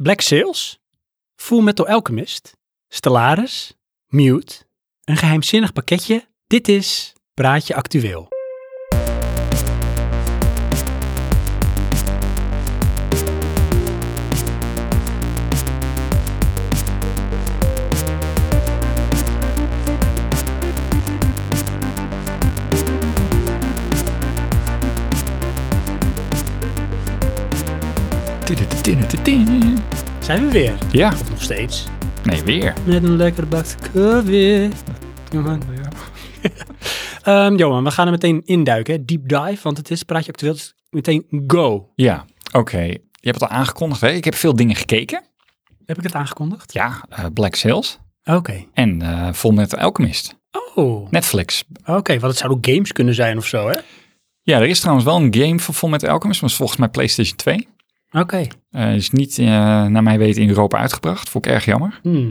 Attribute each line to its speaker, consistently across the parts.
Speaker 1: Black Sails, Full Metal Alchemist, Stellaris, Mute, een geheimzinnig pakketje. Dit is Praatje Actueel.
Speaker 2: Tidididididididin.
Speaker 1: Zijn we weer?
Speaker 2: Ja,
Speaker 1: Of nog steeds?
Speaker 2: nee, weer.
Speaker 1: Met een lekkere bak koffie. Johan. Ehm, Johan, we gaan er meteen induiken. hè. Deep dive, want het is Praatje Actueel. Dus meteen go.
Speaker 2: Ja, oké. Je hebt het al aangekondigd, hè? Ik heb veel dingen gekeken.
Speaker 1: Heb ik het aangekondigd?
Speaker 2: Ja, eh, Black Sails
Speaker 1: Oké.
Speaker 2: en eh Full Metal Alchemist.
Speaker 1: Oh, oké.
Speaker 2: Netflix.
Speaker 1: Want het zouden ook games kunnen zijn of zo, hè? Oké.
Speaker 2: Ja, er is trouwens wel een game van Full Metal Alchemist, maar is volgens mij PlayStation 2. Eh, is niet, eh, naar mijn weten, in Europa uitgebracht. Vond ik erg jammer.
Speaker 1: Hmm.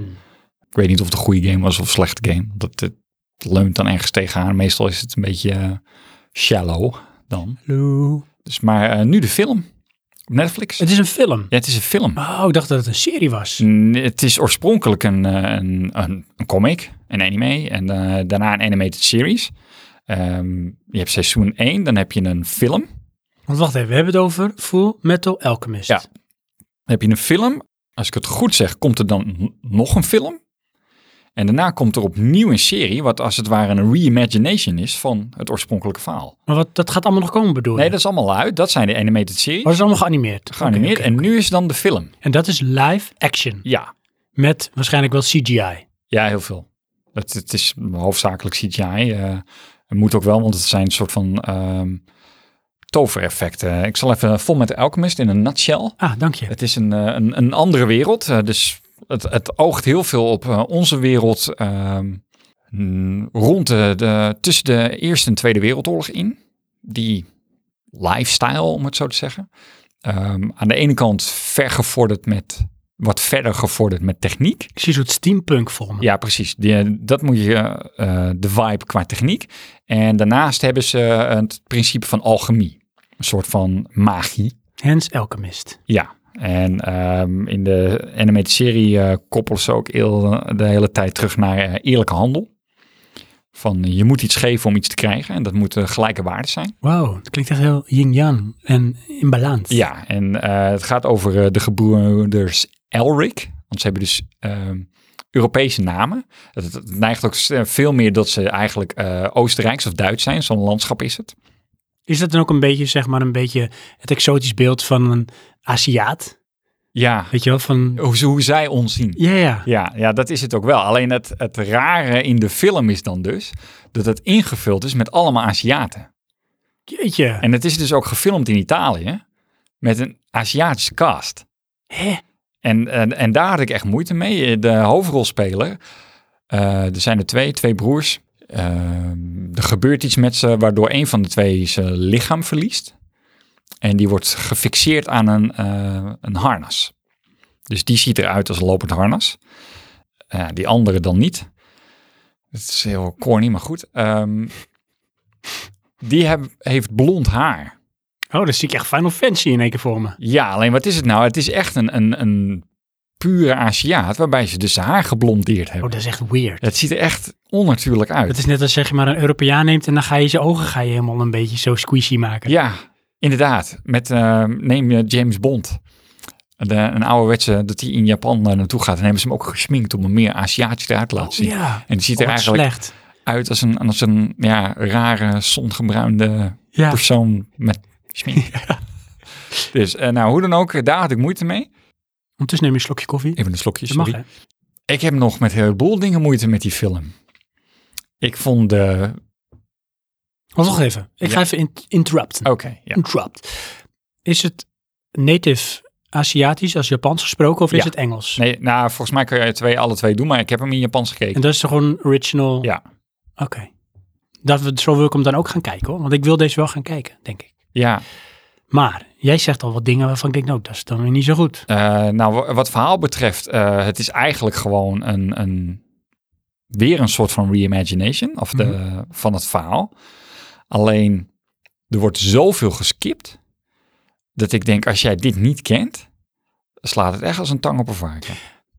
Speaker 2: Ik weet niet of het een goede game was of een slechte game. Dat het leunt dan ergens tegenaan. Meestal is het een beetje eh, shallow dan.
Speaker 1: Hallo.
Speaker 2: Dus, maar eh, nu de film op Netflix.
Speaker 1: Het is een film.
Speaker 2: Ja, het is een film.
Speaker 1: Oh, ik dacht dat het een serie was.
Speaker 2: Mm, Het is oorspronkelijk een, eh, een, een, een comic, een anime en eh, daarna een animated series. Ehm, je hebt seizoen 1, dan heb je een film.
Speaker 1: Want wacht even, we hebben het over Full Metal Alchemist.
Speaker 2: Ja. Dan heb je een film. Als ik het goed zeg, komt er dan n- nog een film. En daarna komt er opnieuw een serie, wat als het ware een reimagination is van het oorspronkelijke verhaal.
Speaker 1: Maar wat, dat gaat allemaal nog komen, bedoel je?
Speaker 2: Nee, dat is allemaal uit. Dat zijn de animated series.
Speaker 1: Maar het is allemaal geanimeerd.
Speaker 2: geanimeerd.
Speaker 1: Oh, Oké, oké.
Speaker 2: En nu is dan de film.
Speaker 1: En dat is live action.
Speaker 2: Ja,
Speaker 1: Met waarschijnlijk wel CGI.
Speaker 2: Ja, heel veel. Het, het is hoofdzakelijk CGI. eh, het moet ook wel, want het zijn een soort van ehm, tovereffecten. Ik zal even vol met de Alchemist in een nutshell.
Speaker 1: Ah, dank je.
Speaker 2: Het is een, eh, een, een andere wereld. eh, dus het, het oogt heel veel op eh, onze wereld. ehm, mm, rond de, de- tussen de Eerste en Tweede Wereldoorlog in. Die lifestyle, om het zo te zeggen. Ehm, aan de ene kant vergevorderd met. Wat verder gevorderd met techniek.
Speaker 1: Ik zie een soort steampunk voor me.
Speaker 2: Ja, precies. Die, dat moet je, eh, de vibe qua techniek. En daarnaast hebben ze eh, het principe van alchemie. Een soort van magie.
Speaker 1: Hans Alchemist.
Speaker 2: Ja. En ehm, in de animated serie eh, koppelen ze ook heel, de hele tijd terug naar eh, eerlijke handel. Van je moet iets geven om iets te krijgen. En dat moet eh, gelijke waarde zijn.
Speaker 1: Wow, het klinkt echt heel yin-yang en in balans.
Speaker 2: Ja, en eh, het gaat over eh, de gebroeders Elric. Want ze hebben dus ehm, Europese namen. Het, het- het neigt ook s- eh, veel meer dat ze eigenlijk eh, Oostenrijks of Duits zijn. Zo'n landschap is het.
Speaker 1: Is dat dan ook een beetje, zeg maar, een beetje het exotisch beeld van een Aziat?
Speaker 2: Ja,
Speaker 1: Weet je wel, van...
Speaker 2: hoe, ze- hoe zij ons zien.
Speaker 1: Ja, ja.
Speaker 2: Ja, ja, dat is het ook wel. Alleen het, het rare in de film is dan dus dat het ingevuld is met allemaal Aziaten.
Speaker 1: Jeetje.
Speaker 2: En het is dus ook gefilmd in Italië met een Aziatische cast.
Speaker 1: Hè?
Speaker 2: En, en, en daar had ik echt moeite mee. De hoofdrolspeler, eh, er zijn er twee, twee broers. Ehm, er gebeurt iets met ze waardoor een van de twee zijn lichaam verliest. En die wordt gefixeerd aan een, eh, een harnas. Dus die ziet eruit als een lopend harnas. Eh, die andere dan niet. Het is heel corny, maar goed. Ehm, die heb- heeft blond haar.
Speaker 1: Oh, dan zie ik echt Final Fantasy in één keer voor me.
Speaker 2: Ja, alleen wat is het nou? Het is echt een, een, een pure Aziat, waarbij ze dus zijn haar geblondeerd
Speaker 1: Oh,
Speaker 2: hebben.
Speaker 1: dat is echt weird.
Speaker 2: Het ziet er echt onnatuurlijk
Speaker 1: Het
Speaker 2: uit.
Speaker 1: is net als zeg je maar een Europeaan neemt en dan ga je zijn ogen ga je helemaal een beetje zo squishy maken.
Speaker 2: Ja, inderdaad. Met, eh, neem je James Bond. De, een ouderwetse dat hij in Japan daar naartoe gaat. En hebben ze hem ook gesminkt om hem meer Aziatisch eruit te laten zien.
Speaker 1: ja.
Speaker 2: En het ziet
Speaker 1: Oh,
Speaker 2: er
Speaker 1: wat
Speaker 2: eigenlijk
Speaker 1: slecht.
Speaker 2: uit als een, als een ja, rare, zongebruinde
Speaker 1: Ja.
Speaker 2: persoon met smink. Dus eh, nou, hoe dan ook, daar had ik moeite mee.
Speaker 1: Ondertussen neem je een slokje koffie.
Speaker 2: Even een slokje,
Speaker 1: Dat mag,
Speaker 2: sorry.
Speaker 1: hè?
Speaker 2: Ik heb nog met een heleboel dingen moeite met die film. Ik vond de...
Speaker 1: Wacht nog even. Ik ga
Speaker 2: Ja.
Speaker 1: even in- interrupten.
Speaker 2: Oké, ja.
Speaker 1: Interrupt. Is het native Aziatisch als Japans gesproken of is
Speaker 2: Ja.
Speaker 1: het Engels?
Speaker 2: Nee, nou, volgens mij kun je twee, alle twee doen, maar ik heb hem in Japans
Speaker 1: En
Speaker 2: gekeken.
Speaker 1: dat is toch gewoon original?
Speaker 2: Ja.
Speaker 1: Oké. Dat we, zo wil ik hem dan ook gaan kijken hoor. Want ik wil deze wel gaan kijken, denk ik.
Speaker 2: Ja,
Speaker 1: Maar jij zegt al wat dingen waarvan ik denk, nou, dat is dan weer niet zo goed.
Speaker 2: eh, nou, wa- wat verhaal betreft, eh, het is eigenlijk gewoon een, een... Weer een soort van reimagination of de, van het verhaal. Alleen, er wordt zoveel geskipt, dat ik denk, als jij dit niet kent, slaat het echt als een tang op een varken.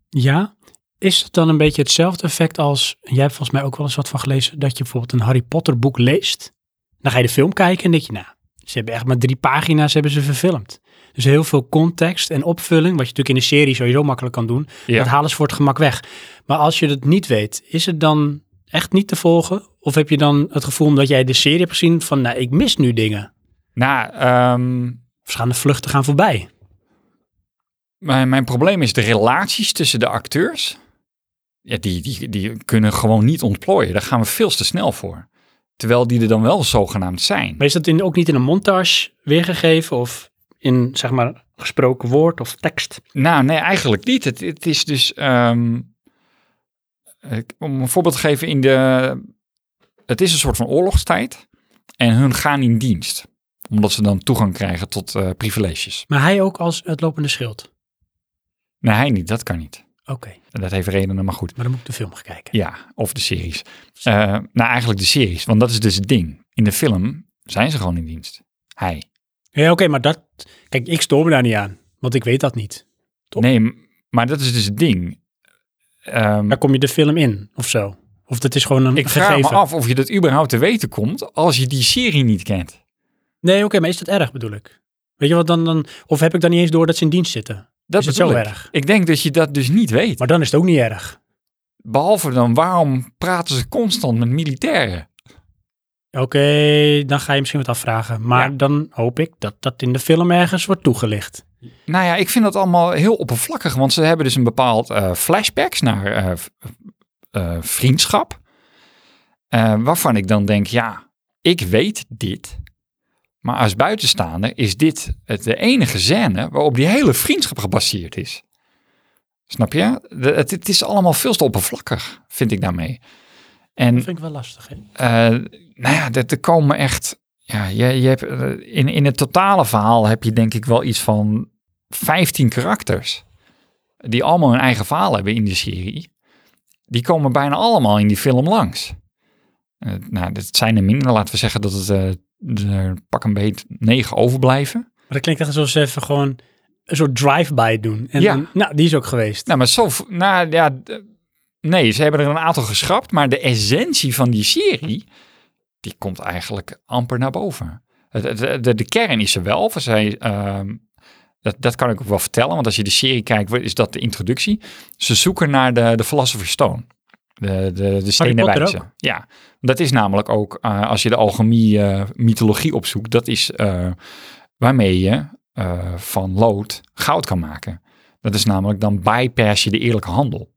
Speaker 1: Ja. Is het dan een beetje hetzelfde effect als, jij hebt volgens mij ook wel eens wat van gelezen, dat je bijvoorbeeld een Harry Potter boek leest, dan ga je de film kijken en denk je, nou, ze hebben echt maar drie pagina's hebben ze verfilmd. Dus heel veel context en opvulling, wat je natuurlijk in een serie sowieso makkelijk kan doen,
Speaker 2: Ja.
Speaker 1: dat halen ze voor het gemak weg. Maar als je het niet weet, is het dan echt niet te volgen? Of heb je dan het gevoel dat jij de serie hebt gezien van, nou, ik mis nu dingen.
Speaker 2: Nou, ehm,
Speaker 1: Of ze gaan de vluchten gaan voorbij.
Speaker 2: mijn, mijn probleem is de relaties tussen de acteurs. Ja, die, die, die kunnen gewoon niet ontplooien. Daar gaan we veel te snel voor. Terwijl die er dan wel zogenaamd zijn.
Speaker 1: Maar is dat in, ook niet in een montage weergegeven of in, zeg maar, gesproken woord of tekst?
Speaker 2: Nou, nee, eigenlijk niet. Het, het is dus. ehm, ik- om een voorbeeld te geven, in de, het is een soort van oorlogstijd. En hun gaan in dienst. Omdat ze dan toegang krijgen tot eh, privileges.
Speaker 1: Maar hij ook als het lopende schild.
Speaker 2: Nee, hij niet. Dat kan niet.
Speaker 1: Oké,
Speaker 2: En Dat heeft redenen, maar goed.
Speaker 1: maar dan moet ik de film gaan kijken.
Speaker 2: Ja, of de series. Eh, nou, eigenlijk de series. Want dat is dus het ding. In de film zijn ze gewoon in dienst. Hij.
Speaker 1: Ja, oké, maar dat... Kijk, ik stoor me daar niet aan, want ik weet dat niet. Top.
Speaker 2: Nee, m- maar dat is dus het ding. Ehm,
Speaker 1: Daar kom je de film in, of zo. Of dat is gewoon een
Speaker 2: ik vraag
Speaker 1: gegeven.
Speaker 2: me af of je dat überhaupt te weten komt als je die serie niet kent.
Speaker 1: Nee, oké, maar is dat erg, bedoel ik? Weet je wat, dan, dan... Of heb ik dan niet eens door dat ze in dienst zitten?
Speaker 2: Dat
Speaker 1: Is het
Speaker 2: bedoel
Speaker 1: zo
Speaker 2: ik.
Speaker 1: erg?
Speaker 2: Ik denk dat je dat dus niet weet.
Speaker 1: Maar dan is het ook niet erg.
Speaker 2: Behalve dan, waarom praten ze constant met militairen?
Speaker 1: Oké, dan ga je misschien wat afvragen. Maar
Speaker 2: Ja.
Speaker 1: dan hoop ik dat dat in de film ergens wordt toegelicht.
Speaker 2: Nou ja, ik vind dat allemaal heel oppervlakkig. Want ze hebben dus een bepaald eh, flashbacks naar eh, v- eh, vriendschap. eh, waarvan ik dan denk, ja, ik weet dit. Maar als buitenstaander is dit het de enige scène waarop die hele vriendschap gebaseerd is. Snap je? De- het, het is allemaal veel te oppervlakkig, vind ik daarmee. En
Speaker 1: Dat vind ik wel lastig, hè?
Speaker 2: Eh, nou ja, dat- er komen echt. Ja, je, je hebt, eh, in, in het totale verhaal heb je denk ik wel iets van 15 karakters. Die allemaal hun eigen verhaal hebben in de serie. Die komen bijna allemaal in die film langs. Eh, nou, dat zijn er minder. Laten we zeggen dat het eh, er pak een beet negen overblijven.
Speaker 1: Maar dat klinkt echt alsof ze even gewoon een soort drive-by doen. En
Speaker 2: Ja.
Speaker 1: dan- nou, die is ook geweest.
Speaker 2: Nou, maar zo. v- Nou ja. d- Nee, ze hebben er een aantal geschrapt. Maar de essentie van die serie. die komt eigenlijk amper naar boven. Het- het- De, de, kern is er wel. Voor zij, ehm, dat, dat kan ik ook wel vertellen. Want als je de serie kijkt, wordt- is dat de introductie. Ze zoeken naar de, de Philosopher's Stone. De, de, de stenen
Speaker 1: Potter
Speaker 2: wijze.
Speaker 1: ook?
Speaker 2: Ja, dat is namelijk ook, eh, als je de alchemie, eh, mythologie opzoekt, dat is eh, waarmee je eh, van lood goud kan maken. Dat is namelijk, dan bypass je de eerlijke handel.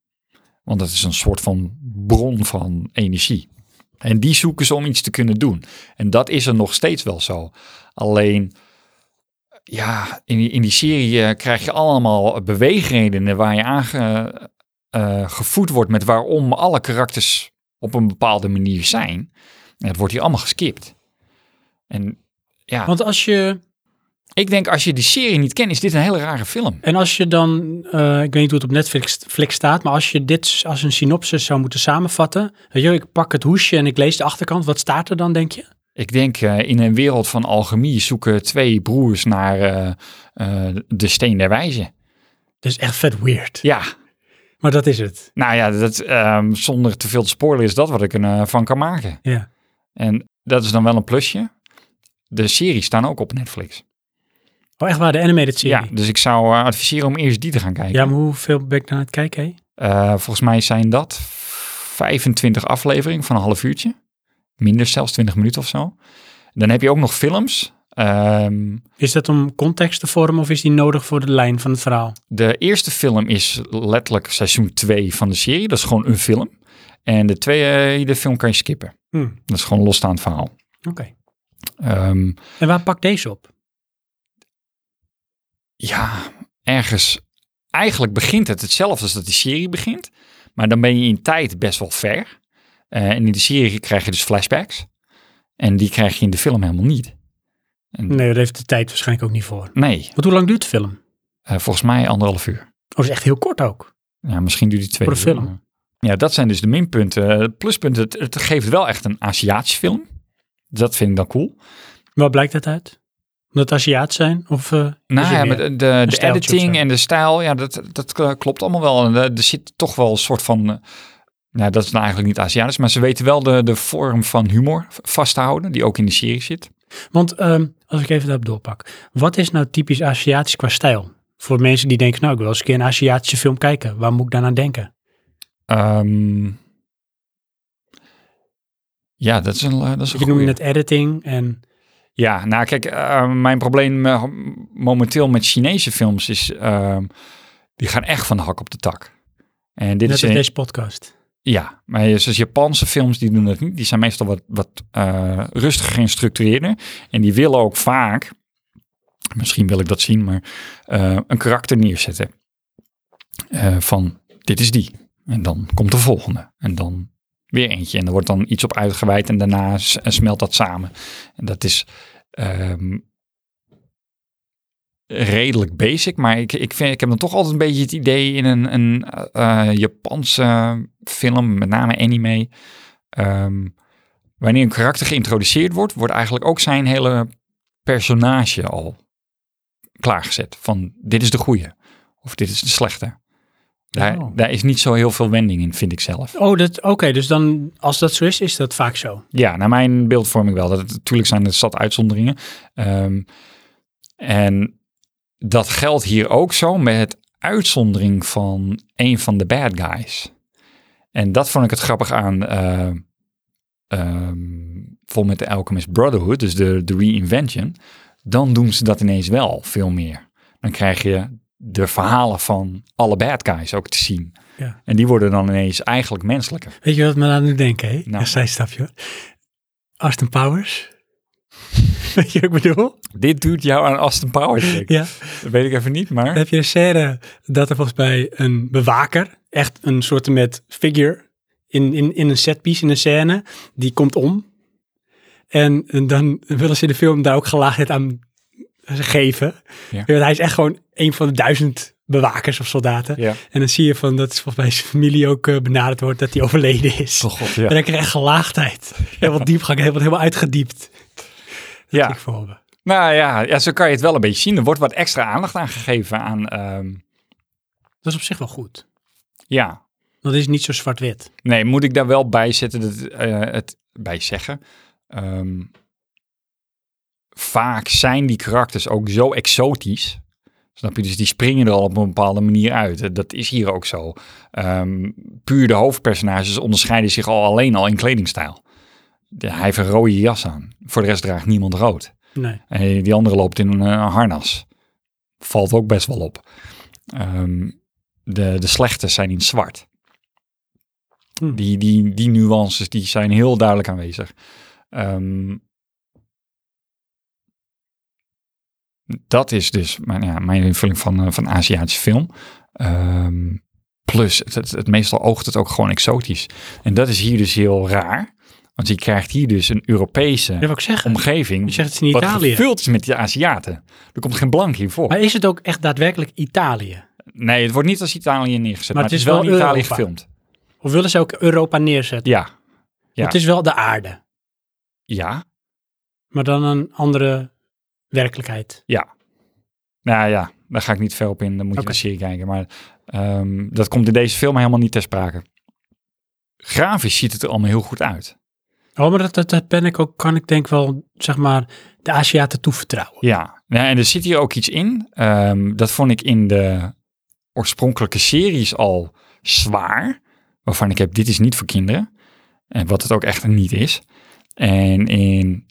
Speaker 2: Want dat is een soort van bron van energie. En die zoeken ze om iets te kunnen doen. En dat is er nog steeds wel zo. Alleen, ja, in die, in die serie eh, krijg je allemaal beweegredenen waar je aangevoed gevoed wordt met waarom alle karakters op een bepaalde manier zijn. En het wordt hier allemaal geskipt. En ja,
Speaker 1: Want als je
Speaker 2: ik denk als je die serie niet kent, is dit een hele rare film.
Speaker 1: En als je dan, eh, ik weet niet hoe het op Netflix Flix staat, maar als je dit als een synopsis zou moeten samenvatten. Weet je, ik pak het hoesje en ik lees de achterkant. Wat staat er dan, denk je?
Speaker 2: Ik denk eh, in een wereld van alchemie zoeken twee broers naar eh, eh, de steen der wijze.
Speaker 1: Dat is echt vet weird.
Speaker 2: Ja,
Speaker 1: Maar dat is het.
Speaker 2: nou ja, dat, ehm, zonder te veel te spoilen is dat wat ik ervan van kan maken.
Speaker 1: Ja.
Speaker 2: En dat is dan wel een plusje. De series staan ook op Netflix.
Speaker 1: Oh, echt waar, de animated
Speaker 2: Ja,
Speaker 1: serie. Ja,
Speaker 2: dus ik zou eh, adviseren om eerst die te gaan kijken.
Speaker 1: maar hoeveel ben ik dan aan het kijken? Hé?
Speaker 2: Eh, volgens mij zijn dat 25 afleveringen van een half uurtje. Minder zelfs 20 minuten of zo. Dan heb je ook nog films. Ehm,
Speaker 1: Is dat om context te vormen of is die nodig voor de lijn van het verhaal?
Speaker 2: De eerste film is letterlijk seizoen 2 van de serie. Dat is gewoon een film. En de tweede film kan je skippen.
Speaker 1: Hm,
Speaker 2: Dat is gewoon een losstaand verhaal.
Speaker 1: Oké.
Speaker 2: Ehm,
Speaker 1: En waar pakt deze op?
Speaker 2: ja, ergens. Eigenlijk begint het hetzelfde als dat die serie begint. Maar dan ben je in tijd best wel ver. Eh, en in de serie krijg je dus flashbacks. En die krijg je in de film helemaal niet.
Speaker 1: Nee, daar heeft de tijd waarschijnlijk ook niet voor.
Speaker 2: Nee,
Speaker 1: Want hoe lang duurt de film? Oh,
Speaker 2: eh, volgens mij anderhalf uur.
Speaker 1: dat is echt heel kort ook.
Speaker 2: Ja, misschien duurt die twee
Speaker 1: Voor de
Speaker 2: uur,
Speaker 1: film.
Speaker 2: maar- Ja, dat zijn dus de minpunten. Eh, Pluspunten, het, het geeft wel echt een Aziatisch film. Dat vind ik dan cool.
Speaker 1: Waar blijkt dat uit? Omdat het Aziat zijn? Of, eh, is
Speaker 2: Nou
Speaker 1: het
Speaker 2: ja,
Speaker 1: meer?
Speaker 2: maar de, de, de
Speaker 1: stijltje of
Speaker 2: editing
Speaker 1: zo.
Speaker 2: en de stijl, ja, dat, dat eh, klopt allemaal wel. En eh, er zit toch wel een soort van, eh, nou dat is nou eigenlijk niet Aziatisch, maar ze weten wel de, de vorm van humor v- vast te houden, die ook in de serie zit.
Speaker 1: Want ehm, als ik even daarop doorpak. Wat is nou typisch Aziatisch qua stijl? Voor mensen die denken, nou ik wil eens een keer een Aziatische film kijken. Waar moet ik dan aan denken?
Speaker 2: Ehm, ja, dat is een, eh, dat is een
Speaker 1: Je noemde
Speaker 2: goeie.
Speaker 1: net editing en...
Speaker 2: Ja, nou kijk, eh, mijn probleem eh, momenteel met Chinese films is, ehm, die gaan echt van de hak op de tak. En dit
Speaker 1: Net als
Speaker 2: is een-
Speaker 1: deze podcast.
Speaker 2: Ja, maar je- zoals Japanse films, die doen dat niet. Die zijn meestal wat, wat eh, rustiger geïnstructeerder. En die willen ook vaak, misschien wil ik dat zien, maar eh, een karakter neerzetten. Eh, van, dit is die. En dan komt de volgende. En dan weer eentje. En er wordt dan iets op uitgeweid en daarna s- eh, smelt dat samen. En dat is ehm, redelijk basic, maar ik, ik, vind, ik heb dan toch altijd een beetje het idee in een, een eh, eh, Japanse film, met name anime, ehm, wanneer een karakter geïntroduceerd wordt, wordt eigenlijk ook zijn hele personage al klaargezet. Van dit is de goeie of dit is de slechte. Daar,
Speaker 1: Oh.
Speaker 2: daar is niet zo heel veel wending in, vind ik zelf.
Speaker 1: Oh, dat- oké. dus dan, als dat zo is, is dat vaak zo.
Speaker 2: Ja, naar mijn beeldvorming wel. Dat, natuurlijk zijn er zat uitzonderingen. Ehm, en dat geldt hier ook zo met uitzondering van een van de bad guys. En dat vond ik het grappig aan... eh ehm, vol met de Alchemist Brotherhood, dus de, de reinvention. Dan doen ze dat ineens wel veel meer. Dan krijg je de verhalen van alle bad guys ook te zien.
Speaker 1: Ja.
Speaker 2: En die worden dan ineens eigenlijk menselijker.
Speaker 1: Weet je wat me aan nu denken, hè?
Speaker 2: Nou.
Speaker 1: Een zijstapje hoor. Austin Powers. Weet je wat ik bedoel?
Speaker 2: Dit doet jou aan Austin Powers denken.
Speaker 1: Ja.
Speaker 2: Dat weet ik even niet,
Speaker 1: Dan
Speaker 2: maar...
Speaker 1: heb je een scène dat er volgens mij een bewaker, echt een soort met figure in, in, in een setpiece, in een scène, die komt om. En, en dan willen ze de film daar ook gelaagdheid aan geven.
Speaker 2: Ja.
Speaker 1: Want Hij is echt gewoon een van de duizend bewakers of soldaten.
Speaker 2: Ja.
Speaker 1: En dan zie je van dat volgens mij zijn familie ook eh, benaderd wordt dat hij overleden is.
Speaker 2: god,
Speaker 1: En dan krijg je echt gelaagdheid. Helemaal diepgang, helemaal, helemaal uitgediept.
Speaker 2: Ja,
Speaker 1: Ik voor me.
Speaker 2: nou ja, ja, zo kan je het wel een beetje zien. Er wordt wat extra aandacht aan gegeven aan... ehm,
Speaker 1: Dat is op zich wel goed.
Speaker 2: ja,
Speaker 1: Dat is niet zo zwart-wit.
Speaker 2: nee, moet ik daar wel bij zetten, dat, eh, het bij zeggen. Ehm, vaak zijn die karakters ook zo exotisch. Snap je? Dus die springen er al op een bepaalde manier uit. Eh, Dat is hier ook zo. Ehm, puur de hoofdpersonages onderscheiden zich al alleen al in kledingstijl. De- hij heeft een rode jas aan. Voor de rest draagt niemand rood.
Speaker 1: Nee.
Speaker 2: En die andere loopt in een, eh, harnas. Valt ook best wel op. Ehm, de, de slechte zijn in zwart.
Speaker 1: Hm.
Speaker 2: Die, die, die nuances die zijn heel duidelijk aanwezig. Ehm, dat is dus mijn, ja, mijn invulling van, eh, van Aziatische film. Ehm, plus, het, het, het- meestal oogt het ook gewoon exotisch. En dat is hier dus heel raar. Want je krijgt hier dus een Europese
Speaker 1: Dat wil ik zeggen.
Speaker 2: omgeving.
Speaker 1: Je zegt het is in
Speaker 2: Wat
Speaker 1: Italië.
Speaker 2: gevuld is met die Aziaten. Er komt geen blank hiervoor.
Speaker 1: Maar is het ook echt daadwerkelijk Italië?
Speaker 2: Nee, het wordt niet als Italië neergezet. Maar, het is, wel in
Speaker 1: Europa.
Speaker 2: Italië gefilmd.
Speaker 1: Of willen ze ook Europa neerzetten?
Speaker 2: Ja, ja.
Speaker 1: Het is wel de aarde,
Speaker 2: ja,
Speaker 1: maar dan een andere werkelijkheid.
Speaker 2: ja. Nou ja, daar ga ik niet veel op in. Dan moet
Speaker 1: Oké.
Speaker 2: je de serie kijken. Maar ehm, dat komt in deze film helemaal niet ter sprake. Grafisch ziet het er allemaal heel goed uit.
Speaker 1: Oh, maar dat, dat, dat ben ik ook, kan ik denk wel, zeg maar, de Aziaten toevertrouwen.
Speaker 2: Ja, nou, en er zit hier ook iets in. Ehm, dat vond ik in de oorspronkelijke series al zwaar. Waarvan ik heb, dit is niet voor kinderen. En wat het ook echt niet is. En in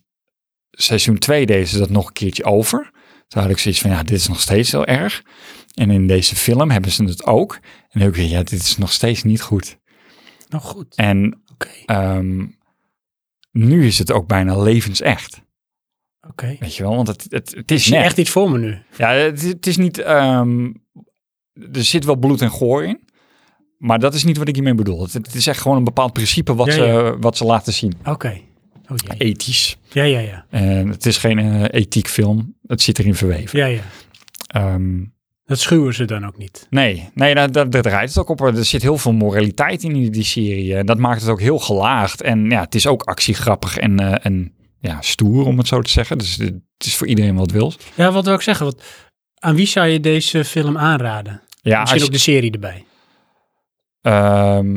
Speaker 2: seizoen 2 deden ze dat nog een keertje over. Toen had ik zoiets van, ja, dit is nog steeds heel erg. En in deze film hebben ze het ook. En dan heb ik weer, ja, dit is nog steeds niet goed.
Speaker 1: Nou goed,
Speaker 2: En
Speaker 1: oké.
Speaker 2: ehm, nu is het ook bijna levensecht.
Speaker 1: Oké.
Speaker 2: Weet je wel, want het, het, het is
Speaker 1: Ik zie
Speaker 2: net.
Speaker 1: echt iets voor me nu.
Speaker 2: Ja, het, het is niet. ehm, er zit wel bloed en goor in. Maar dat is niet wat ik hiermee bedoel. Het, het is echt gewoon een bepaald principe wat,
Speaker 1: Ja,
Speaker 2: ze,
Speaker 1: ja.
Speaker 2: wat ze laten zien.
Speaker 1: Oké. Oh, jee.
Speaker 2: Ethisch.
Speaker 1: Ja, ja, ja.
Speaker 2: En het is geen eh, ethiek film. Het zit erin verweven.
Speaker 1: Ja, ja.
Speaker 2: Ehm,
Speaker 1: Dat schuwen ze dan ook niet.
Speaker 2: nee, nee daar, daar, daar draait het ook op. Er zit heel veel moraliteit in die, die serie. En dat maakt het ook heel gelaagd. En ja, het is ook actiegrappig en, eh, en ja, stoer, om het zo te zeggen. Dus het is voor iedereen wat wil.
Speaker 1: Ja, wat wil ik zeggen? Wat, aan wie zou je deze film aanraden?
Speaker 2: Ja, als
Speaker 1: Misschien
Speaker 2: je,
Speaker 1: ook de serie erbij.
Speaker 2: ehm,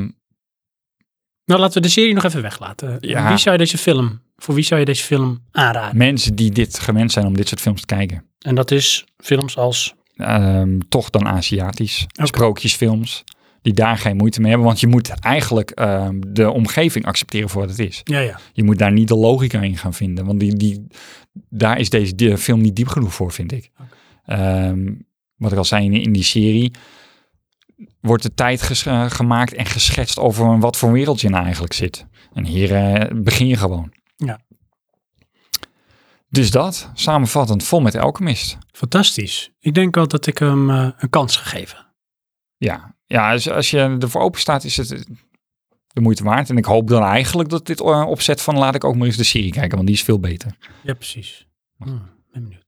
Speaker 1: Nou, laten we de serie nog even weglaten.
Speaker 2: Ja.
Speaker 1: Wie zou je deze film, voor wie zou je deze film aanraden?
Speaker 2: mensen die dit gewend zijn om dit soort films te kijken.
Speaker 1: En dat is films als...
Speaker 2: Ehm, toch dan Aziatisch.
Speaker 1: Oké.
Speaker 2: Sprookjesfilms. Die daar geen moeite mee hebben. Want je moet eigenlijk ehm, de omgeving accepteren voor wat het is.
Speaker 1: Ja, ja.
Speaker 2: Je moet daar niet de logica in gaan vinden. Want die, die, daar is deze die- film niet diep genoeg voor, vind ik. Ehm, wat ik al zei in, in die serie. Wordt de tijd ges- eh, gemaakt en geschetst over wat voor wereld je nou eigenlijk zit. En hier eh, begin je gewoon.
Speaker 1: Ja.
Speaker 2: Dus dat, samenvattend, vol met Alchemist.
Speaker 1: Fantastisch. Ik denk wel dat ik hem eh, een kans gegeven.
Speaker 2: Ja, ja als, als je ervoor open staat, is het eh, de moeite waard. En ik hoop dan eigenlijk dat dit eh, opzet van laat ik ook maar eens de serie kijken, want die is veel beter.
Speaker 1: Ja, precies. Hmm, ben benieuwd.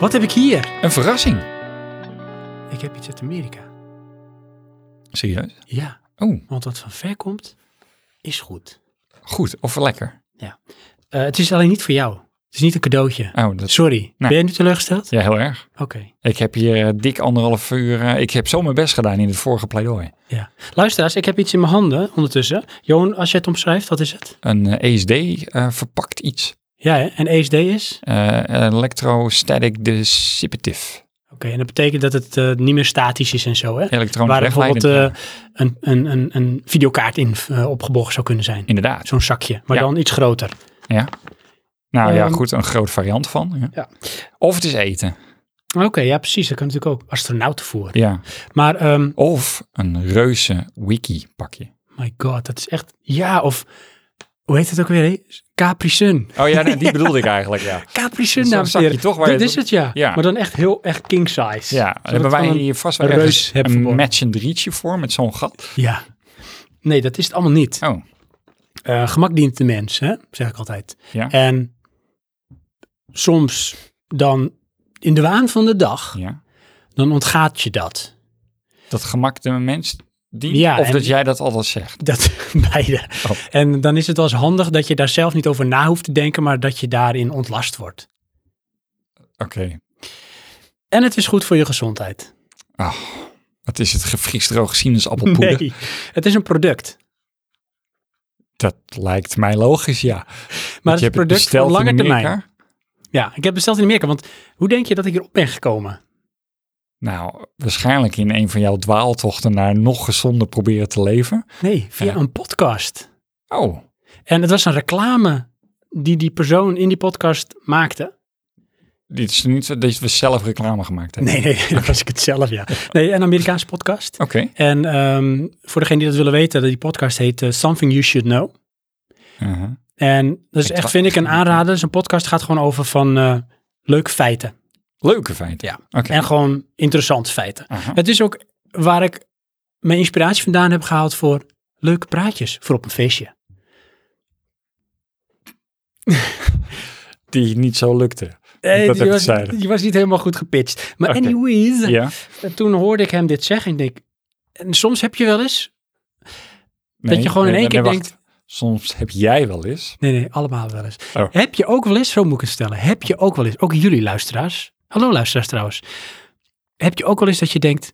Speaker 1: Wat heb ik hier?
Speaker 2: Een verrassing.
Speaker 1: Ik heb iets uit Amerika.
Speaker 2: Serieus?
Speaker 1: Ja,
Speaker 2: Oh,
Speaker 1: want wat van ver komt, is goed.
Speaker 2: goed. Of lekker.
Speaker 1: Eh, het is alleen niet voor jou. Het is niet een cadeautje.
Speaker 2: Oh, dat
Speaker 1: Sorry. Ben je nu teleurgesteld?
Speaker 2: ja, heel erg.
Speaker 1: Oké.
Speaker 2: Ik heb hier eh, dik anderhalf uur... eh, ik heb zo mijn best gedaan in het vorige pleidooi.
Speaker 1: Ja. Luisteraars, ik heb iets in mijn handen ondertussen. Johan, als jij het omschrijft, wat is het?
Speaker 2: Een eh, ESD eh, verpakt iets.
Speaker 1: Ja, hè? en ESD is?
Speaker 2: Eh, electrostatic dissipative.
Speaker 1: Oké, en dat betekent dat het eh, niet meer statisch is en zo, hè?
Speaker 2: Elektronisch
Speaker 1: Waar er
Speaker 2: wegleidend.
Speaker 1: bijvoorbeeld eh, een, een, een, een videokaart in eh, opgeborgen zou kunnen zijn.
Speaker 2: Inderdaad.
Speaker 1: Zo'n zakje, maar
Speaker 2: Ja.
Speaker 1: dan iets groter.
Speaker 2: Nou ja,
Speaker 1: ehm,
Speaker 2: goed. Een groot variant van. Ja.
Speaker 1: ja.
Speaker 2: Of het is eten.
Speaker 1: Oké, ja precies. Dat kan natuurlijk ook astronautenvoer.
Speaker 2: Ja.
Speaker 1: Maar, ehm,
Speaker 2: Of een reuze wiki pakje.
Speaker 1: my god, dat is echt... Ja, of... Hoe heet het ook weer? hè? Capri Sun.
Speaker 2: Oh ja, nou, die bedoelde ik eigenlijk, ja.
Speaker 1: Capri Sun,
Speaker 2: Zo'n
Speaker 1: dames en
Speaker 2: zakje
Speaker 1: heren.
Speaker 2: toch waar
Speaker 1: Dit
Speaker 2: je-
Speaker 1: is het, ja.
Speaker 2: Ja.
Speaker 1: Maar dan echt heel echt king size.
Speaker 2: Ja,
Speaker 1: Zodat het
Speaker 2: hebben wij
Speaker 1: gewoon een-
Speaker 2: hier vast wel
Speaker 1: een
Speaker 2: ergens
Speaker 1: reus hebben
Speaker 2: een
Speaker 1: verborgen.
Speaker 2: matchend rietje voor met zo'n gat?
Speaker 1: Ja. Nee, dat is het allemaal niet.
Speaker 2: Oh,
Speaker 1: Eh, gemak dient de mens, hè? zeg ik altijd.
Speaker 2: Ja.
Speaker 1: En soms dan in de waan van de dag,
Speaker 2: ja.
Speaker 1: dan ontgaat je dat.
Speaker 2: dat gemak de mens dient?
Speaker 1: Ja,
Speaker 2: of
Speaker 1: en-
Speaker 2: dat jij dat altijd zegt?
Speaker 1: Dat beide.
Speaker 2: Oh.
Speaker 1: En dan is het wel eens handig dat je daar zelf niet over na hoeft te denken, maar dat je daarin ontlast wordt.
Speaker 2: Oké.
Speaker 1: En het is goed voor je gezondheid.
Speaker 2: Wat is het gevriesdroog sinaasappelpoeder?
Speaker 1: Nee, het is een product.
Speaker 2: Dat lijkt mij logisch, ja. Maar
Speaker 1: Maar het is een product voor lange termijn.
Speaker 2: termijn.
Speaker 1: Ja, ik heb het besteld in Amerika, want hoe denk je dat ik hierop ben gekomen?
Speaker 2: Nou, waarschijnlijk in een van jouw dwaaltochten naar nog gezonder proberen te leven.
Speaker 1: Nee, via
Speaker 2: Ja.
Speaker 1: een podcast.
Speaker 2: Oh,
Speaker 1: En het was een reclame die die persoon in die podcast maakte.
Speaker 2: dit is niet zo dat we zelf reclame gemaakt hebben.
Speaker 1: Nee, nee, dat was ik het zelf, ja. Nee, een Amerikaanse podcast.
Speaker 2: Oké,
Speaker 1: En ehm, voor degenen die dat willen weten, die podcast heet eh, Something You Should Know.
Speaker 2: uh-huh.
Speaker 1: En dat is
Speaker 2: Ik
Speaker 1: echt,
Speaker 2: tra-
Speaker 1: vind ik, een aanrader. Zo'n podcast gaat gewoon over van eh, leuke feiten.
Speaker 2: leuke feiten.
Speaker 1: Ja.
Speaker 2: Oké.
Speaker 1: En gewoon interessante feiten.
Speaker 2: Aha.
Speaker 1: Het is ook waar ik mijn inspiratie vandaan heb gehaald voor leuke praatjes voor op een feestje.
Speaker 2: Die niet zo lukte.
Speaker 1: Eh, die,
Speaker 2: dat heb ik
Speaker 1: was,
Speaker 2: zeiden.
Speaker 1: die was niet helemaal goed gepitcht. Maar
Speaker 2: Oké.
Speaker 1: anyways,
Speaker 2: Ja,
Speaker 1: en toen hoorde ik hem dit zeggen en ik denk... En soms heb je wel eens...
Speaker 2: Nee,
Speaker 1: je gewoon in
Speaker 2: nee,
Speaker 1: één keer
Speaker 2: nee,
Speaker 1: denkt-
Speaker 2: wacht. Soms heb jij wel eens.
Speaker 1: Nee, nee, allemaal wel eens.
Speaker 2: Oh.
Speaker 1: Heb je ook wel eens, zo moet ik het stellen, heb je ook wel eens, ook jullie luisteraars, hallo luisteraars trouwens, heb je ook wel eens dat je denkt,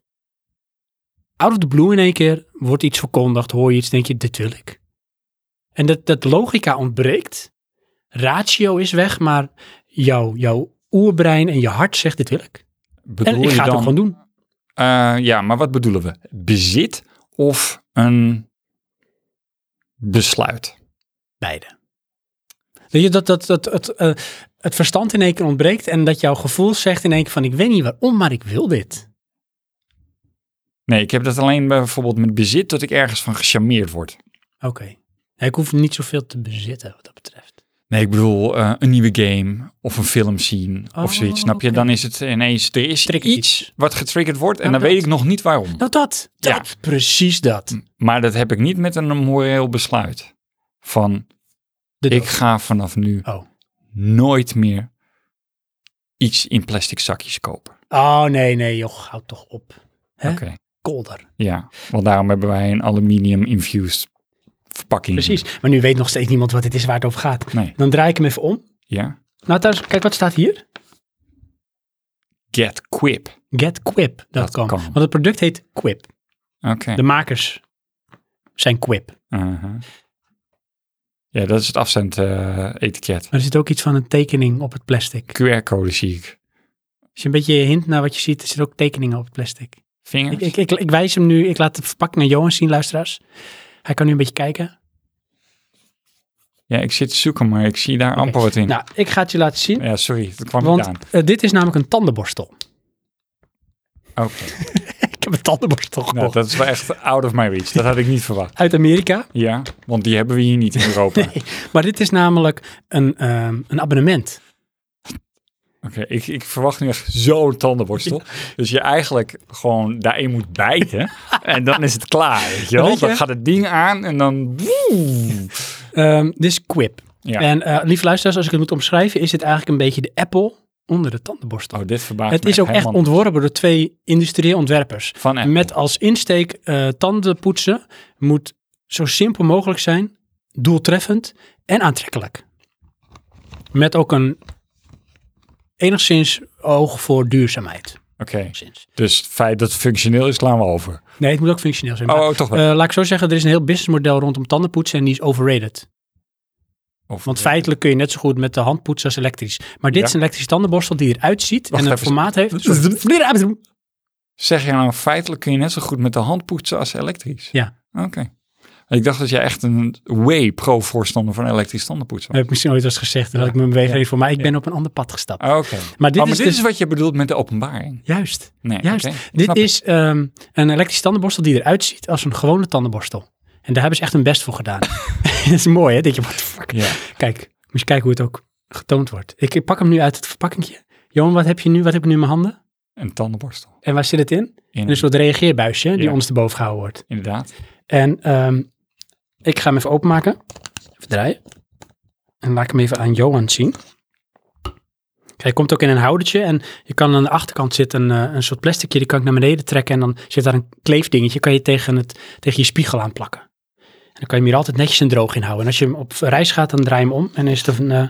Speaker 1: out of the blue in één keer wordt iets verkondigd, hoor je iets, denk je, dit wil ik. En dat, dat logica ontbreekt, ratio is weg, maar jouw, jouw oerbrein en je hart zegt, dit wil ik.
Speaker 2: Bedoel
Speaker 1: en ik
Speaker 2: je
Speaker 1: ga het ook gewoon
Speaker 2: dan
Speaker 1: doen.
Speaker 2: Eh, ja, maar wat bedoelen we? Bezit of een besluit?
Speaker 1: Beide. Dat, je, dat, dat, dat het, eh, het verstand in één keer ontbreekt en dat jouw gevoel zegt in één keer van ik weet niet waarom, maar ik wil dit.
Speaker 2: Nee, ik heb dat alleen bijvoorbeeld met bezit dat ik ergens van gecharmeerd word.
Speaker 1: Oké. Nee, ik hoef niet zoveel te bezitten wat dat betreft.
Speaker 2: Nee, ik bedoel eh, een nieuwe game of een film zien of
Speaker 1: Oh,
Speaker 2: zoiets. Snap je?
Speaker 1: oké.
Speaker 2: Dan is het ineens, er is
Speaker 1: Triggert
Speaker 2: iets, wat getriggerd wordt en
Speaker 1: Nou,
Speaker 2: dan
Speaker 1: dat.
Speaker 2: weet ik nog niet waarom.
Speaker 1: Nou dat,
Speaker 2: Ja. Hm.
Speaker 1: dat, precies dat.
Speaker 2: Maar dat heb ik niet met een moreel besluit. Van,
Speaker 1: De
Speaker 2: ik
Speaker 1: dood.
Speaker 2: ga vanaf nu
Speaker 1: Oh.
Speaker 2: nooit meer iets in plastic zakjes kopen.
Speaker 1: oh nee, nee joh, houd toch op. Hè?
Speaker 2: Oké, Hm.
Speaker 1: Kolder.
Speaker 2: ja. Want daarom hebben wij een aluminium infused verpakking.
Speaker 1: Precies. Maar nu weet nog steeds niemand wat het is waar het over gaat.
Speaker 2: Nee,
Speaker 1: Dan draai ik hem even om.
Speaker 2: ja.
Speaker 1: Nou thuis, kijk wat staat hier.
Speaker 2: Get Quip.
Speaker 1: Get Quip. Dat
Speaker 2: Dat
Speaker 1: kan.
Speaker 2: kan.
Speaker 1: Want het product heet Quip.
Speaker 2: Oké.
Speaker 1: De makers zijn Quip.
Speaker 2: Aha. Ja, dat is het eh, afzendetiket.
Speaker 1: Maar er zit ook iets van een tekening op het plastic.
Speaker 2: QR-code zie ik.
Speaker 1: Als je een beetje hint naar wat je ziet, er zitten ook tekeningen op het plastic.
Speaker 2: Vingers?
Speaker 1: Ik, ik, ik, ik wijs hem nu, ik laat de verpakking aan Johan zien, luisteraars. Hij kan nu een beetje kijken.
Speaker 2: Ja, ik zit te zoeken, maar ik zie daar amper wat in.
Speaker 1: Nou, ik ga het je laten zien,
Speaker 2: ja, sorry, dat kwam
Speaker 1: want
Speaker 2: niet aan.
Speaker 1: eh, dit is namelijk een tandenborstel.
Speaker 2: Oké,
Speaker 1: ik heb een tandenborstel gekocht.
Speaker 2: nou, dat is wel echt out of my reach. Dat had ik niet verwacht.
Speaker 1: Uit Amerika.
Speaker 2: Ja, want die hebben we hier niet in Europa. Oké,
Speaker 1: Maar dit is namelijk een, ehm, een abonnement.
Speaker 2: ik, ik verwacht nu echt zo'n tandenborstel. Dus je eigenlijk gewoon daarin moet bijten. en dan is het klaar, weet je wel.
Speaker 1: Weet je?
Speaker 2: Dan gaat het ding aan en dan...
Speaker 1: Ehm, dit is Quip.
Speaker 2: Ja.
Speaker 1: En eh lieve luisteraars, als ik het moet omschrijven, is dit eigenlijk een beetje de Apple onder de tandenborstel.
Speaker 2: Oh, dit verbaast
Speaker 1: het
Speaker 2: me
Speaker 1: is ook echt
Speaker 2: helemaal
Speaker 1: ontworpen door twee industrieel ontwerpers.
Speaker 2: Van Apple.
Speaker 1: Met als insteek eh, tanden poetsen moet zo simpel mogelijk zijn, doeltreffend en aantrekkelijk. Met ook een enigszins oog voor duurzaamheid.
Speaker 2: Oké,
Speaker 1: Enigszins.
Speaker 2: dus het feit dat het functioneel is, slaan we over.
Speaker 1: Nee, het moet ook functioneel zijn.
Speaker 2: Oh,
Speaker 1: maar,
Speaker 2: toch wel.
Speaker 1: eh, laat ik zo zeggen, er is een heel businessmodel rondom tandenpoetsen en die is overrated.
Speaker 2: Of-
Speaker 1: eh, Want feitelijk kun je net zo goed met de hand poetsen als elektrisch. Maar dit
Speaker 2: Ja.
Speaker 1: is een elektrische tandenborstel die eruit ziet
Speaker 2: Wacht
Speaker 1: en een
Speaker 2: even.
Speaker 1: formaat heeft. een soort-
Speaker 2: Zeg je nou, feitelijk kun je net zo goed met de hand poetsen als elektrisch?
Speaker 1: Ja.
Speaker 2: Oké. Ik dacht dat jij echt een way pro-voorstander van elektrisch tandenpoetsen
Speaker 1: Dat
Speaker 2: was.
Speaker 1: heb ik misschien ooit eens gezegd. Dan had ik mijn beweging voor. Maar ik ben op een ander pad gestapt.
Speaker 2: Oké.
Speaker 1: Maar dit
Speaker 2: oh, maar
Speaker 1: is
Speaker 2: dit
Speaker 1: dus-
Speaker 2: is wat je bedoelt met de openbaring.
Speaker 1: Juist.
Speaker 2: Nee,
Speaker 1: Juist.
Speaker 2: oké, ik
Speaker 1: Dit
Speaker 2: snap het.
Speaker 1: is ehm, een elektrische tandenborstel die eruit ziet als een gewone tandenborstel. En daar hebben ze echt hun best voor gedaan. dat is mooi, hè? Denk je, what the fuck?
Speaker 2: Ja.
Speaker 1: Kijk, moet je kijken hoe het ook getoond wordt. Ik pak hem nu uit het verpakkingje. Johan, wat heb je nu? Wat heb ik nu in mijn handen?
Speaker 2: Een tandenborstel.
Speaker 1: En waar zit het in?
Speaker 2: In-
Speaker 1: In een soort reageerbuisje hè, die
Speaker 2: Ja.
Speaker 1: ondersteboven gehouden wordt.
Speaker 2: Inderdaad.
Speaker 1: En ehm, ik ga hem even openmaken. Even draaien. En laat ik hem even aan Johan zien. Kijk, Hij komt ook in een houdertje en je kan aan de achterkant zit een, eh, een soort plasticje, die kan ik naar beneden trekken en dan zit daar een kleefdingetje, kan je tegen, het, tegen je spiegel aan plakken. En dan kan je hem hier altijd netjes en droog in houden. En als je hem op reis gaat, dan draai je hem om en is, het een, eh,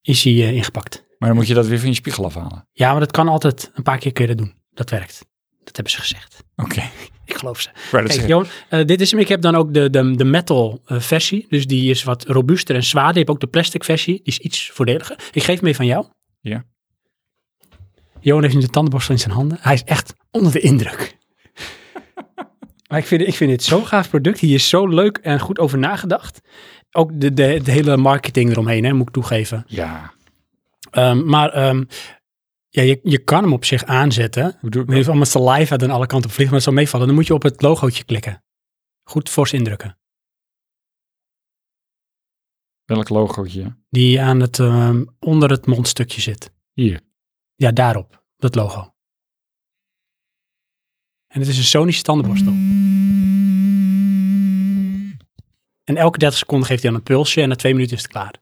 Speaker 1: is hij eh, ingepakt.
Speaker 2: Maar dan moet je dat weer van je spiegel afhalen.
Speaker 1: Ja, maar dat kan altijd, een paar keer kun je dat doen. Dat werkt. Dat hebben ze gezegd.
Speaker 2: Oké.
Speaker 1: Ik geloof ze.
Speaker 2: Maar dat
Speaker 1: Kijk,
Speaker 2: is-
Speaker 1: Johan, eh, dit is hem. Ik heb dan ook de, de, de metal eh, versie. Dus die is wat robuuster en zwaarder. Je hebt ook de plastic versie. Die is iets voordeliger. Ik geef hem even aan jou.
Speaker 2: Ja.
Speaker 1: Johan heeft nu de tandenborstel in zijn handen. Hij is echt onder de indruk. maar ik vind, ik vind dit zo'n gaaf product. Hier is zo leuk en goed over nagedacht. Ook de, de, de hele marketing eromheen, hè, moet ik toegeven.
Speaker 2: Ja.
Speaker 1: Ehm, maar ehm, ja, je, je kan hem op zich aanzetten.
Speaker 2: Hoe doe ik
Speaker 1: Maar
Speaker 2: dat?
Speaker 1: heeft allemaal saliva aan alle kanten vliegen, maar het zal meevallen. Dan moet je op het logootje klikken. Goed fors indrukken.
Speaker 2: Welk logootje?
Speaker 1: Die aan het, ehm, onder het mondstukje zit.
Speaker 2: Hier.
Speaker 1: Ja, daarop. Dat logo. En het is een Sonische tandenborstel. En elke 30 seconden geeft hij dan een pulsje en na twee minuten is het klaar.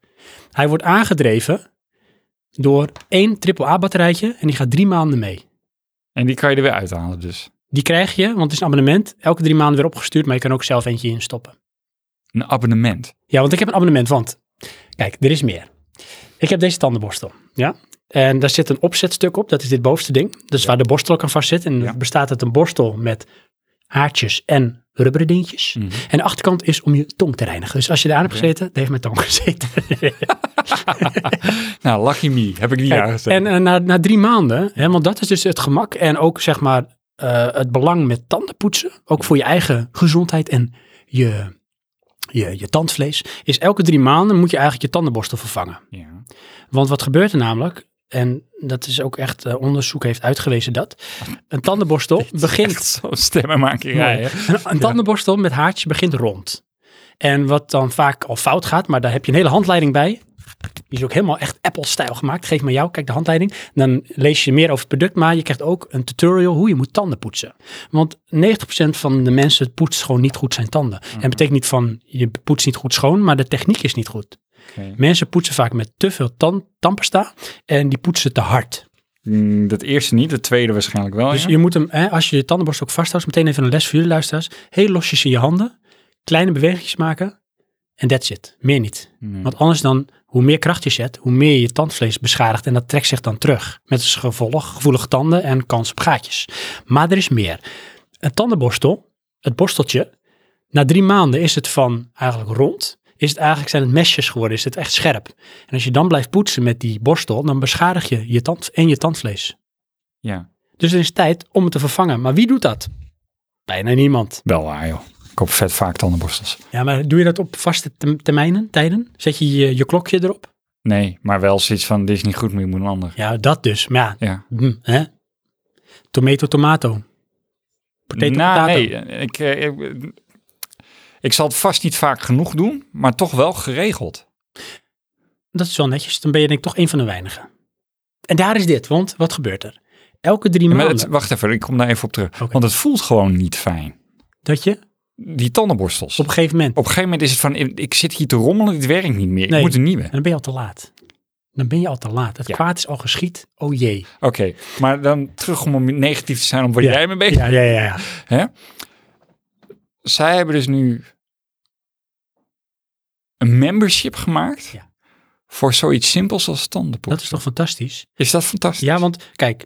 Speaker 1: Hij wordt aangedreven door één AAA-batterijtje en die gaat drie maanden mee.
Speaker 2: En die kan je er weer uithalen dus.
Speaker 1: Die krijg je, want het is een abonnement. Elke drie maanden weer opgestuurd, maar je kan ook zelf eentje instoppen.
Speaker 2: Een abonnement.
Speaker 1: Ja, want ik heb een abonnement, want... Kijk, er is meer. Ik heb deze tandenborstel, ja? En daar zit een opzetstuk op, dat is dit bovenste ding. Dat is waar de borstel ook aan vast zit. En
Speaker 2: Ja.
Speaker 1: het bestaat uit een borstel met haartjes en rubberen dingetjes.
Speaker 2: Mhm.
Speaker 1: En de achterkant is om je tong te reinigen. Dus als je daar aan hebt gezeten, daar heeft mijn tong gezeten.
Speaker 2: Nou, lucky me. Heb ik die
Speaker 1: Kijk,
Speaker 2: jaar gezet.
Speaker 1: en eh, na, na drie maanden, hè, want dat is dus het gemak en ook zeg maar eh, het belang met tandenpoetsen, ook voor je eigen gezondheid en je, je, je tandvlees, is elke drie maanden moet je eigenlijk je tandenborstel vervangen.
Speaker 2: Ja.
Speaker 1: Want wat gebeurt er namelijk, en dat is ook echt eh, onderzoek heeft uitgewezen dat, een tandenborstel begint,
Speaker 2: Zo'n stemmenmakerij. hè?
Speaker 1: een, een tandenborstel met haartjes begint rond. En wat dan vaak al fout gaat, maar daar heb je een hele handleiding bij. Die is ook helemaal echt Apple-stijl gemaakt. Geef me jou, kijk de handleiding. Dan lees je meer over het product, maar je krijgt ook een tutorial hoe je moet tanden poetsen. Want 90% van de mensen poetst gewoon niet goed zijn tanden. En betekent niet van je poetst niet goed schoon, maar de techniek is niet goed.
Speaker 2: Oké.
Speaker 1: Mensen poetsen vaak met te veel tan- tandpasta en die poetsen te hard.
Speaker 2: Mm, Dat eerste niet, het tweede waarschijnlijk wel.
Speaker 1: Dus
Speaker 2: Oh ja.
Speaker 1: je moet hem, hè, als je je tandenborstel ook vasthoudt, meteen even een les voor jullie luisteraars. Heel losjes in je handen, kleine bewegingjes maken en that's it. Meer niet.
Speaker 2: Nee.
Speaker 1: Want anders dan, hoe meer kracht je zet, hoe meer je je tandvlees beschadigt en dat trekt zich dan terug. Met als gevolg gevoelige tanden en kans op gaatjes. Maar er is meer. Een tandenborstel, het borsteltje, na drie maanden is het van eigenlijk rond, is het eigenlijk zijn het mesjes geworden, is het echt scherp. En als je dan blijft poetsen met die borstel, dan beschadig je je tand en je tandvlees.
Speaker 2: Ja,
Speaker 1: Dus er is tijd om het te vervangen. Maar wie doet dat? Bijna niemand.
Speaker 2: wel waar joh. Ik koop vet vaak tandenborstels.
Speaker 1: Ja, maar doe je dat op vaste tem- termijnen, tijden? Zet je je, je klokje erop?
Speaker 2: Nee, maar wel zoiets van, dit is niet goed, maar je moet een ander.
Speaker 1: Ja, dat dus. Maar ja,
Speaker 2: Ja.
Speaker 1: hm, hè? Tomato, tomato. Potato,
Speaker 2: nou,
Speaker 1: potato.
Speaker 2: nee, ik, eh, ik, ik zal het vast niet vaak genoeg doen, maar toch wel geregeld.
Speaker 1: Dat is wel netjes. Dan ben je denk ik toch een van de weinigen. En daar is dit, want wat gebeurt er? Elke drie
Speaker 2: Ja, maar
Speaker 1: maanden
Speaker 2: het, wacht even, ik kom daar even op terug.
Speaker 1: Oké.
Speaker 2: Want het voelt gewoon niet fijn,
Speaker 1: dat je
Speaker 2: die tandenborstels.
Speaker 1: op een gegeven moment,
Speaker 2: Op een gegeven moment is het van, ik ik zit hier te rommelen, dit werkt niet meer.
Speaker 1: Nee.
Speaker 2: Ik moet een nieuwe.
Speaker 1: en dan ben je al te laat. Dan ben je al te laat. Het
Speaker 2: Ja.
Speaker 1: kwaad is al geschied. Oh jee.
Speaker 2: Oké, maar dan terug om negatief te zijn om waar
Speaker 1: Ja.
Speaker 2: jij mee bezig
Speaker 1: Ja, ja, ja. ja.
Speaker 2: Zij hebben dus nu een membership gemaakt
Speaker 1: Ja.
Speaker 2: voor zoiets simpels als tandenpoetsen.
Speaker 1: Dat is toch fantastisch?
Speaker 2: Is dat fantastisch?
Speaker 1: Ja, want kijk,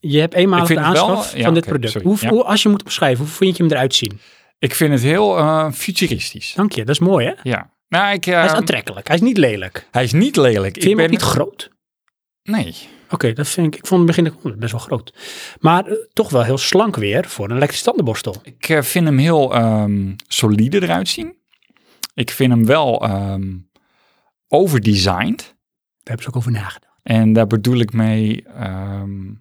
Speaker 1: je hebt eenmaal
Speaker 2: Ik
Speaker 1: de
Speaker 2: vind het wel-
Speaker 1: aanschaf
Speaker 2: ja,
Speaker 1: van dit
Speaker 2: oké,
Speaker 1: product.
Speaker 2: sorry,
Speaker 1: hoe,
Speaker 2: ja.
Speaker 1: hoe- als je moet beschrijven, hoe vind je hem eruit zien?
Speaker 2: Ik vind het heel eh, futuristisch.
Speaker 1: Dank je, dat is mooi hè?
Speaker 2: Ja. Nou, ik, eh,
Speaker 1: Hij is aantrekkelijk, hij is niet lelijk. Vind
Speaker 2: hij is niet lelijk.
Speaker 1: je
Speaker 2: ik
Speaker 1: hem ook
Speaker 2: ben
Speaker 1: niet groot?
Speaker 2: Nee.
Speaker 1: Oké, dat vind ik, ik vond in het begin dacht ik, oh, best wel groot. Maar eh, toch wel heel slank weer voor een elektrische tandenborstel.
Speaker 2: Ik eh, vind hem heel ehm, solide eruit zien. Ik vind hem wel ehm overdesigned.
Speaker 1: Daar hebben ze ook over nagedacht.
Speaker 2: En daar bedoel ik mee. ehm,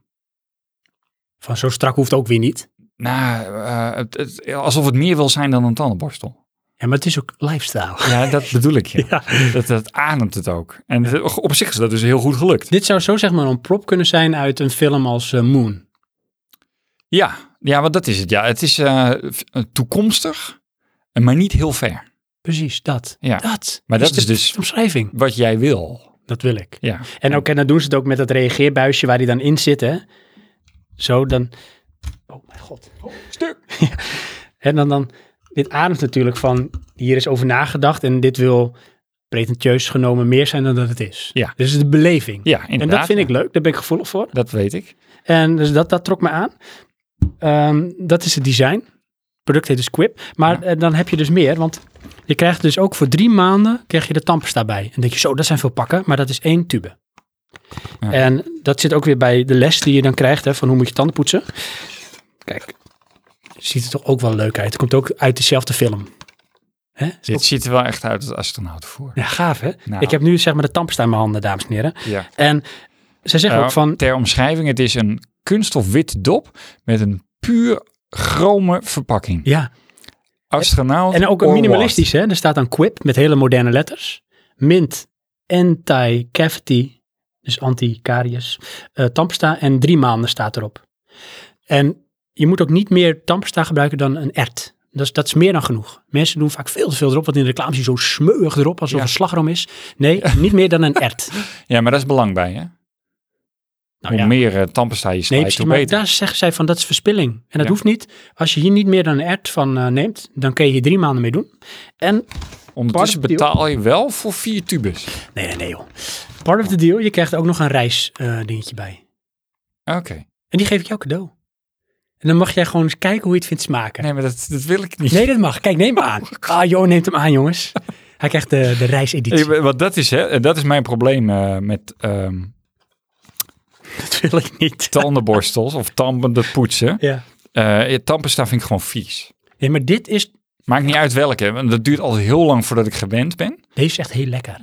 Speaker 1: Van zo strak hoeft ook weer niet.
Speaker 2: nou, eh, het- het- alsof het meer wil zijn dan een tandenborstel.
Speaker 1: Ja, maar het is ook lifestyle.
Speaker 2: Ja, dat bedoel ik. Ja.
Speaker 1: Ja.
Speaker 2: Dat, dat ademt het ook. En het- op zich is dat dus heel goed gelukt.
Speaker 1: Dit zou zo zeg maar een prop kunnen zijn uit een film als eh, Moon.
Speaker 2: Ja, ja, want dat is het. Ja, het is eh, f- toekomstig, eh, maar niet heel ver.
Speaker 1: Precies, dat.
Speaker 2: Ja.
Speaker 1: Dat
Speaker 2: Maar dat
Speaker 1: de
Speaker 2: is dus-
Speaker 1: omschrijving.
Speaker 2: Wat jij wil.
Speaker 1: Dat wil ik.
Speaker 2: Ja.
Speaker 1: En ook, en dan doen ze het ook met dat reageerbuisje waar die dan in zit, hè. Zo, dan... Oh, mijn god.
Speaker 2: Stuk.
Speaker 1: En dan, dan... Dit ademt natuurlijk van... Hier is over nagedacht en dit wil pretentieus genomen meer zijn dan dat het is.
Speaker 2: Ja.
Speaker 1: Dus het is de beleving.
Speaker 2: Ja, inderdaad.
Speaker 1: en dat vind
Speaker 2: ja.
Speaker 1: ik leuk. Daar ben ik gevoelig voor.
Speaker 2: Dat weet ik.
Speaker 1: En dus dat, dat trok me aan. Ehm, dat is het design. Het product heet dus Quip. Maar
Speaker 2: Ja.
Speaker 1: eh, dan heb je dus meer, want... Je krijgt dus ook voor drie maanden krijg je de tampers daarbij. En dan denk je, zo, dat zijn veel pakken, maar dat is één tube.
Speaker 2: Ja.
Speaker 1: En dat zit ook weer bij de les die je dan krijgt, hè, van hoe moet je tanden poetsen. Kijk, ziet er toch ook wel leuk uit. Het komt ook uit dezelfde film. Hè? Is
Speaker 2: Dit
Speaker 1: ook-
Speaker 2: ziet er wel echt uit als astronautenvoer.
Speaker 1: Ja, gaaf hè?
Speaker 2: Nou.
Speaker 1: Ik heb nu zeg maar de tampers in mijn handen, dames en heren.
Speaker 2: Ja.
Speaker 1: En zij zeggen ook van,
Speaker 2: Ter omschrijving, het is een kunststof wit dop met een puur chrome verpakking.
Speaker 1: ja,
Speaker 2: Astronaut
Speaker 1: en ook
Speaker 2: or
Speaker 1: minimalistisch hè. Er staat dan Quip met hele moderne letters. Mint, anti-cavity, dus anti-caries, eh tandpasta en drie maanden staat erop. En je moet ook niet meer tandpasta gebruiken dan een ert. Dat is, dat is meer dan genoeg. Mensen doen vaak veel te veel erop, want in de reclame zie je zo smeuig erop, alsof
Speaker 2: Ja.
Speaker 1: een slagroom is. Nee, niet meer dan een ert.
Speaker 2: what. Ja, maar dat is belang bij, hè?
Speaker 1: Nou
Speaker 2: hoe
Speaker 1: ja.
Speaker 2: meer uh, tandpasta je
Speaker 1: Nee,
Speaker 2: slijt,
Speaker 1: precies,
Speaker 2: hoe
Speaker 1: maar
Speaker 2: beter.
Speaker 1: daar zeggen zij van dat is verspilling. En dat
Speaker 2: Ja.
Speaker 1: hoeft niet. Als je hier niet meer dan een ert van eh, neemt, dan kun je hier drie maanden mee doen. En
Speaker 2: Ondertussen
Speaker 1: Part of the deal.
Speaker 2: betaal je wel voor vier tubes.
Speaker 1: Nee, nee, nee joh. Part of the deal, je krijgt ook nog een reisdingetje dingetje bij.
Speaker 2: Oké.
Speaker 1: En die geef ik jou cadeau. En dan mag jij gewoon eens kijken hoe je het vindt smaken. Nee,
Speaker 2: Nee, Oh, maar dat, dat wil ik niet.
Speaker 1: dat mag. Kijk, neem hem aan. Ah, joh, neemt hem aan, jongens. Hij krijgt de, de reiseditie.
Speaker 2: Eh, Want dat is, hè, dat is mijn probleem eh, met ehm,
Speaker 1: Dat wil ik niet.
Speaker 2: tandenborstels of tanden dat poetsen.
Speaker 1: Ja.
Speaker 2: Eh tandpasta vind ik gewoon vies.
Speaker 1: Nee, maar dit is...
Speaker 2: Maakt niet uit welke, want dat duurt altijd heel lang voordat ik gewend ben.
Speaker 1: Deze is echt heel lekker.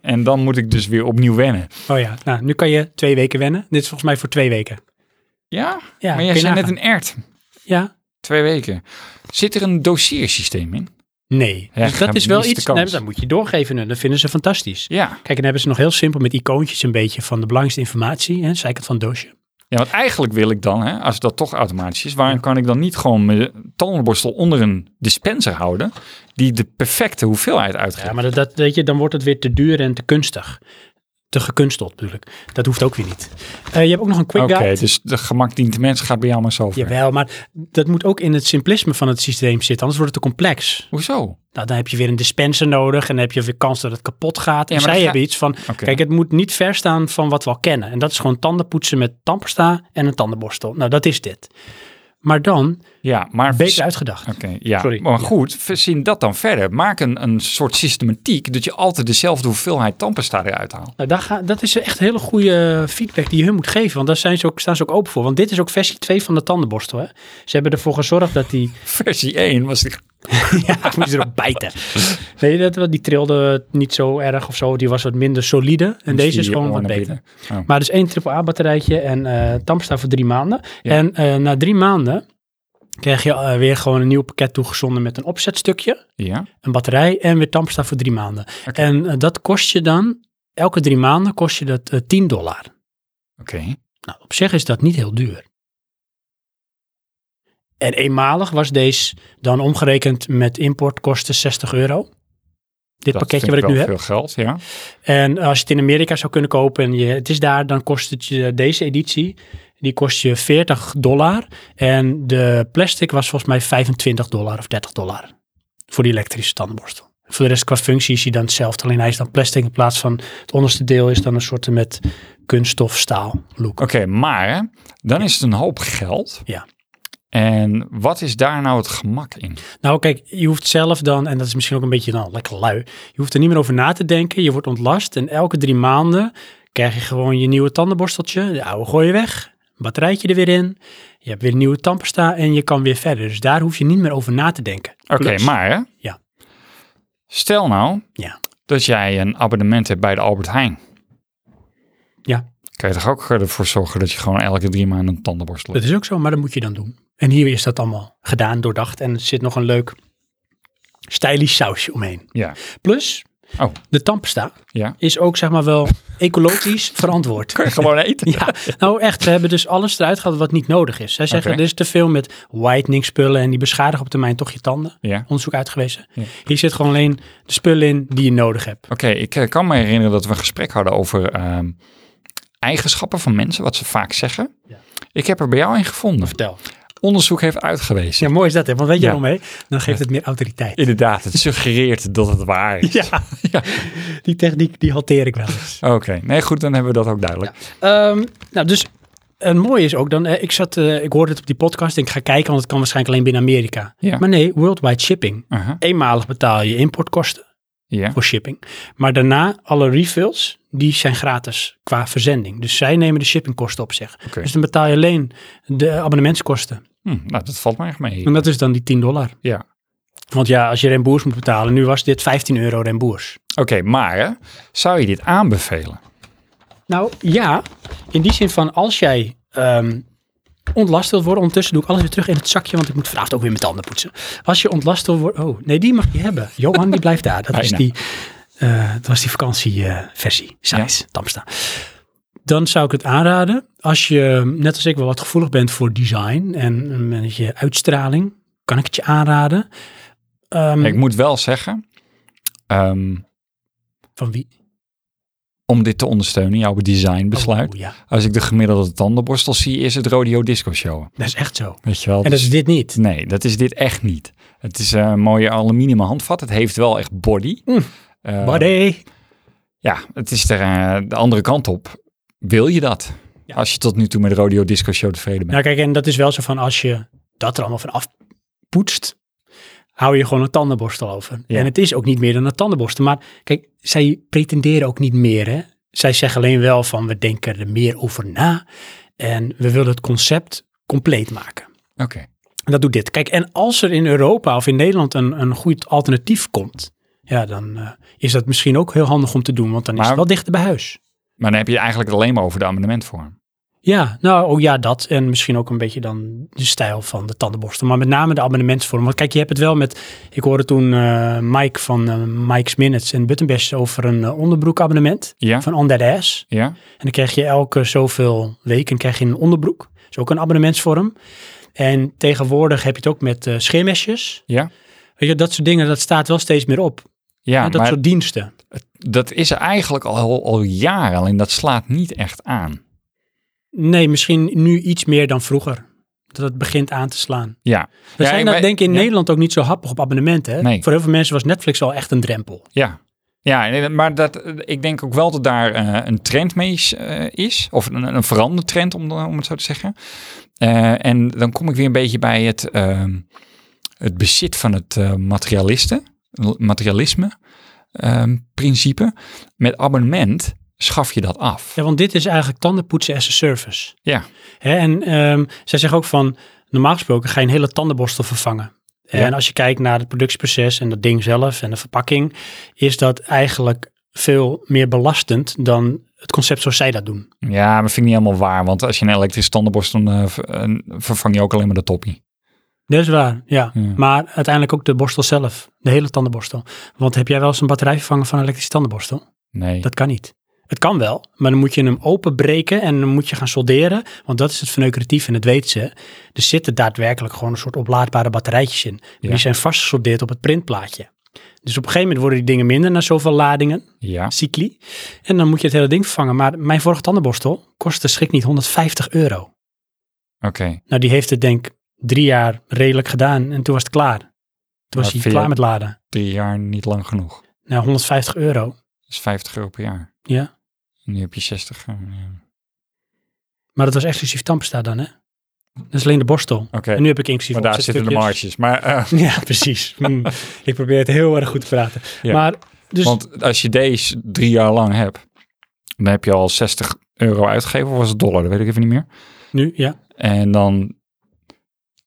Speaker 2: En dan moet ik dus weer opnieuw wennen.
Speaker 1: Oh ja, nou, nu kan je twee weken wennen. Dit is volgens mij voor twee weken.
Speaker 2: Ja,
Speaker 1: Ja,
Speaker 2: maar
Speaker 1: kun
Speaker 2: jij
Speaker 1: je
Speaker 2: zei net
Speaker 1: nagaan.
Speaker 2: een ert.
Speaker 1: Ja.
Speaker 2: Twee weken. Zit er een dossiersysteem in?
Speaker 1: Nee.
Speaker 2: Ja,
Speaker 1: dus dat is wel
Speaker 2: gemiste
Speaker 1: iets,
Speaker 2: kans.
Speaker 1: nee, dat moet je doorgeven. hun. Dat vinden ze fantastisch.
Speaker 2: Ja.
Speaker 1: Kijk, en dan hebben ze nog heel simpel met icoontjes een beetje van de belangrijkste informatie. Hè, zijkant van het doosje.
Speaker 2: ja, want eigenlijk wil ik dan, hè, als dat toch automatisch is, waarom kan ik dan niet gewoon mijn tandenborstel onder een dispenser houden die de perfecte hoeveelheid uitgeeft?
Speaker 1: Ja, maar dat, dat, weet je, dan wordt het weer te duur en te kunstig. Te gekunsteld natuurlijk. Dat hoeft ook weer niet. Eh, je hebt ook nog een quick
Speaker 2: Oké,
Speaker 1: guide.
Speaker 2: dus de gemak dient de mens gaat bij jou maar zo ver.
Speaker 1: Jawel, maar dat moet ook in het simplisme van het systeem zitten. Anders wordt het te complex.
Speaker 2: Hoezo?
Speaker 1: Nou, dan heb je weer een dispenser nodig en dan heb je weer kans dat het kapot gaat. En
Speaker 2: Ja, maar
Speaker 1: zij
Speaker 2: dat ga-
Speaker 1: hebben iets van,
Speaker 2: Oké.
Speaker 1: kijk, het moet niet ver staan van wat we al kennen. En dat is gewoon tanden poetsen met tandpasta en een tandenborstel. Nou, dat is dit. Maar dan
Speaker 2: Ja, maar
Speaker 1: beter uitgedacht.
Speaker 2: Oké, ja.
Speaker 1: Sorry.
Speaker 2: Maar goed, verzin dat dan verder. Maak een, een soort systematiek dat je altijd dezelfde hoeveelheid tandpasta eruit haalt.
Speaker 1: Nou, daar ga, dat is echt hele goede feedback die je hun moet geven. Want daar zijn ze ook, staan ze ook open voor. Want dit is ook versie 2 van de tandenborstel. Hè? Ze hebben ervoor gezorgd dat die...
Speaker 2: Versie 1 was die...
Speaker 1: ja, ik moest erop bijten. Nee, dat, wel- die trilde niet zo erg of zo. Die was wat minder solide. En deze is
Speaker 2: die
Speaker 1: gewoon wat
Speaker 2: naar
Speaker 1: beter.
Speaker 2: binnen. Oh.
Speaker 1: Maar dus één AAA batterijtje en eh Tamsta voor drie maanden.
Speaker 2: Ja.
Speaker 1: En eh, na drie maanden krijg je eh, weer gewoon een nieuw pakket toegezonden met een opzetstukje,
Speaker 2: Ja,
Speaker 1: een batterij en weer Tamsta voor drie maanden.
Speaker 2: Oké.
Speaker 1: En eh, dat kost je dan, elke drie maanden kost je dat eh, 10 dollar.
Speaker 2: oké.
Speaker 1: Nou, op zich is dat niet heel duur. En eenmalig was deze dan omgerekend met importkosten 60 euro. Dit
Speaker 2: Dat
Speaker 1: pakketje
Speaker 2: vind
Speaker 1: wat ik nu
Speaker 2: wel
Speaker 1: heb.
Speaker 2: veel geld, ja.
Speaker 1: En als je het in Amerika zou kunnen kopen en je, het is daar, dan kost het je deze editie. Die kost je 40 dollar. En de plastic was volgens mij 25 dollar of 30 dollar. Voor die elektrische tandenborstel. Voor de rest qua functie is hij dan hetzelfde. Alleen hij is dan plastic in plaats van het onderste deel is dan een soort met kunststof staal look.
Speaker 2: Oké, maar hè, dan is het een hoop geld.
Speaker 1: Ja.
Speaker 2: En wat is daar nou het gemak in?
Speaker 1: Nou kijk, je hoeft zelf dan, en dat is misschien ook een beetje nou, lekker lui. Je hoeft er niet meer over na te denken. Je wordt ontlast en elke drie maanden krijg je gewoon je nieuwe tandenborsteltje. De oude gooi je weg, batterijtje er weer in. Je hebt weer een nieuwe tandpasta en je kan weer verder. Dus daar hoef je niet meer over na te denken.
Speaker 2: Oké,
Speaker 1: Plus-
Speaker 2: maar hè,
Speaker 1: Ja.
Speaker 2: stel nou
Speaker 1: Ja.
Speaker 2: dat jij een abonnement hebt bij de Albert Heijn.
Speaker 1: Ja,
Speaker 2: Kan je toch ook ervoor zorgen dat je gewoon elke drie maanden een tandenborstel
Speaker 1: dat
Speaker 2: hebt?
Speaker 1: is ook zo, maar dat moet je dan doen. En hier is dat allemaal gedaan, doordacht. En er zit nog een leuk stylisch sausje omheen.
Speaker 2: Ja.
Speaker 1: Plus,
Speaker 2: Oh.
Speaker 1: de tandpasta
Speaker 2: Ja.
Speaker 1: is ook zeg maar wel ecologisch verantwoord.
Speaker 2: Kun je gewoon eten?
Speaker 1: Ja, nou echt, we hebben dus alles eruit gehaald wat niet nodig is. Zij zeggen,
Speaker 2: Oké.
Speaker 1: er is te veel met whitening spullen en die beschadigen op termijn toch je tanden.
Speaker 2: Ja.
Speaker 1: Onderzoek uitgewezen.
Speaker 2: Ja.
Speaker 1: Hier zit gewoon alleen de spullen in die je nodig hebt.
Speaker 2: Oké, ik eh, kan me herinneren dat we een gesprek hadden over ehm, eigenschappen van mensen, wat ze vaak zeggen.
Speaker 1: Ja.
Speaker 2: Ik heb er bij jou een gevonden.
Speaker 1: Vertel.
Speaker 2: Onderzoek heeft uitgewezen.
Speaker 1: Ja, mooi is dat hè, want weet je
Speaker 2: Ja.
Speaker 1: wel mee? Dan geeft het meer autoriteit.
Speaker 2: Inderdaad, het suggereert dat het waar is.
Speaker 1: Ja, die techniek die hanteer ik wel eens.
Speaker 2: Oké, nee goed, dan hebben we dat ook duidelijk.
Speaker 1: Ehm, nou, dus een mooi is ook dan, eh, ik, zat, eh, ik hoorde het op die podcast en ik ga kijken, want het kan waarschijnlijk alleen binnen Amerika.
Speaker 2: Ja.
Speaker 1: Maar nee, worldwide shipping.
Speaker 2: Aha,
Speaker 1: Eenmalig betaal je importkosten.
Speaker 2: ja.
Speaker 1: voor shipping. Maar daarna, alle refills, die zijn gratis qua verzending. Dus zij nemen de shippingkosten op zich.
Speaker 2: Oké.
Speaker 1: Dus dan betaal je alleen de abonnementskosten.
Speaker 2: Hm, nou, dat valt me echt mee.
Speaker 1: En dat is dan die 10 dollar.
Speaker 2: Ja.
Speaker 1: Want ja, als je remboers moet betalen, nu was dit 15 euro remboers.
Speaker 2: Oké, maar hè, zou je dit aanbevelen?
Speaker 1: Nou ja, in die zin van als jij ehm, ontlast wilt worden, ondertussen doe ik alles weer terug in het zakje, want ik moet vanavond ook weer mijn tanden poetsen. Als je ontlast wil worden, oh nee, die mag je hebben. Johan, die blijft daar. Dat is
Speaker 2: Bijna.
Speaker 1: die, eh, dat was die vakantieversie, Eh, size, Tamsta. Dan zou ik het aanraden, als je, net als ik, wel wat gevoelig bent voor design en een beetje uitstraling, kan ik het je aanraden. Ehm,
Speaker 2: Ik moet wel zeggen, ehm,
Speaker 1: van wie?
Speaker 2: om dit te ondersteunen, jouw designbesluit.
Speaker 1: Oh, ja,
Speaker 2: Als ik de gemiddelde tandenborstel zie, is het Rodeo Disco Show.
Speaker 1: dat is echt zo.
Speaker 2: Weet je wel?
Speaker 1: En dat
Speaker 2: dus-
Speaker 1: is dit niet.
Speaker 2: Nee, dat is dit echt niet. Het is eh, een mooie aluminium handvat. Het heeft wel echt body.
Speaker 1: Mm.
Speaker 2: Eh,
Speaker 1: Body.
Speaker 2: Ja, het is er eh, de andere kant op. Wil je dat?
Speaker 1: Ja.
Speaker 2: Als je tot nu toe met de Rodeo Disco Show tevreden bent.
Speaker 1: Nou kijk, en dat is wel zo van als je dat er allemaal van afpoetst, hou je gewoon een tandenborstel over.
Speaker 2: Ja.
Speaker 1: En het is ook niet meer dan een tandenborstel. Maar kijk, zij pretenderen ook niet meer. Hè? Zij zeggen alleen wel van we denken er meer over na en we willen het concept compleet maken.
Speaker 2: Oké.
Speaker 1: En dat doet dit. Kijk, en als er in Europa of in Nederland een, een goed alternatief komt, ja, dan eh, is dat misschien ook heel handig om te doen, want dan is
Speaker 2: Maar-
Speaker 1: het wel dichter bij huis.
Speaker 2: Maar dan heb je het eigenlijk alleen maar over de abonnementvorm.
Speaker 1: Ja, nou oh ja, dat. En misschien ook een beetje dan de stijl van de tandenborstel. Maar met name de abonnementsvorm. Want kijk, je hebt het wel met... Ik hoorde toen eh, Mike van eh, Mike's Minutes en Buttonbash over een eh, onderbroekabonnement.
Speaker 2: Ja,
Speaker 1: Van On That Ass.
Speaker 2: ja.
Speaker 1: En dan krijg je elke zoveel weken krijg je een onderbroek. Dat is ook een abonnementsvorm. En tegenwoordig heb je het ook met eh scheermesjes.
Speaker 2: Ja.
Speaker 1: Weet je, dat soort dingen, dat staat wel steeds meer op.
Speaker 2: Ja,
Speaker 1: Hè, dat
Speaker 2: maar
Speaker 1: soort diensten.
Speaker 2: dat is er eigenlijk al, al jaren, alleen dat slaat niet echt aan.
Speaker 1: Nee, misschien nu iets meer dan vroeger. Dat het begint aan te slaan.
Speaker 2: Ja,
Speaker 1: We
Speaker 2: Ja,
Speaker 1: zijn
Speaker 2: ik
Speaker 1: dat
Speaker 2: weet-
Speaker 1: denk ik in
Speaker 2: ja.
Speaker 1: Nederland ook niet zo happig op abonnementen. Hè?
Speaker 2: Nee.
Speaker 1: Voor heel veel mensen was Netflix al echt een drempel.
Speaker 2: ja. Ja, nee, maar dat, eh, ik denk ook wel dat daar eh, een trend mee is, eh, is. Of een, een veranderde trend, om, om het zo te zeggen. Eh, en dan kom ik weer een beetje bij het, ehm, het bezit van het eh, materialisten, materialisme ehm, principe. Met abonnement schaf je dat af.
Speaker 1: Ja, want dit is eigenlijk tandenpoetsen as a service.
Speaker 2: Ja.
Speaker 1: Hè, en ehm, zij zeggen ook van, normaal gesproken ga je een hele tandenborstel vervangen. En
Speaker 2: Ja.
Speaker 1: als je kijkt naar het productieproces en dat ding zelf en de verpakking, is dat eigenlijk veel meer belastend dan het concept zoals zij dat doen.
Speaker 2: Ja, maar vind ik niet helemaal waar. Want als je een elektrische tandenborstel, dan eh, ver- eh, vervang je ook alleen maar de toppie.
Speaker 1: Dat is waar, ja.
Speaker 2: Ja.
Speaker 1: Maar uiteindelijk ook de borstel zelf, de hele tandenborstel. Want heb jij wel eens een batterij vervangen van een elektrische tandenborstel?
Speaker 2: Nee.
Speaker 1: Dat kan niet. Het kan wel, maar dan moet je hem openbreken en dan moet je gaan solderen. Want dat is het verneukeratief en dat weten ze. Er zitten daadwerkelijk gewoon een soort oplaadbare batterijtjes in. Maar
Speaker 2: Ja.
Speaker 1: Die zijn vastgesoldeerd op het printplaatje. Dus op een gegeven moment worden die dingen minder na zoveel ladingen,
Speaker 2: Ja.
Speaker 1: cycli. En dan moet je het hele ding vervangen. Maar mijn vorige tandenborstel kostte schrik niet 150 euro.
Speaker 2: Oké.
Speaker 1: Nou, die heeft het denk ik drie jaar redelijk gedaan en toen was het klaar. Toen was
Speaker 2: Maar
Speaker 1: hij
Speaker 2: vind je-
Speaker 1: klaar met laden.
Speaker 2: Drie jaar niet lang genoeg.
Speaker 1: Nou, 150 euro.
Speaker 2: Dat is 50 euro per jaar.
Speaker 1: Ja.
Speaker 2: En nu heb je 60. eh, ja.
Speaker 1: Maar dat was exclusief tandpasta dan, hè? Dat is alleen de borstel.
Speaker 2: Oké.
Speaker 1: En nu heb ik inclusief
Speaker 2: Eh, Maar daar zitten
Speaker 1: opzetstukjes.
Speaker 2: de marges. Maar, eh,
Speaker 1: Ja, precies. Hmm. Ik probeer het heel erg goed te praten.
Speaker 2: Ja.
Speaker 1: Maar dus,
Speaker 2: Want als je deze drie jaar lang hebt, dan heb je al 60 euro uitgegeven. Of was het dollar? Dat weet ik even niet meer.
Speaker 1: nu, ja.
Speaker 2: En dan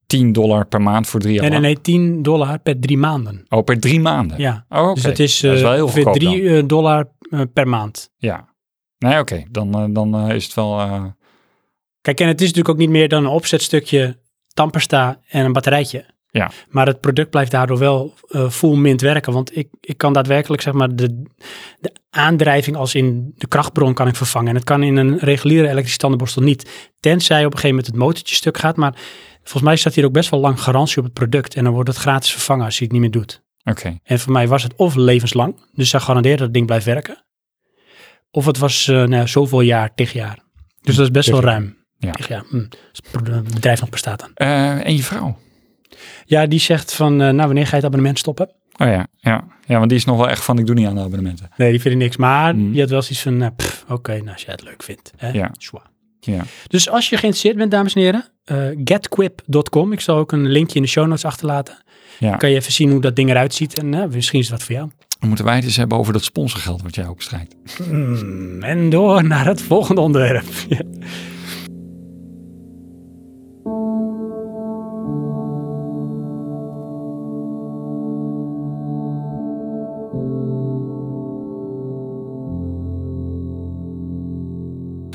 Speaker 2: 10 dollar per maand voor drie jaar
Speaker 1: Nee, nee,
Speaker 2: lang.
Speaker 1: nee, 10 dollar per drie maanden.
Speaker 2: Oh, per drie maanden?
Speaker 1: Ja.
Speaker 2: Oh, oké.
Speaker 1: Dus dat is,
Speaker 2: Dat is wel
Speaker 1: eh,
Speaker 2: heel
Speaker 1: ongeveer
Speaker 2: goedkoop
Speaker 1: 3 eh, dollar eh, per maand.
Speaker 2: Ja. Nee, oké. Dan, eh, dan eh, is het wel... eh,
Speaker 1: Kijk, en het is natuurlijk ook niet meer dan een opzetstukje tandpasta en een batterijtje.
Speaker 2: Ja.
Speaker 1: Maar het product blijft daardoor wel eh full mint werken. Want ik, ik kan daadwerkelijk zeg maar de, de aandrijving als in de krachtbron kan ik vervangen. En het kan in een reguliere elektrische tandenborstel niet. Tenzij op een gegeven moment het motortje stuk gaat. Maar volgens mij staat hier ook best wel lang garantie op het product. En dan wordt het gratis vervangen als je het niet meer doet.
Speaker 2: oké.
Speaker 1: En voor mij was het of levenslang. Dus zij garandeerden dat het ding blijft werken. Of het was eh, nou ja, zoveel jaar, tig jaar. Dus dat is best
Speaker 2: Tig
Speaker 1: wel
Speaker 2: jaar.
Speaker 1: ruim.
Speaker 2: Ja.
Speaker 1: Tig jaar. hm. Als het pro- het bedrijf nog bestaat dan.
Speaker 2: Eh, en je vrouw?
Speaker 1: Ja, die zegt van, eh, nou wanneer ga je het abonnement stoppen?
Speaker 2: Oh ja, ja. Ja, want die is nog wel echt van, ik doe niet aan de abonnementen.
Speaker 1: Nee, die vindt niks. Maar
Speaker 2: Hm.
Speaker 1: die had wel zoiets van, nou, pff, oké, nou als jij het leuk vindt. Hè?
Speaker 2: Ja.
Speaker 1: Zwa.
Speaker 2: Ja.
Speaker 1: Dus als je geïnteresseerd bent, dames en heren, eh, getquip.com. Ik zal ook een linkje in de show notes achterlaten.
Speaker 2: Ja.
Speaker 1: Kan je even zien hoe dat ding eruit ziet. En eh, misschien is dat voor jou.
Speaker 2: Dan moeten wij het eens hebben over dat sponsorgeld wat jij ook strijdt.
Speaker 1: Mm, en door naar het volgende onderwerp. Ja.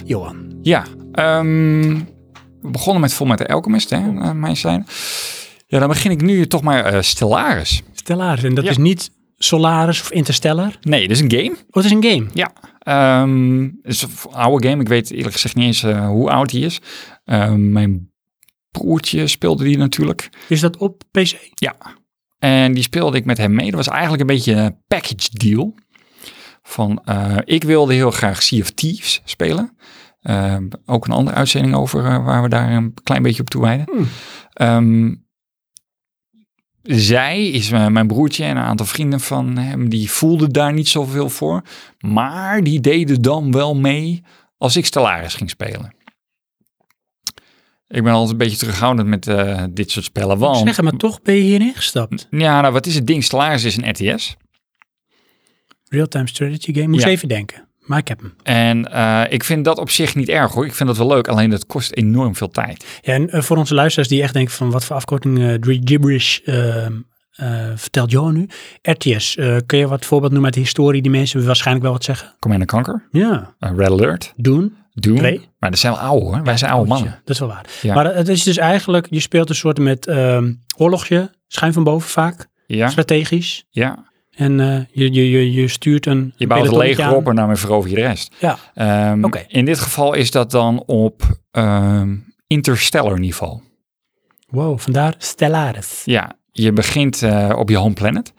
Speaker 1: Johan.
Speaker 2: Ja, ehm, we begonnen met Fullmetal Alchemist, hè, naar mijn zijn. Ja, dan begin ik nu toch maar eh, Stellaris.
Speaker 1: Stellaris. En dat
Speaker 2: Ja.
Speaker 1: is niet Solaris of Interstellar.
Speaker 2: Nee, dit is een game.
Speaker 1: Oh, het is een game.
Speaker 2: Ja. Ehm, het is een oude game. Ik weet eerlijk gezegd niet eens eh, hoe oud die is. Ehm, mijn broertje speelde die natuurlijk.
Speaker 1: Is dat op PC?
Speaker 2: Ja. En die speelde ik met hem mee. Dat was eigenlijk een beetje een package deal. Van, eh, ik wilde heel graag Sea of Thieves spelen. Eh, ook een andere uitzending over eh, waar we daar een klein beetje op toewijden.
Speaker 1: Hmm.
Speaker 2: Ehm, zij is eh, mijn broertje en een aantal vrienden van hem. Die voelden daar niet zoveel voor. Maar die deden dan wel mee als ik Stellaris ging spelen. Ik ben altijd een beetje terughoudend met eh, dit soort spellen.
Speaker 1: Ik
Speaker 2: Want
Speaker 1: zeggen, maar toch ben je hierin gestapt.
Speaker 2: ja, nou wat is het ding? Stellaris is een RTS.
Speaker 1: Real-time strategy game. Moest
Speaker 2: Ja.
Speaker 1: even denken. Maar ik heb hem.
Speaker 2: En eh, ik vind dat op zich niet erg hoor. Ik vind dat wel leuk, alleen dat kost enorm veel tijd.
Speaker 1: Ja, en eh, voor onze luisteraars die echt denken van wat voor afkorting eh, drie gibberish ehm, eh, vertelt Johan nu. RTS, eh, kun je wat voorbeeld noemen uit de historie die mensen waarschijnlijk wel wat zeggen?
Speaker 2: Command Conquer,
Speaker 1: Ja.
Speaker 2: eh, Red Alert,
Speaker 1: Doen.
Speaker 2: Doom.
Speaker 1: Twee?
Speaker 2: Maar dat zijn wel oude hoor. Wij zijn oude mannen.
Speaker 1: Dat is wel waar.
Speaker 2: Oh, Ja.
Speaker 1: Maar het is dus eigenlijk, je speelt een soort met ehm, oorlogje, schuin van boven vaak,
Speaker 2: Ja,
Speaker 1: strategisch.
Speaker 2: ja.
Speaker 1: En eh, je, je, je, je stuurt een
Speaker 2: Je bouwt het
Speaker 1: pelotonnetje
Speaker 2: leger
Speaker 1: aan.
Speaker 2: op en daarmee verover je de rest.
Speaker 1: Ja,
Speaker 2: Ehm,
Speaker 1: Oké.
Speaker 2: In dit geval is dat dan op ehm, interstellar niveau.
Speaker 1: wow, vandaar Stellaris.
Speaker 2: Ja, je begint eh, op je home planet.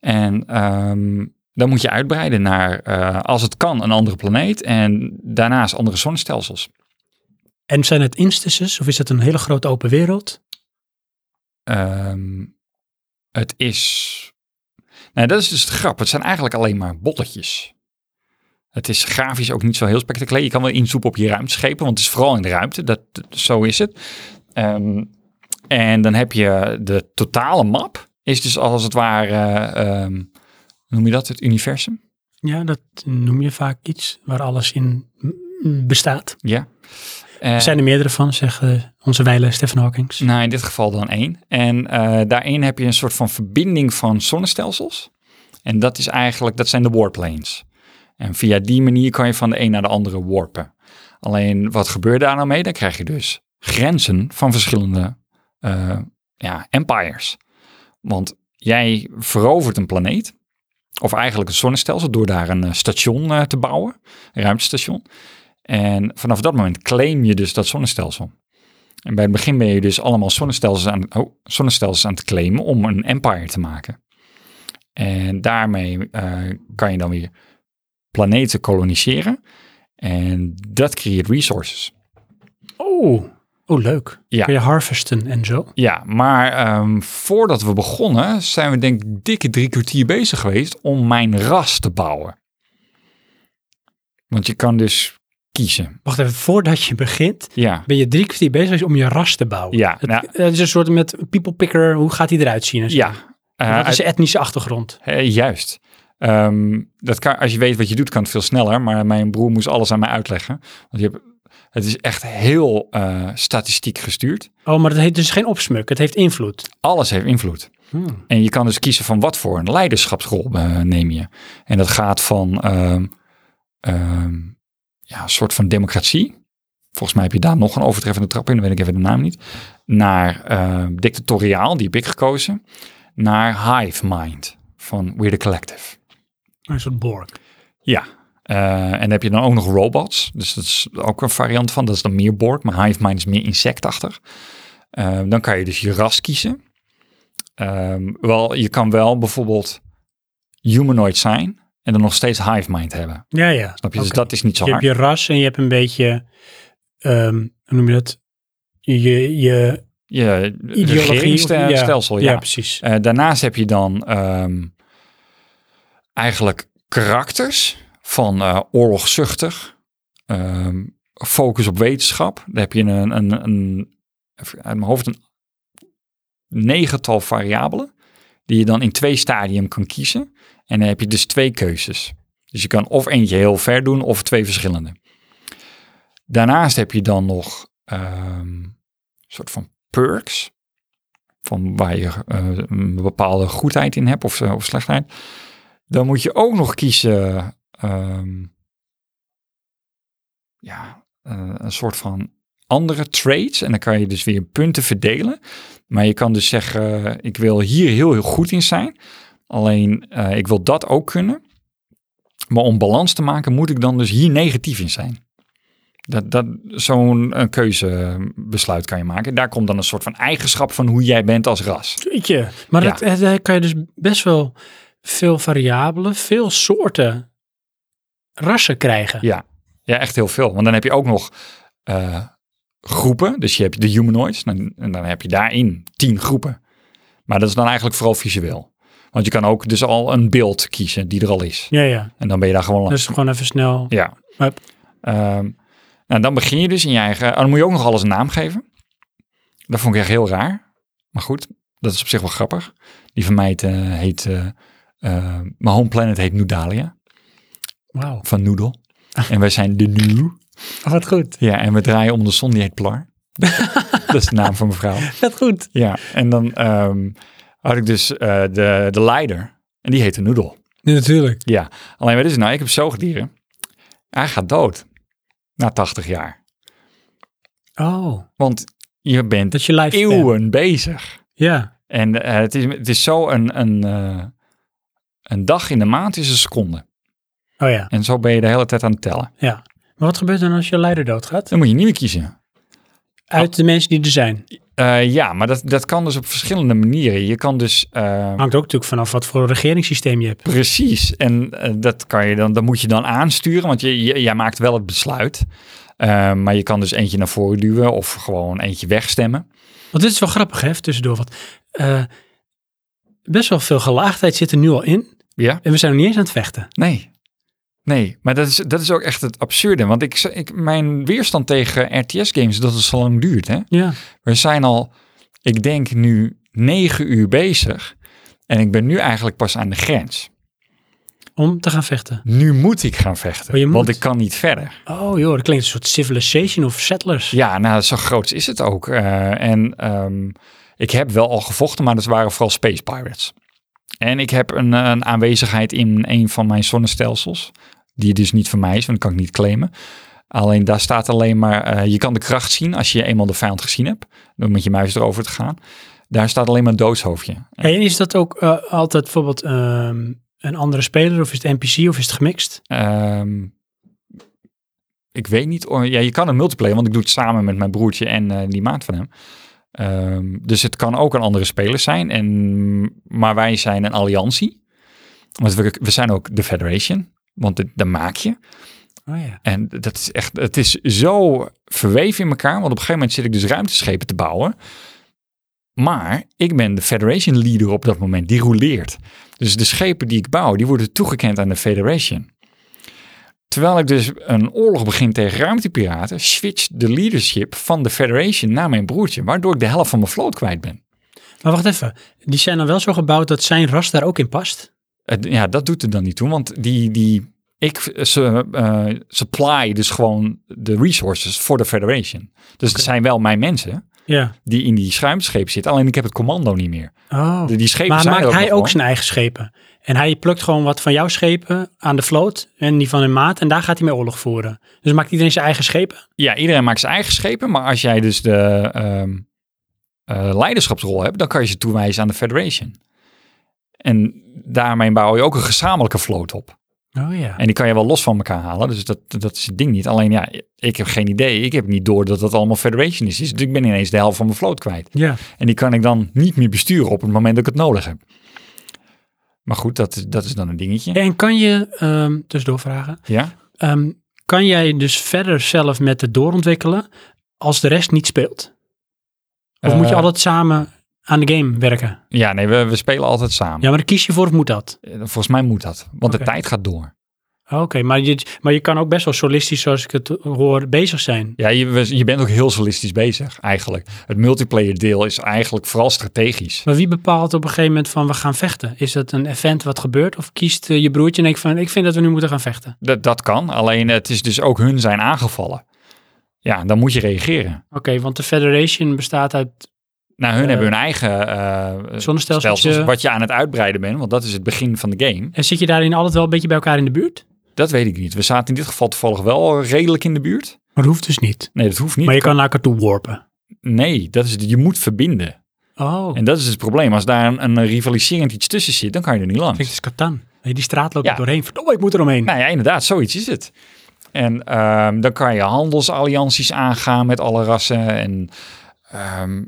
Speaker 2: En ehm, dan moet je uitbreiden naar, eh, als het kan, een andere planeet. En daarnaast andere zonnestelsels.
Speaker 1: En zijn het instances of is het een hele grote open wereld?
Speaker 2: Ehm, het is... Nou, dat is dus de grap. Het zijn eigenlijk alleen maar bolletjes. Het is grafisch ook niet zo heel spectaculair. Je kan wel inzoomen op je ruimteschepen, want het is vooral in de ruimte. Dat, dat- zo is het. Ehm, en dan heb je de totale map. Is dus als het ware, eh, ehm, noem je dat, het universum?
Speaker 1: Ja, dat noem je vaak iets waar alles in mm, bestaat.
Speaker 2: Ja. Eh,
Speaker 1: Er zijn er meerdere van, zegt eh, onze wijle Stephen Hawking.
Speaker 2: nou, in dit geval dan één. En eh, daarin heb je een soort van verbinding van zonnestelsels. En dat is eigenlijk, dat zijn de warplanes. En via die manier kan je van de een naar de andere warpen. Alleen, wat gebeurt daar nou mee? Dan krijg je dus grenzen van verschillende eh, ja, empires. Want jij verovert een planeet, of eigenlijk een zonnestelsel, door daar een eh, station eh, te bouwen, een ruimtestation. En vanaf dat moment claim je dus dat zonnestelsel. En bij het begin ben je dus allemaal zonnestelsels aan, oh, zonnestelsels aan het claimen om een empire te maken. En daarmee eh, kan je dan weer planeten koloniseren. En dat creëert resources.
Speaker 1: Oh, oh leuk.
Speaker 2: Ja.
Speaker 1: Kun je harvesten en zo.
Speaker 2: Ja, maar ehm, voordat we begonnen zijn we denk ik dikke drie kwartier bezig geweest om mijn ras te bouwen. Want je kan dus kiezen.
Speaker 1: Wacht even, voordat je begint,
Speaker 2: Ja,
Speaker 1: ben je drie kwartier bezig geweest om je ras te bouwen.
Speaker 2: Ja,
Speaker 1: Het,
Speaker 2: nou-
Speaker 1: het is een soort met people picker, hoe gaat die eruit zien? en zo.
Speaker 2: ja. Eh,
Speaker 1: Wat is de etnische achtergrond?
Speaker 2: Hé, Eh, juist. Ehm, dat kan, als je weet wat je doet, kan het veel sneller. Maar mijn broer moest alles aan mij uitleggen. Want je hebt, het is echt heel eh, statistiek gestuurd.
Speaker 1: Oh, maar dat heeft dus geen opsmuk, het heeft invloed.
Speaker 2: Alles heeft invloed.
Speaker 1: Hmm.
Speaker 2: En je kan dus kiezen van wat voor een leiderschapsrol eh, neem je. En dat gaat van ehm, ehm, ja, een soort van democratie. Volgens mij heb je daar nog een overtreffende trap in, dan weet ik even de naam niet. Naar eh, dictatoriaal, die heb ik gekozen. Naar hive mind van We're the Collective.
Speaker 1: Een soort borg.
Speaker 2: Ja. Eh, en dan heb je dan ook nog robots. Dus dat is ook een variant van. Dat is dan meer Borg, maar Hive Mind is meer insectachtig. Eh, dan kan je dus je ras kiezen. Ehm, wel, je kan wel bijvoorbeeld humanoid zijn en dan nog steeds Hive Mind hebben.
Speaker 1: Ja, ja.
Speaker 2: Snap je?
Speaker 1: Oké.
Speaker 2: Dus dat is niet zo
Speaker 1: Je hebt
Speaker 2: hard.
Speaker 1: je ras en je hebt een beetje, ehm, hoe noem je dat? Je, je, je
Speaker 2: Je
Speaker 1: ideologie. of-
Speaker 2: regeringsstelsel,
Speaker 1: ja.
Speaker 2: ja.
Speaker 1: precies.
Speaker 2: Eh, daarnaast heb je dan ehm, eigenlijk karakters van eh, oorlogzuchtig, ehm, focus op wetenschap. Daar heb je een, een, een even uit mijn hoofd een negental variabelen die je dan in twee stadium kan kiezen. En dan heb je dus twee keuzes. Dus je kan of eentje heel ver doen of twee verschillende. Daarnaast heb je dan nog ehm, een soort van perks van waar je eh, een bepaalde goedheid in hebt of, eh, of slechtheid. Dan moet je ook nog kiezen, ehm, ja, eh, een soort van andere trades. En dan kan je dus weer punten verdelen. Maar je kan dus zeggen, eh, ik wil hier heel, heel goed in zijn. Alleen, eh, ik wil dat ook kunnen. Maar om balans te maken, moet ik dan dus hier negatief in zijn. Dat, dat, Zo'n eh, keuzebesluit kan je maken. Daar komt dan een soort van eigenschap van hoe jij bent als ras.
Speaker 1: Jeetje. Maar
Speaker 2: Ja.
Speaker 1: dat, eh, daar kan je dus best wel veel variabelen, veel soorten rassen krijgen.
Speaker 2: Ja. Ja, echt heel veel. Want dan heb je ook nog eh, groepen. Dus je hebt de humanoids. Dan, en dan heb je daarin tien groepen. Maar dat is dan eigenlijk vooral visueel. Want je kan ook dus al een beeld kiezen die er al is.
Speaker 1: Ja, ja.
Speaker 2: En dan ben je daar gewoon langs.
Speaker 1: Dus gewoon even snel.
Speaker 2: Ja.
Speaker 1: Hup.
Speaker 2: Ehm, nou, dan begin je dus in je eigen... Dan moet je ook nog alles een naam geven. Dat vond ik echt heel raar. Maar goed, dat is op zich wel grappig. Die van mij eh, heet... eh, eh, mijn home planet heet Noedalia.
Speaker 1: Wauw.
Speaker 2: Van Noedel. En wij zijn de New.
Speaker 1: Oh, Wat goed.
Speaker 2: Ja, en we draaien om de zon, die heet Plar. dat is de naam van mijn vrouw.
Speaker 1: Wat goed.
Speaker 2: Ja, en dan ehm, had ik dus eh, de, de leider. En die heette Noedel.
Speaker 1: natuurlijk.
Speaker 2: Ja, alleen wat is het nou? Ik heb zoogdieren. Hij gaat dood. na 80 jaar.
Speaker 1: Oh,
Speaker 2: Want je bent
Speaker 1: dat je live
Speaker 2: eeuwen bezig.
Speaker 1: Ja,
Speaker 2: En eh, het, is, het is zo een, een, eh, een dag in de maand is een seconde.
Speaker 1: oh ja,
Speaker 2: En zo ben je de hele tijd aan het tellen.
Speaker 1: ja. Maar wat gebeurt dan als je leider doodgaat?
Speaker 2: Dan moet je niet meer kiezen.
Speaker 1: Uit de mensen die er zijn.
Speaker 2: Eh, ja, maar dat, dat kan dus op verschillende manieren. Je kan dus eh,
Speaker 1: Hangt ook natuurlijk vanaf wat voor een regeringssysteem je hebt.
Speaker 2: precies, en eh, dat kan je dan, dat moet je dan aansturen, want je, je- jij maakt wel het besluit. Eh, maar je kan dus eentje naar voren duwen of gewoon eentje wegstemmen.
Speaker 1: Want dit is wel grappig, hè, even tussendoor. Want eh, best wel veel gelaagdheid zit er nu al in.
Speaker 2: Ja?
Speaker 1: En we zijn nog niet eens aan het vechten.
Speaker 2: Nee. Nee, maar dat is, dat is ook echt het absurde. Want ik, ik, mijn weerstand tegen RTS-games is dat het zo lang duurt. Hè?
Speaker 1: Ja.
Speaker 2: We zijn al, ik denk nu negen uur bezig. En ik ben nu eigenlijk pas aan de grens.
Speaker 1: Om te gaan vechten.
Speaker 2: Nu moet ik gaan vechten,
Speaker 1: Oh, je moet.
Speaker 2: want ik kan niet verder.
Speaker 1: Oh joh, dat klinkt een soort civilization of settlers.
Speaker 2: Ja, nou, zo groot is het ook. Eh, en ehm, ik heb wel al gevochten, maar dat waren vooral Space Pirates. En ik heb een, eh, een aanwezigheid in een van mijn zonnestelsels, die dus niet van mij is, want dat kan ik niet claimen. Alleen daar staat alleen maar, eh, je kan de kracht zien als je eenmaal de vijand gezien hebt, door met je muis erover te gaan. Daar staat alleen maar een doodshoofdje.
Speaker 1: En is dat ook eh, altijd bijvoorbeeld ehm, een andere speler of is het NPC of is het gemixt?
Speaker 2: Ehm, ik weet niet. oh, Ja, je kan een multiplayer, want ik doe het samen met mijn broertje en eh, die maat van hem. Ehm, dus het kan ook een andere speler zijn. En, maar wij zijn een alliantie. Want we, we zijn ook de Federation. Want dat, dat maak je.
Speaker 1: Oh ja.
Speaker 2: En dat is echt, het is zo verweven in elkaar. Want op een gegeven moment zit ik dus ruimteschepen te bouwen. Maar ik ben de Federation leader op dat moment. Die roleert. Dus de schepen die ik bouw, die worden toegekend aan de Federation. Terwijl ik dus een oorlog begin tegen ruimtepiraten, switcht de leadership van de Federation naar mijn broertje. Waardoor ik de helft van mijn vloot kwijt ben.
Speaker 1: Maar wacht even, die zijn dan wel zo gebouwd dat zijn ras daar ook in past?
Speaker 2: Het- ja, dat doet er dan niet toe, want die, die, ik ze, eh, supply dus gewoon de resources voor de Federation. Dus het zijn wel mijn mensen
Speaker 1: Ja.
Speaker 2: die in die schuimscheep zitten, alleen ik heb het commando niet meer.
Speaker 1: Oh.
Speaker 2: Die, die schepen
Speaker 1: maar
Speaker 2: zijn er
Speaker 1: maakt hij
Speaker 2: nog
Speaker 1: ook
Speaker 2: gewoon.
Speaker 1: zijn eigen schepen? En hij plukt gewoon wat van jouw schepen aan de vloot en die van hun maat en daar gaat hij mee oorlog voeren. Dus maakt iedereen zijn eigen schepen?
Speaker 2: Ja, iedereen maakt zijn eigen schepen, maar als jij dus de ehm, eh, leiderschapsrol hebt, dan kan je ze toewijzen aan de Federation. En daarmee bouw je ook een gezamenlijke vloot op.
Speaker 1: Oh ja.
Speaker 2: En die kan je wel los van elkaar halen. Dus dat, dat is het ding niet. Alleen ja, ik heb geen idee. Ik heb niet door dat dat allemaal Federation is. Dus ik ben ineens de helft van mijn vloot kwijt.
Speaker 1: Ja.
Speaker 2: En die kan ik dan niet meer besturen op het moment dat ik het nodig heb. Maar goed, dat, is- dat is dan een dingetje.
Speaker 1: En kan je, ehm tussendoor vragen,
Speaker 2: Ja?
Speaker 1: ehm, kan jij dus verder zelf met het doorontwikkelen als de rest niet speelt? Of moet je
Speaker 2: Eh,
Speaker 1: altijd samen aan de game werken?
Speaker 2: Ja, nee, we, we spelen altijd samen.
Speaker 1: Ja, maar daar kies je voor of moet dat?
Speaker 2: Eh, Volgens mij moet dat. Want
Speaker 1: Oké.
Speaker 2: de tijd gaat door.
Speaker 1: Oké, maar, je, maar je kan ook best wel solistisch, zoals ik het hoor, bezig zijn.
Speaker 2: Ja, je, we- je bent ook heel solistisch bezig eigenlijk. Het multiplayer deel is eigenlijk vooral strategisch.
Speaker 1: Maar wie bepaalt op een gegeven moment van we gaan vechten? Is dat een event wat gebeurt? Of kiest eh, je broertje en denkt van ik vind dat we nu moeten gaan vechten?
Speaker 2: Dat, dat kan. Alleen het is dus ook hun zijn aangevallen. Ja, dan moet je reageren.
Speaker 1: Oké, want de Federation bestaat uit.
Speaker 2: Nou, hun
Speaker 1: Eh,
Speaker 2: hebben hun eigen eh
Speaker 1: zonnestelseltje.
Speaker 2: stelsels, wat je aan het uitbreiden bent, want dat is het begin van de game.
Speaker 1: En zit je daarin altijd wel een beetje bij elkaar in de buurt?
Speaker 2: Dat weet ik niet. We zaten in dit geval toevallig wel redelijk in de buurt.
Speaker 1: Maar dat hoeft dus niet.
Speaker 2: Nee, dat hoeft niet.
Speaker 1: Maar je kan naar elkaar toe warpen.
Speaker 2: Nee, dat is, het. je moet verbinden.
Speaker 1: Oh,
Speaker 2: En dat is het probleem. Als daar een, een rivaliserend iets tussen zit, dan kan je er niet
Speaker 1: klinkt
Speaker 2: langs.
Speaker 1: als Catan. Nee, die straat loopt er
Speaker 2: Ja.
Speaker 1: doorheen. Verdomme, ik moet er omheen.
Speaker 2: Nou ja, inderdaad, zoiets is het. En ehm, dan kan je handelsallianties aangaan met alle rassen. En ehm,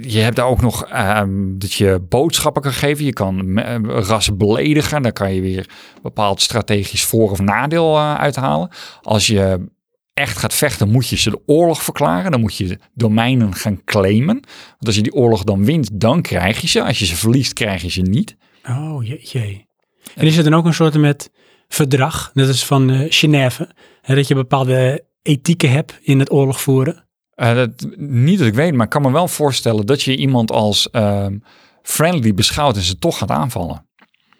Speaker 2: je hebt daar ook nog ehm, dat je boodschappen kan geven. Je kan me- eh, rassen beledigen. Daar kan je weer bepaald strategisch voor- of nadeel eh, uithalen. Als je echt gaat vechten, moet je ze de oorlog verklaren. Dan moet je domeinen gaan claimen. Want als je die oorlog dan wint, dan krijg je ze. Als je ze verliest, krijg je ze niet.
Speaker 1: Oh, jeetje. En is er dan ook een soort met verdrag, net als van eh, Genève, hè, dat je bepaalde ethieken hebt in het oorlog voeren? Oh,
Speaker 2: Eh, dat, niet dat ik weet, maar ik kan me wel voorstellen dat je iemand als ehm, friendly beschouwt en ze toch gaat aanvallen.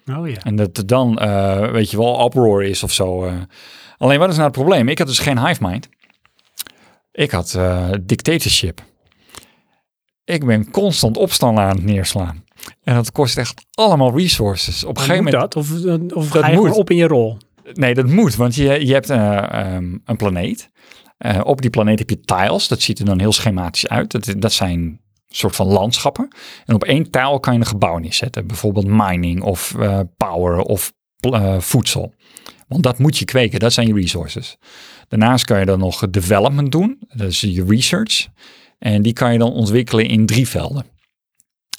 Speaker 1: Oh ja.
Speaker 2: En dat er dan, eh, weet je wel, uproar is of zo. eh. Alleen wat is nou het probleem? Ik had dus geen hive mind. Ik had eh, dictatorship. Ik ben constant opstanden aan het neerslaan. En dat kost echt allemaal resources. Op een gegeven moment
Speaker 1: dat? Of, eh, of
Speaker 2: Dat
Speaker 1: ga je
Speaker 2: moet.
Speaker 1: gewoon op in je rol?
Speaker 2: Nee, dat moet, want je, je hebt eh, ehm, een planeet. Eh, op die planeet heb je tiles. Dat ziet er dan heel schematisch uit. Dat, dat zijn soort van landschappen. En op één tile kan je een gebouw neerzetten. Bijvoorbeeld mining of eh, power of pl- eh, voedsel. Want dat moet je kweken. Dat zijn je resources. Daarnaast kan je dan nog development doen. Dat is je research. En die kan je dan ontwikkelen in drie velden.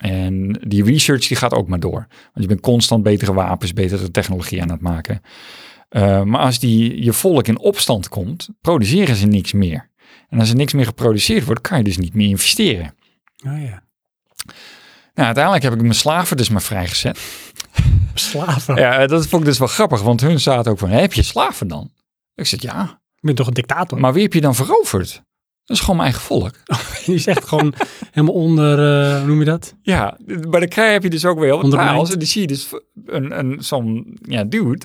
Speaker 2: En die research die gaat ook maar door. Want je bent constant betere wapens, betere technologie aan het maken. Eh, maar als die, je volk in opstand komt, produceren ze niks meer. En als er niks meer geproduceerd wordt, kan je dus niet meer investeren.
Speaker 1: Oh ja.
Speaker 2: Nou, uiteindelijk heb ik mijn slaven dus maar vrijgezet.
Speaker 1: Slaven.
Speaker 2: Ja, dat vond ik dus wel grappig, want hun zaten ook van, heb je slaven dan? Ik zeg, ja.
Speaker 1: Ik ben toch een dictator?
Speaker 2: Maar wie heb je dan veroverd? Dat is gewoon mijn eigen volk.
Speaker 1: Die is echt gewoon helemaal onder, eh, hoe noem je dat?
Speaker 2: Ja, maar dan krijg, heb je dus ook weer heel wat
Speaker 1: Ondermijnd.
Speaker 2: parels. En dan zie je dus een, een, zo'n ja, dude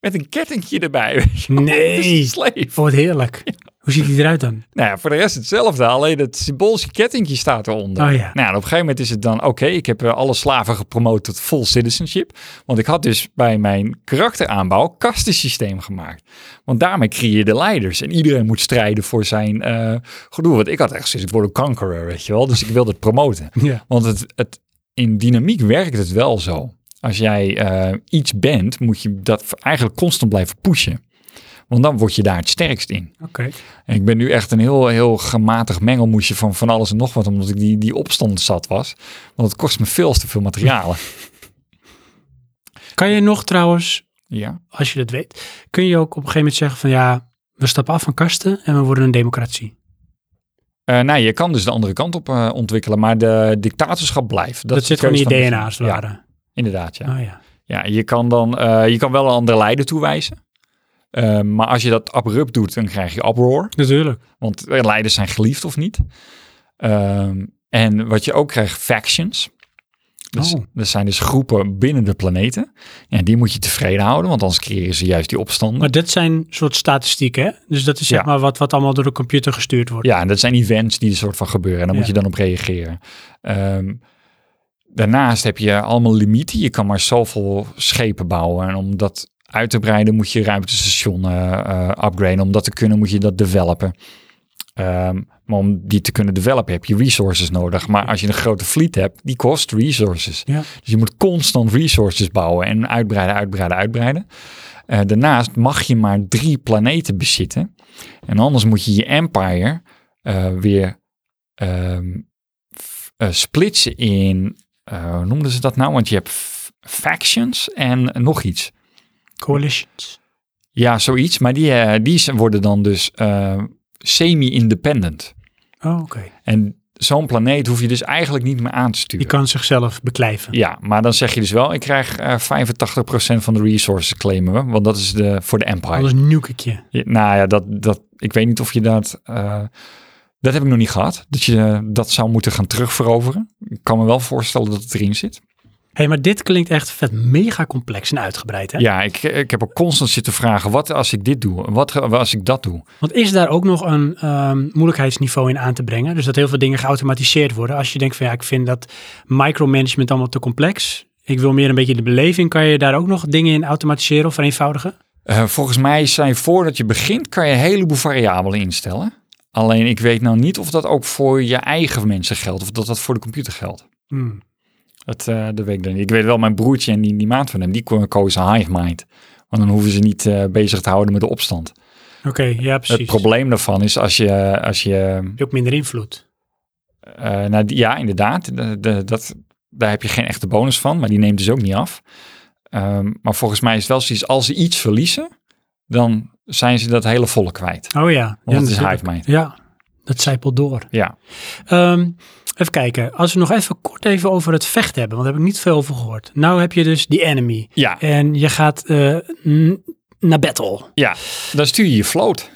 Speaker 2: met een kettingje erbij. weet je wel.
Speaker 1: Nee.
Speaker 2: Het is een slave.
Speaker 1: Oh, wat heerlijk. Hoe ziet die eruit dan?
Speaker 2: Nou ja, voor de rest hetzelfde. Alleen dat symboolse kettingje staat eronder.
Speaker 1: Oh ja.
Speaker 2: Nou, en op een gegeven moment is het dan... Oké, ik heb eh, alle slaven gepromoot tot full citizenship. Want ik had dus bij mijn karakteraanbouw kastensysteem gemaakt. Want daarmee creëer je de leiders. En iedereen moet strijden voor zijn eh gedoe. Want ik had echt zoiets, ik word een conqueror, weet je wel. Dus ik wil dat promoten.
Speaker 1: Ja.
Speaker 2: Want het, het, in dynamiek werkt het wel zo. Als jij eh, iets bent, moet je dat eigenlijk constant blijven pushen. Want dan word je daar het sterkst in.
Speaker 1: Oké.
Speaker 2: En ik ben nu echt een heel, heel gematigd mengelmoesje van van alles en nog wat, omdat ik die, die opstand zat was. Want het kost me veel te veel materialen.
Speaker 1: Kan je nog trouwens,
Speaker 2: Ja.
Speaker 1: als je dat weet, kun je ook op een gegeven moment zeggen van ja, we stappen af van kasten en we worden een democratie.
Speaker 2: Eh, nou, je kan dus de andere kant op eh, ontwikkelen, maar de dictatorschap blijft.
Speaker 1: Dat,
Speaker 2: is de
Speaker 1: zit gewoon in
Speaker 2: keuze
Speaker 1: je
Speaker 2: van-
Speaker 1: DNA als het
Speaker 2: Ja,
Speaker 1: ware.
Speaker 2: inderdaad, ja.
Speaker 1: Oh ja.
Speaker 2: ja je, kan dan, eh, je kan wel een andere leider toewijzen. Eh, maar als je dat abrupt doet, dan krijg je uproar.
Speaker 1: Natuurlijk.
Speaker 2: Want eh, leiders zijn geliefd of niet. Ehm, en wat je ook krijgt, factions. Dus,
Speaker 1: Oh.
Speaker 2: Dat zijn dus groepen binnen de planeten. En die moet je tevreden houden, want anders creëren ze juist die opstanden.
Speaker 1: Maar dat zijn soort statistieken, hè? Dus dat is zeg
Speaker 2: Ja.
Speaker 1: maar wat, wat allemaal door de computer gestuurd wordt.
Speaker 2: Ja, en dat zijn events die er soort van gebeuren. En daar moet
Speaker 1: Ja.
Speaker 2: je dan op reageren. Ehm, daarnaast heb je allemaal limieten. Je kan maar zoveel schepen bouwen. En om dat uit te breiden moet je ruimtestationen eh, upgraden. Om dat te kunnen moet je dat developen. Ehm, maar om die te kunnen developen heb je resources nodig. Maar als je een grote fleet hebt, die kost resources.
Speaker 1: Ja.
Speaker 2: Dus je moet constant resources bouwen en uitbreiden, uitbreiden, uitbreiden. Eh, daarnaast mag je maar drie planeten bezitten. En anders moet je je empire eh, weer ehm, f- eh, splitsen in, eh, hoe noemden ze dat nou? Want je hebt f- factions en nog iets.
Speaker 1: Coalitions.
Speaker 2: Ja, zoiets. Maar die, eh, die z- worden dan dus eh, semi-independent.
Speaker 1: Oh, oké.
Speaker 2: En zo'n planeet hoef je dus eigenlijk niet meer aan te
Speaker 1: Die
Speaker 2: sturen.
Speaker 1: kan zichzelf beklijven.
Speaker 2: Ja, maar dan zeg je dus wel, ik krijg eh 85% van de resources claimen we, want dat is de, voor de Empire.
Speaker 1: Alles nuke ik je.
Speaker 2: Je- nou ja, dat, dat, ik weet niet of je dat, eh, dat heb ik nog niet gehad, dat je eh, dat zou moeten gaan terugveroveren. Ik kan me wel voorstellen dat het erin zit.
Speaker 1: hey, maar dit klinkt echt vet mega complex en uitgebreid, hè?
Speaker 2: Ja, ik, ik heb ook constant zitten vragen, wat als ik dit doe, wat ge- als ik dat doe?
Speaker 1: Want is daar ook nog een ehm, moeilijkheidsniveau in aan te brengen? Dus dat heel veel dingen geautomatiseerd worden. Als je denkt van ja, ik vind dat micromanagement allemaal te complex. Ik wil meer een beetje de beleving. Kan je daar ook nog dingen in automatiseren of vereenvoudigen?
Speaker 2: Eh, volgens mij zijn voordat je begint, kan je een heleboel variabelen instellen. Alleen ik weet nou niet of dat ook voor je eigen mensen geldt, of dat dat voor de computer geldt.
Speaker 1: Hmm.
Speaker 2: Dat, eh dat weet ik dan niet. Ik weet wel, mijn broertje en die, die maat van hem, die ko- kozen Hive Mind. Want dan hoeven ze niet eh, bezig te houden met de opstand.
Speaker 1: Oké, ja precies.
Speaker 2: Het probleem daarvan is als je, als je
Speaker 1: Heb je ook minder invloed.
Speaker 2: eh, nou, die- ja inderdaad, de, de- dat, daar heb je geen echte bonus van, maar die neemt dus ook niet af. Ehm, maar volgens mij is het wel zoiets, als ze iets verliezen, dan zijn ze dat hele volk kwijt.
Speaker 1: Oh ja.
Speaker 2: Want
Speaker 1: ja,
Speaker 2: het is
Speaker 1: natuurlijk.
Speaker 2: Hive Mind.
Speaker 1: Ja, dat zijpelt door.
Speaker 2: Ja.
Speaker 1: Ehm, even kijken. Als we nog even kort even over het vechten hebben, want daar heb ik niet veel over gehoord. Nou heb je dus die enemy.
Speaker 2: Ja,
Speaker 1: En je gaat eh, n- naar battle.
Speaker 2: ja, dan stuur je je float.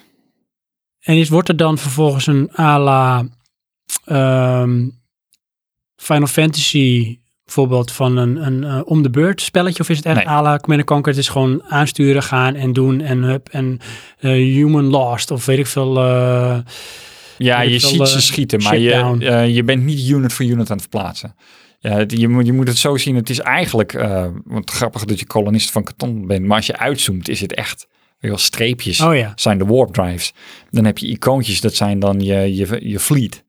Speaker 1: En is, wordt er dan vervolgens een à la ehm, Final Fantasy bijvoorbeeld van een, een eh, om de beurt spelletje? Of is het echt
Speaker 2: Nee.
Speaker 1: à la Command Conquer? Het is gewoon aansturen, gaan en doen en hup. En eh, human lost of weet ik veel. eh,
Speaker 2: Ja,
Speaker 1: Weet
Speaker 2: je
Speaker 1: ik wel,
Speaker 2: ziet ze
Speaker 1: eh,
Speaker 2: schieten, maar
Speaker 1: shit
Speaker 2: je,
Speaker 1: down.
Speaker 2: eh, je bent niet unit voor unit aan het verplaatsen. Ja, het- je, moet, je moet het zo zien, het is eigenlijk, eh want grappig dat je kolonist van karton bent, maar als je uitzoomt is het echt weet je wel, streepjes
Speaker 1: Oh ja.
Speaker 2: zijn de warp drives. Dan heb je icoontjes, dat zijn dan je, je, je fleet.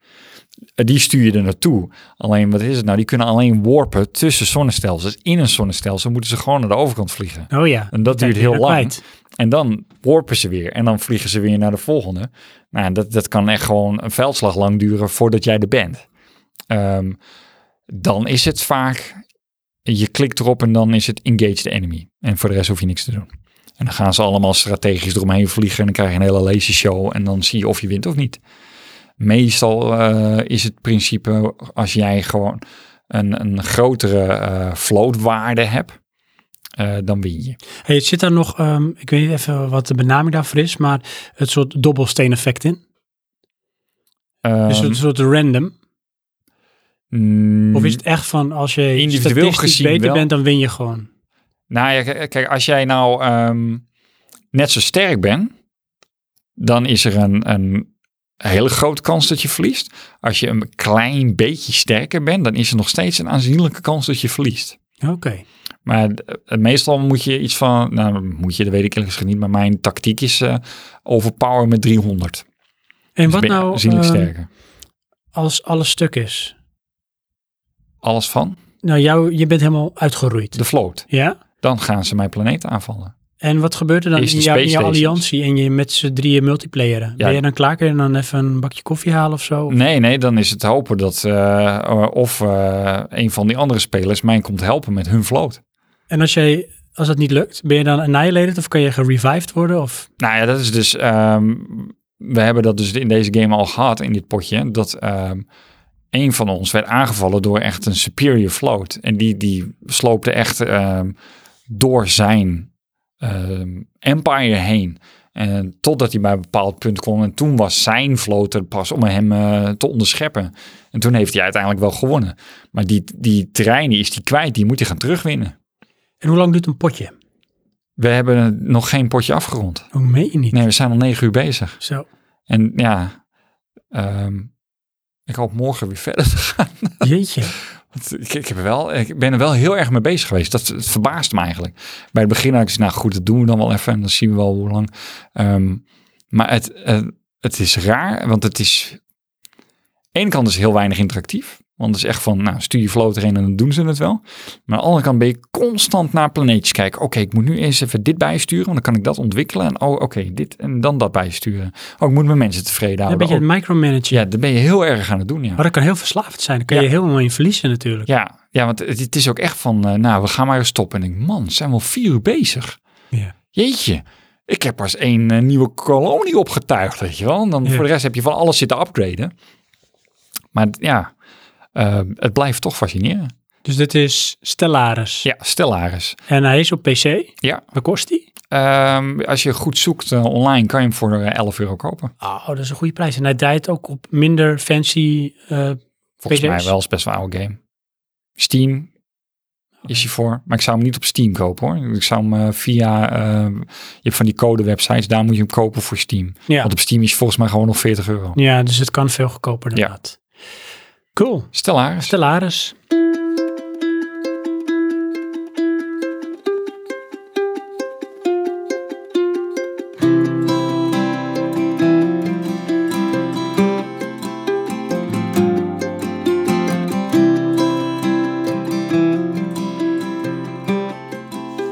Speaker 2: Eh, Die stuur je er naartoe. Alleen, wat is het nou? Die kunnen alleen warpen tussen zonnestelsels. In een zonnestelsel moeten ze gewoon naar de overkant vliegen.
Speaker 1: Oh ja.
Speaker 2: En dat duurt
Speaker 1: ben je
Speaker 2: heel
Speaker 1: weer
Speaker 2: lang.
Speaker 1: kwijt.
Speaker 2: En dan warpen ze weer. En dan vliegen ze weer naar de volgende. Nou, dat, dat kan echt gewoon een veldslag lang duren voordat jij er bent. Ehm, dan is het vaak, je klikt erop en dan is het engage the enemy. En voor de rest hoef je niks te doen. En dan gaan ze allemaal strategisch eromheen vliegen. En dan krijg je een hele lasershow. En dan zie je of je wint of niet. Meestal eh, is het principe als jij gewoon een, een grotere eh floatwaarde hebt. eh, dan win je.
Speaker 1: Hey, het zit daar nog, ehm, ik weet niet even wat de benaming daarvoor is, maar het soort dobbelsteen effect in. Dus
Speaker 2: Ehm,
Speaker 1: een soort random.
Speaker 2: Mm,
Speaker 1: Ehm, Of is het echt van als je
Speaker 2: Individueel
Speaker 1: statistisch
Speaker 2: gezien
Speaker 1: beter
Speaker 2: wel.
Speaker 1: bent, dan win je gewoon.
Speaker 2: Nou ja, k- kijk, als jij nou ehm, net zo sterk bent, dan is er een, een hele grote kans dat je verliest. Als je een klein beetje sterker bent, dan is er nog steeds een aanzienlijke kans dat je verliest.
Speaker 1: Oké.
Speaker 2: Maar eh, meestal moet je iets van, nou moet je, dat weet ik eerlijk gezegd niet, maar mijn tactiek is eh overpower met 300. Dus
Speaker 1: En wat
Speaker 2: ben je
Speaker 1: nou
Speaker 2: aanzienlijk
Speaker 1: ehm,
Speaker 2: sterker.
Speaker 1: als alles stuk is?
Speaker 2: Alles van
Speaker 1: Nou, jou, je bent helemaal uitgeroeid.
Speaker 2: de float.
Speaker 1: Ja?
Speaker 2: Dan gaan ze mijn planeet aanvallen.
Speaker 1: En wat gebeurt er dan in
Speaker 2: Eerst de
Speaker 1: jou- in
Speaker 2: space
Speaker 1: jouw
Speaker 2: stations.
Speaker 1: alliantie en je met z'n drieën multiplayeren? Ben je dan klaar? Kun je dan even een bakje koffie halen of zo?
Speaker 2: Nee, nee, dan is het hopen dat eh, of eh, een van die andere spelers mij komt helpen met hun float.
Speaker 1: En als, jij, als dat niet lukt, ben je dan annihilated of kan je gerevived worden? Of,
Speaker 2: Nou ja, dat is dus. ehm, we hebben dat dus in deze game al gehad in dit potje. Dat ehm een van ons werd aangevallen door echt een superior float. En die, die sloopte echt ehm, door zijn ehm, empire heen. En totdat hij bij een bepaald punt kon. En toen was zijn float er pas om hem eh, te onderscheppen. En toen heeft hij uiteindelijk wel gewonnen. Maar die, die terrein die is die kwijt. Die moet hij gaan terugwinnen.
Speaker 1: en hoe lang duurt een potje?
Speaker 2: We hebben nog geen potje afgerond.
Speaker 1: Hoe meen je niet?
Speaker 2: Nee, we zijn al negen uur bezig.
Speaker 1: Zo.
Speaker 2: En ja, ehm, ik hoop morgen weer verder te gaan.
Speaker 1: Jeetje.
Speaker 2: Want ik, ik, heb er wel, ik ben er wel heel erg mee bezig geweest. Dat, dat verbaast me eigenlijk. Bij het begin had ik gezegd, nou goed, dat doen we dan wel even. En dan zien we wel hoe lang. Ehm, maar het, eh, het is raar, want het is... Aan de ene kant is het heel weinig interactief. Want het is echt van, nou, stuur je vloot erin en dan doen ze het wel. Maar aan de andere kant ben je constant naar planeetjes kijken. Oké, ik moet nu eerst even dit bijsturen, want dan kan ik dat ontwikkelen. En oh, oké, dit en dan dat bijsturen. Oh, ik moet mijn mensen tevreden
Speaker 1: Dan
Speaker 2: houden.
Speaker 1: ben je
Speaker 2: Oh,
Speaker 1: het micromanager.
Speaker 2: ja, dat ben je heel erg aan het doen, ja.
Speaker 1: Maar dat kan heel verslaafd zijn. Daar kan
Speaker 2: Ja.
Speaker 1: je helemaal in verliezen natuurlijk.
Speaker 2: Ja, ja want het, het is ook echt van, eh, nou, we gaan maar eens stoppen. En ik denk, man, zijn we al vier uur bezig?
Speaker 1: Ja.
Speaker 2: Jeetje, ik heb pas één eh, nieuwe kolonie opgetuigd, weet je wel. En dan
Speaker 1: Ja.
Speaker 2: voor de rest heb je van alles zitten upgraden. Maar d- ja, eh, het blijft toch fascineren.
Speaker 1: Dus dit is Stellaris.
Speaker 2: Ja, Stellaris.
Speaker 1: En hij is op PC.
Speaker 2: Ja.
Speaker 1: Wat kost die?
Speaker 2: Ehm, als je goed zoekt eh, online, kan je hem voor eh, 11 euro kopen.
Speaker 1: Oh, dat is een goede prijs. En hij draait ook op minder fancy... eh, PC's?
Speaker 2: Volgens mij wel, is best wel een oude game. Steam is hij voor, maar ik zou hem niet op Steam kopen hoor. Ik zou hem eh, via, eh, je hebt van die code websites, daar moet je hem kopen voor Steam.
Speaker 1: ja.
Speaker 2: Want op Steam is hij volgens mij gewoon nog 40 euro.
Speaker 1: ja, dus het kan veel goedkoper inderdaad. Cool.
Speaker 2: Stellaris.
Speaker 1: Stellaris.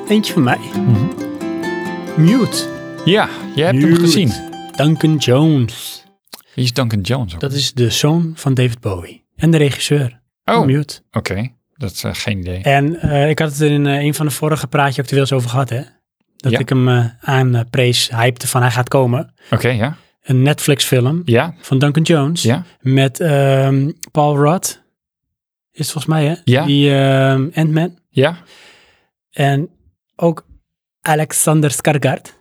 Speaker 1: Eentje van mij. Mute.
Speaker 2: Ja, Mhm. je hebt hem
Speaker 1: Mute.
Speaker 2: gezien.
Speaker 1: Duncan Jones.
Speaker 2: Wie is Duncan Jones ook?
Speaker 1: Dat is de zoon van David Bowie. En de regisseur.
Speaker 2: oh,
Speaker 1: van
Speaker 2: oké.
Speaker 1: Mute.
Speaker 2: Dat is eh, geen idee.
Speaker 1: En eh, ik had het in eh, een van de vorige praatje ook er wel eens over gehad, hè? Dat
Speaker 2: Ja.
Speaker 1: ik hem eh, aan eh, prees, hypte van hij gaat komen.
Speaker 2: Oké, ja.
Speaker 1: Een Netflix-film
Speaker 2: Ja,
Speaker 1: van Duncan Jones
Speaker 2: ja.
Speaker 1: met ehm, Paul Rudd. Is het volgens mij, hè?
Speaker 2: Ja.
Speaker 1: Die ehm Ant-Man.
Speaker 2: Ja,
Speaker 1: En ook Alexander Skarsgård.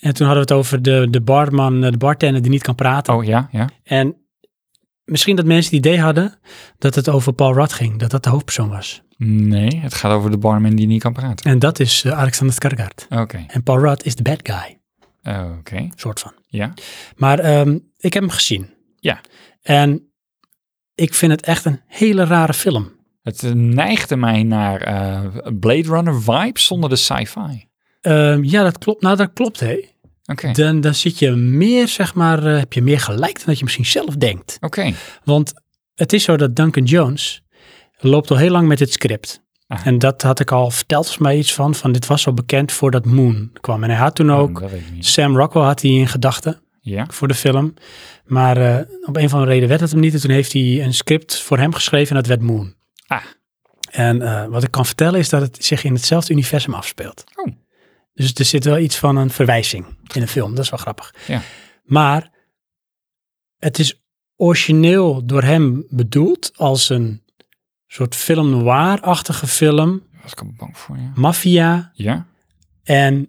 Speaker 1: En toen hadden we het over de, de barman, eh, de bartender die niet kan praten.
Speaker 2: oh ja, ja.
Speaker 1: En misschien dat mensen het idee hadden dat het over Paul Rudd ging. Dat dat de hoofdpersoon was.
Speaker 2: Nee, het gaat over de barman die niet kan praten.
Speaker 1: En dat is eh, Alexander Skarsgård.
Speaker 2: Oké,
Speaker 1: En Paul Rudd is de bad guy,
Speaker 2: oké.
Speaker 1: soort van.
Speaker 2: Ja,
Speaker 1: Maar ehm, ik heb hem gezien.
Speaker 2: Ja.
Speaker 1: En ik vind het echt een hele rare film.
Speaker 2: het eh, neigde mij naar eh, Blade Runner vibes zonder de sci-fi.
Speaker 1: Ehm, ja, dat klopt. Nou, dat klopt, hé.
Speaker 2: Oké.
Speaker 1: Dan, dan zit je meer, zeg maar, eh, heb je meer gelijk dan dat je misschien zelf denkt.
Speaker 2: Oké.
Speaker 1: Want het is zo dat Duncan Jones loopt al heel lang met het script.
Speaker 2: Ah.
Speaker 1: En dat had ik al verteld, volgens mij iets van, van dit was al bekend voordat Moon kwam. En hij had toen ook,
Speaker 2: Hmm, dat weet ik niet.
Speaker 1: Sam Rockwell had hij in gedachten
Speaker 2: Ja.
Speaker 1: voor de film. Maar eh, op een of andere reden werd het hem niet. En toen heeft hij een script voor hem geschreven en dat werd Moon.
Speaker 2: Ah.
Speaker 1: En eh, wat ik kan vertellen is dat het zich in hetzelfde universum afspeelt.
Speaker 2: Oh.
Speaker 1: Dus er zit wel iets van een verwijzing in de film. Dat is wel grappig.
Speaker 2: Ja.
Speaker 1: Maar het is origineel door hem bedoeld als een soort film noir-achtige film.
Speaker 2: Daar was ik al bang voor, ja.
Speaker 1: Maffia.
Speaker 2: Ja.
Speaker 1: En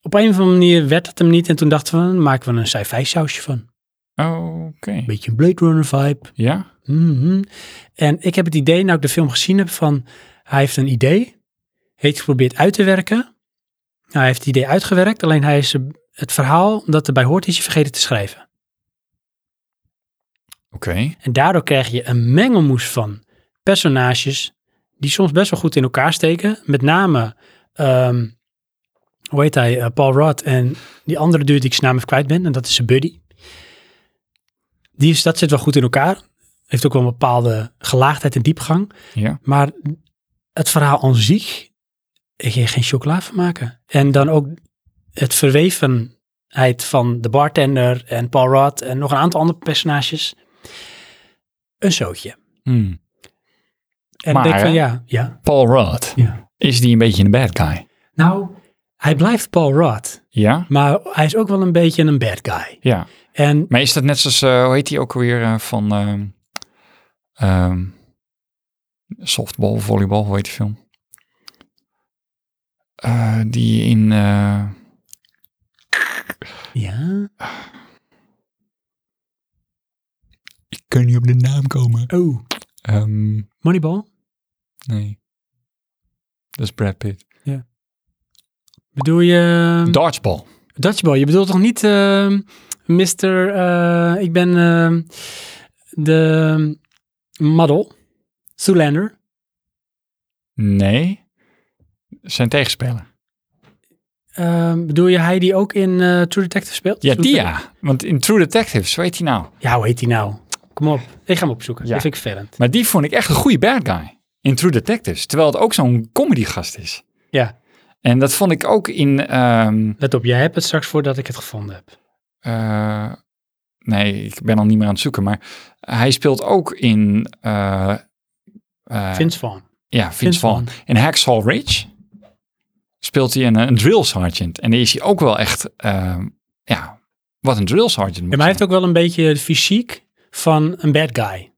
Speaker 1: op een of andere manier werd het hem niet. En toen dachten we, dan maken we een sci-fi sausje van.
Speaker 2: Oké.
Speaker 1: Een beetje een Blade Runner vibe.
Speaker 2: Ja.
Speaker 1: Mhm. En ik heb het idee, nou ik de film gezien heb, van hij heeft een idee. Heeft geprobeerd uit te werken. Nou, hij heeft het idee uitgewerkt, alleen hij is eh, het verhaal dat erbij hoort, is hij vergeten te schrijven.
Speaker 2: Oké.
Speaker 1: En daardoor krijg je een mengelmoes van personages die soms best wel goed in elkaar steken. Met name, ehm, hoe heet hij, eh, Paul Rudd en die andere dude die ik zijn naam even kwijt ben. En dat is zijn buddy. Die is, dat zit wel goed in elkaar. Heeft ook wel een bepaalde gelaagdheid en diepgang.
Speaker 2: Ja.
Speaker 1: Maar het verhaal aan zich, ik ging geen chocola van maken. En dan ook het verwevenheid van de bartender en Paul Rudd en nog een aantal andere personages. Een zootje.
Speaker 2: Hmm.
Speaker 1: En
Speaker 2: Maar,
Speaker 1: ik denk van
Speaker 2: hè?
Speaker 1: ja, ja,
Speaker 2: Paul Rudd.
Speaker 1: ja.
Speaker 2: Is die een beetje een bad guy?
Speaker 1: Nou, hij blijft Paul Rudd,
Speaker 2: Ja.
Speaker 1: maar hij is ook wel een beetje een bad guy.
Speaker 2: Ja.
Speaker 1: En
Speaker 2: Maar is dat net zoals, eh, hoe heet die ook alweer eh, van ehm, ehm, softball, volleybal, hoe heet die film? Eh, die in, eh,
Speaker 1: ja,
Speaker 2: ik kan niet op de naam komen.
Speaker 1: oh,
Speaker 2: Ehm,
Speaker 1: Moneyball,
Speaker 2: nee, dat is Brad Pitt.
Speaker 1: bedoel je
Speaker 2: Ehm. Dodgeball.
Speaker 1: Dutchball? Je bedoelt toch niet ehm Mr. eh, ik ben ehm, de model, Zoolander?
Speaker 2: Nee, zijn tegenspeler.
Speaker 1: Ehm, bedoel je hij die ook in eh, True Detective speelt?
Speaker 2: Ja, die
Speaker 1: Zoolander?
Speaker 2: ja. Want in True Detectives, hoe heet die nou?
Speaker 1: Ja, hoe heet die nou? Kom op, ik ga hem opzoeken.
Speaker 2: Ja.
Speaker 1: Dat vind ik vervelend.
Speaker 2: Maar die vond ik echt een goede bad guy in True Detectives. Terwijl het ook zo'n comedy gast is.
Speaker 1: Ja,
Speaker 2: En dat vond ik ook in... ehm,
Speaker 1: let op, jij hebt het straks voordat ik het gevonden heb.
Speaker 2: Eh, nee, ik ben al niet meer aan het zoeken, maar hij speelt ook in. eh, eh,
Speaker 1: Vince Vaughn.
Speaker 2: ja, Vince Vaughn.
Speaker 1: Vaughn.
Speaker 2: In Hacksaw Ridge speelt hij een, een drill sergeant. En die is hij ook wel echt. eh, ja, wat een drill sergeant. Moet
Speaker 1: Ja, maar hij
Speaker 2: zijn.
Speaker 1: heeft ook wel een beetje de fysiek van een bad guy.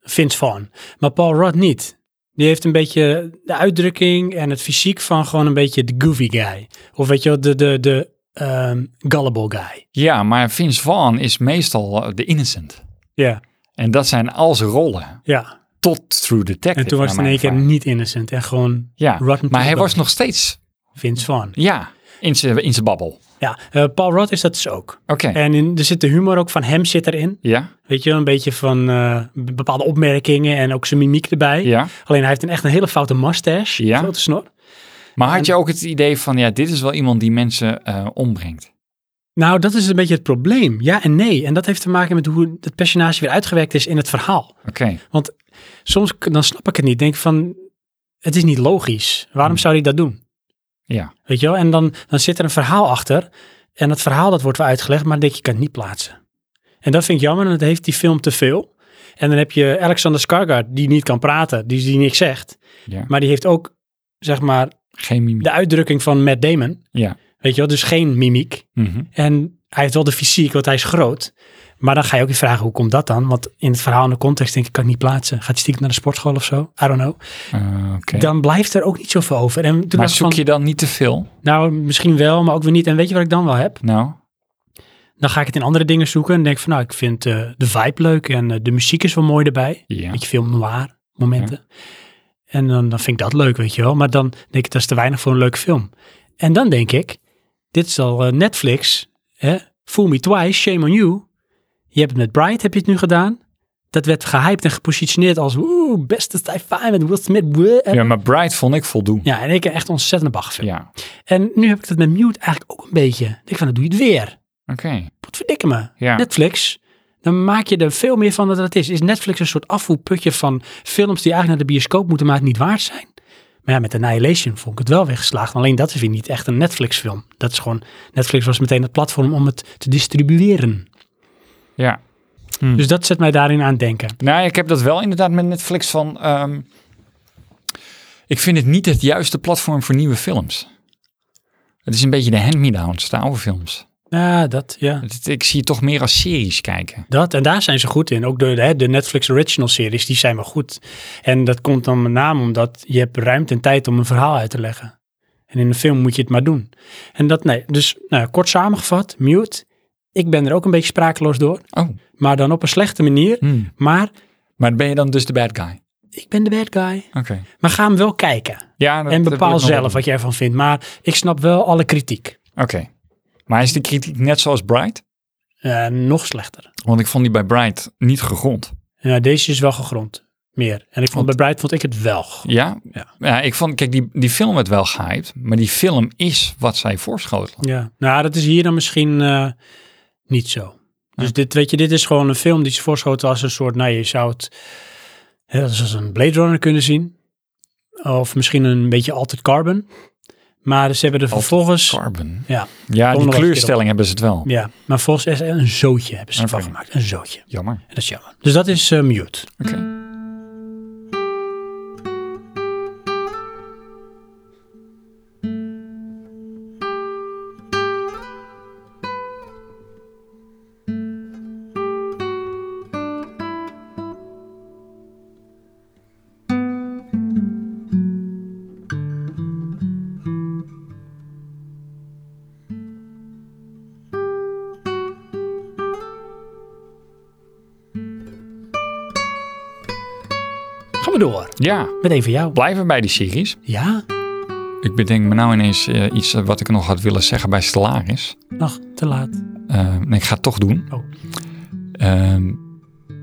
Speaker 1: Vince Vaughn. Maar Paul Rudd niet. Die heeft een beetje de uitdrukking en het fysiek van gewoon een beetje de goofy guy. Of weet je wel, de, de, de ehm, gullible guy.
Speaker 2: ja, maar Vince Vaughn is meestal eh, de innocent.
Speaker 1: Ja,
Speaker 2: En dat zijn al zijn rollen.
Speaker 1: ja.
Speaker 2: Tot True Detective.
Speaker 1: En toen was
Speaker 2: naar
Speaker 1: het in één
Speaker 2: mijn
Speaker 1: keer
Speaker 2: ervaring.
Speaker 1: niet innocent. En gewoon
Speaker 2: Ja,
Speaker 1: rotten to
Speaker 2: maar
Speaker 1: the
Speaker 2: hij
Speaker 1: bone.
Speaker 2: was nog steeds.
Speaker 1: Vince Vaughn.
Speaker 2: Ja, in zijn in zijn babbel. Oké.
Speaker 1: Ja, eh, Paul Rudd is dat dus ook. En in, er zit de humor ook van hem zit erin.
Speaker 2: Ja,
Speaker 1: Weet je wel, een beetje van eh, be- bepaalde opmerkingen en ook zijn mimiek erbij.
Speaker 2: ja.
Speaker 1: Alleen hij heeft een, echt een hele foute mustache.
Speaker 2: Ja.
Speaker 1: Grote snor.
Speaker 2: Maar had je ook het idee van, ja, dit is wel iemand die mensen eh, ombrengt?
Speaker 1: Nou, dat is een beetje het probleem. Ja en nee. En dat heeft te maken met hoe het personage weer uitgewerkt is in het verhaal.
Speaker 2: Oké,
Speaker 1: Soms k- dan snap ik het niet. Denk van, het is niet logisch. Waarom zou hij dat doen?
Speaker 2: Hmm. ja.
Speaker 1: Weet je wel? En dan, dan zit er een verhaal achter. En dat verhaal dat wordt wel uitgelegd, maar dan denk je, je kan het niet plaatsen. En dat vind ik jammer, en dat heeft die film te veel. En dan heb je Alexander Skarsgård, die niet kan praten, die, die niks zegt.
Speaker 2: Ja.
Speaker 1: Maar die heeft ook, zeg maar,
Speaker 2: Geen mimiek.
Speaker 1: de uitdrukking van Matt Damon.
Speaker 2: Ja.
Speaker 1: Weet je wel? Dus geen mimiek.
Speaker 2: Mhm.
Speaker 1: En hij heeft wel de fysiek, want hij is groot. Maar dan ga je ook weer vragen, hoe komt dat dan? Want in het verhaal en de context denk ik, kan ik niet plaatsen. Gaat hij stiekem naar de sportschool of zo? I don't know.
Speaker 2: Eh, Oké.
Speaker 1: Dan blijft er ook niet zoveel over. En toen
Speaker 2: Maar
Speaker 1: dacht ik
Speaker 2: zoek
Speaker 1: van,
Speaker 2: je dan niet te veel?
Speaker 1: nou misschien wel, maar ook weer niet. En weet je wat ik dan wel heb?
Speaker 2: Nou,
Speaker 1: Dan ga ik het in andere dingen zoeken. En denk van, nou ik vind eh, de vibe leuk en eh, de muziek is wel mooi erbij.
Speaker 2: ja.
Speaker 1: Beetje film noir momenten. En dan, dan vind ik dat leuk, weet je wel. Maar dan denk ik, dat is te weinig voor een leuke film. En dan denk ik, dit is al eh, Netflix. Hè? Fool me twice, shame on you. Je hebt het met Bright, heb je het nu gedaan. dat werd gehyped en gepositioneerd als oeh, beste sci-fi met Will Smith. bleh. En-
Speaker 2: Ja, maar Bright vond ik voldoen.
Speaker 1: Ja, en ik heb echt ontzettend bag
Speaker 2: Ja,
Speaker 1: film. En nu heb ik dat met Mute eigenlijk ook een beetje. Ik denk van, dan doe je het weer.
Speaker 2: oké.
Speaker 1: Wat verdikke me.
Speaker 2: Ja.
Speaker 1: Netflix, dan maak je er veel meer van dan dat het is. Is Netflix een soort afvoerputje van films die eigenlijk naar de bioscoop moeten, maar het niet waard zijn? Maar ja, met Annihilation vond ik het wel weer geslaagd. Alleen dat is weer niet echt een Netflix film. Dat is gewoon, Netflix was meteen het platform om het te distribueren.
Speaker 2: Ja.
Speaker 1: Dus dat zet mij daarin aan het denken.
Speaker 2: Nou, ik heb dat wel inderdaad met Netflix van... ehm, ik vind het niet het juiste platform voor nieuwe films. Het is een beetje de hand-me-downs, de oude films.
Speaker 1: Ja, dat, ja.
Speaker 2: Het- ik zie het toch meer als series kijken.
Speaker 1: Dat, en daar zijn ze goed in. Ook de, hè, de Netflix original series, die zijn wel goed. En dat komt dan met name omdat je hebt ruimte en tijd om een verhaal uit te leggen. En in een film moet je het maar doen. En dat, nee, dus nou, ja, kort samengevat, mute. Ik ben er ook een beetje sprakeloos door,
Speaker 2: Oh,
Speaker 1: maar dan op een slechte manier.
Speaker 2: hmm.
Speaker 1: Maar
Speaker 2: maar ben je dan dus de bad guy?
Speaker 1: ik ben de bad guy.
Speaker 2: Oké.
Speaker 1: Maar ga hem wel kijken.
Speaker 2: Ja, dat-
Speaker 1: en
Speaker 2: dat wil
Speaker 1: bepaal
Speaker 2: ik nog wel
Speaker 1: zelf
Speaker 2: doen.
Speaker 1: wat jij ervan vindt. Maar ik snap wel alle kritiek.
Speaker 2: Oké. Maar is de kritiek net zoals Bright?
Speaker 1: Eh, nog slechter.
Speaker 2: Want ik vond die bij Bright niet gegrond.
Speaker 1: Ja, deze is wel gegrond. Meer. En ik vond, bij
Speaker 2: Want-
Speaker 1: Bright vond ik het wel gegrond.
Speaker 2: Ja?
Speaker 1: Ja.
Speaker 2: ik vond, kijk, die, die film werd wel gehyped, maar die film is wat zij voorschotelen.
Speaker 1: Ja, nou, dat is hier dan misschien eh, niet zo. Dus dit, weet je, dit is gewoon een film die ze voorschoten als een soort, nou, je zou het hè, dat is als een Blade Runner kunnen zien. Of misschien een beetje Altered Carbon. Maar ze hebben er
Speaker 2: Altered
Speaker 1: vervolgens,
Speaker 2: Carbon.
Speaker 1: ja,
Speaker 2: Ja,
Speaker 1: Kom
Speaker 2: die
Speaker 1: nog eens
Speaker 2: kleurstelling hebben ze het wel.
Speaker 1: ja, maar volgens is er een zootje hebben ze ervan
Speaker 2: Oké.
Speaker 1: gemaakt. Een zootje.
Speaker 2: Jammer.
Speaker 1: En dat is jammer. Dus dat is eh, mute.
Speaker 2: Oké.
Speaker 1: Gaan we door.
Speaker 2: Ja,
Speaker 1: Met een van jou.
Speaker 2: blijven we bij die series.
Speaker 1: Ja,
Speaker 2: Ik bedenk me nou ineens eh, iets eh, wat ik nog had willen zeggen bij Stellaris.
Speaker 1: nog te laat.
Speaker 2: Eh, nee, ik ga het toch doen.
Speaker 1: Oh.
Speaker 2: Ehm,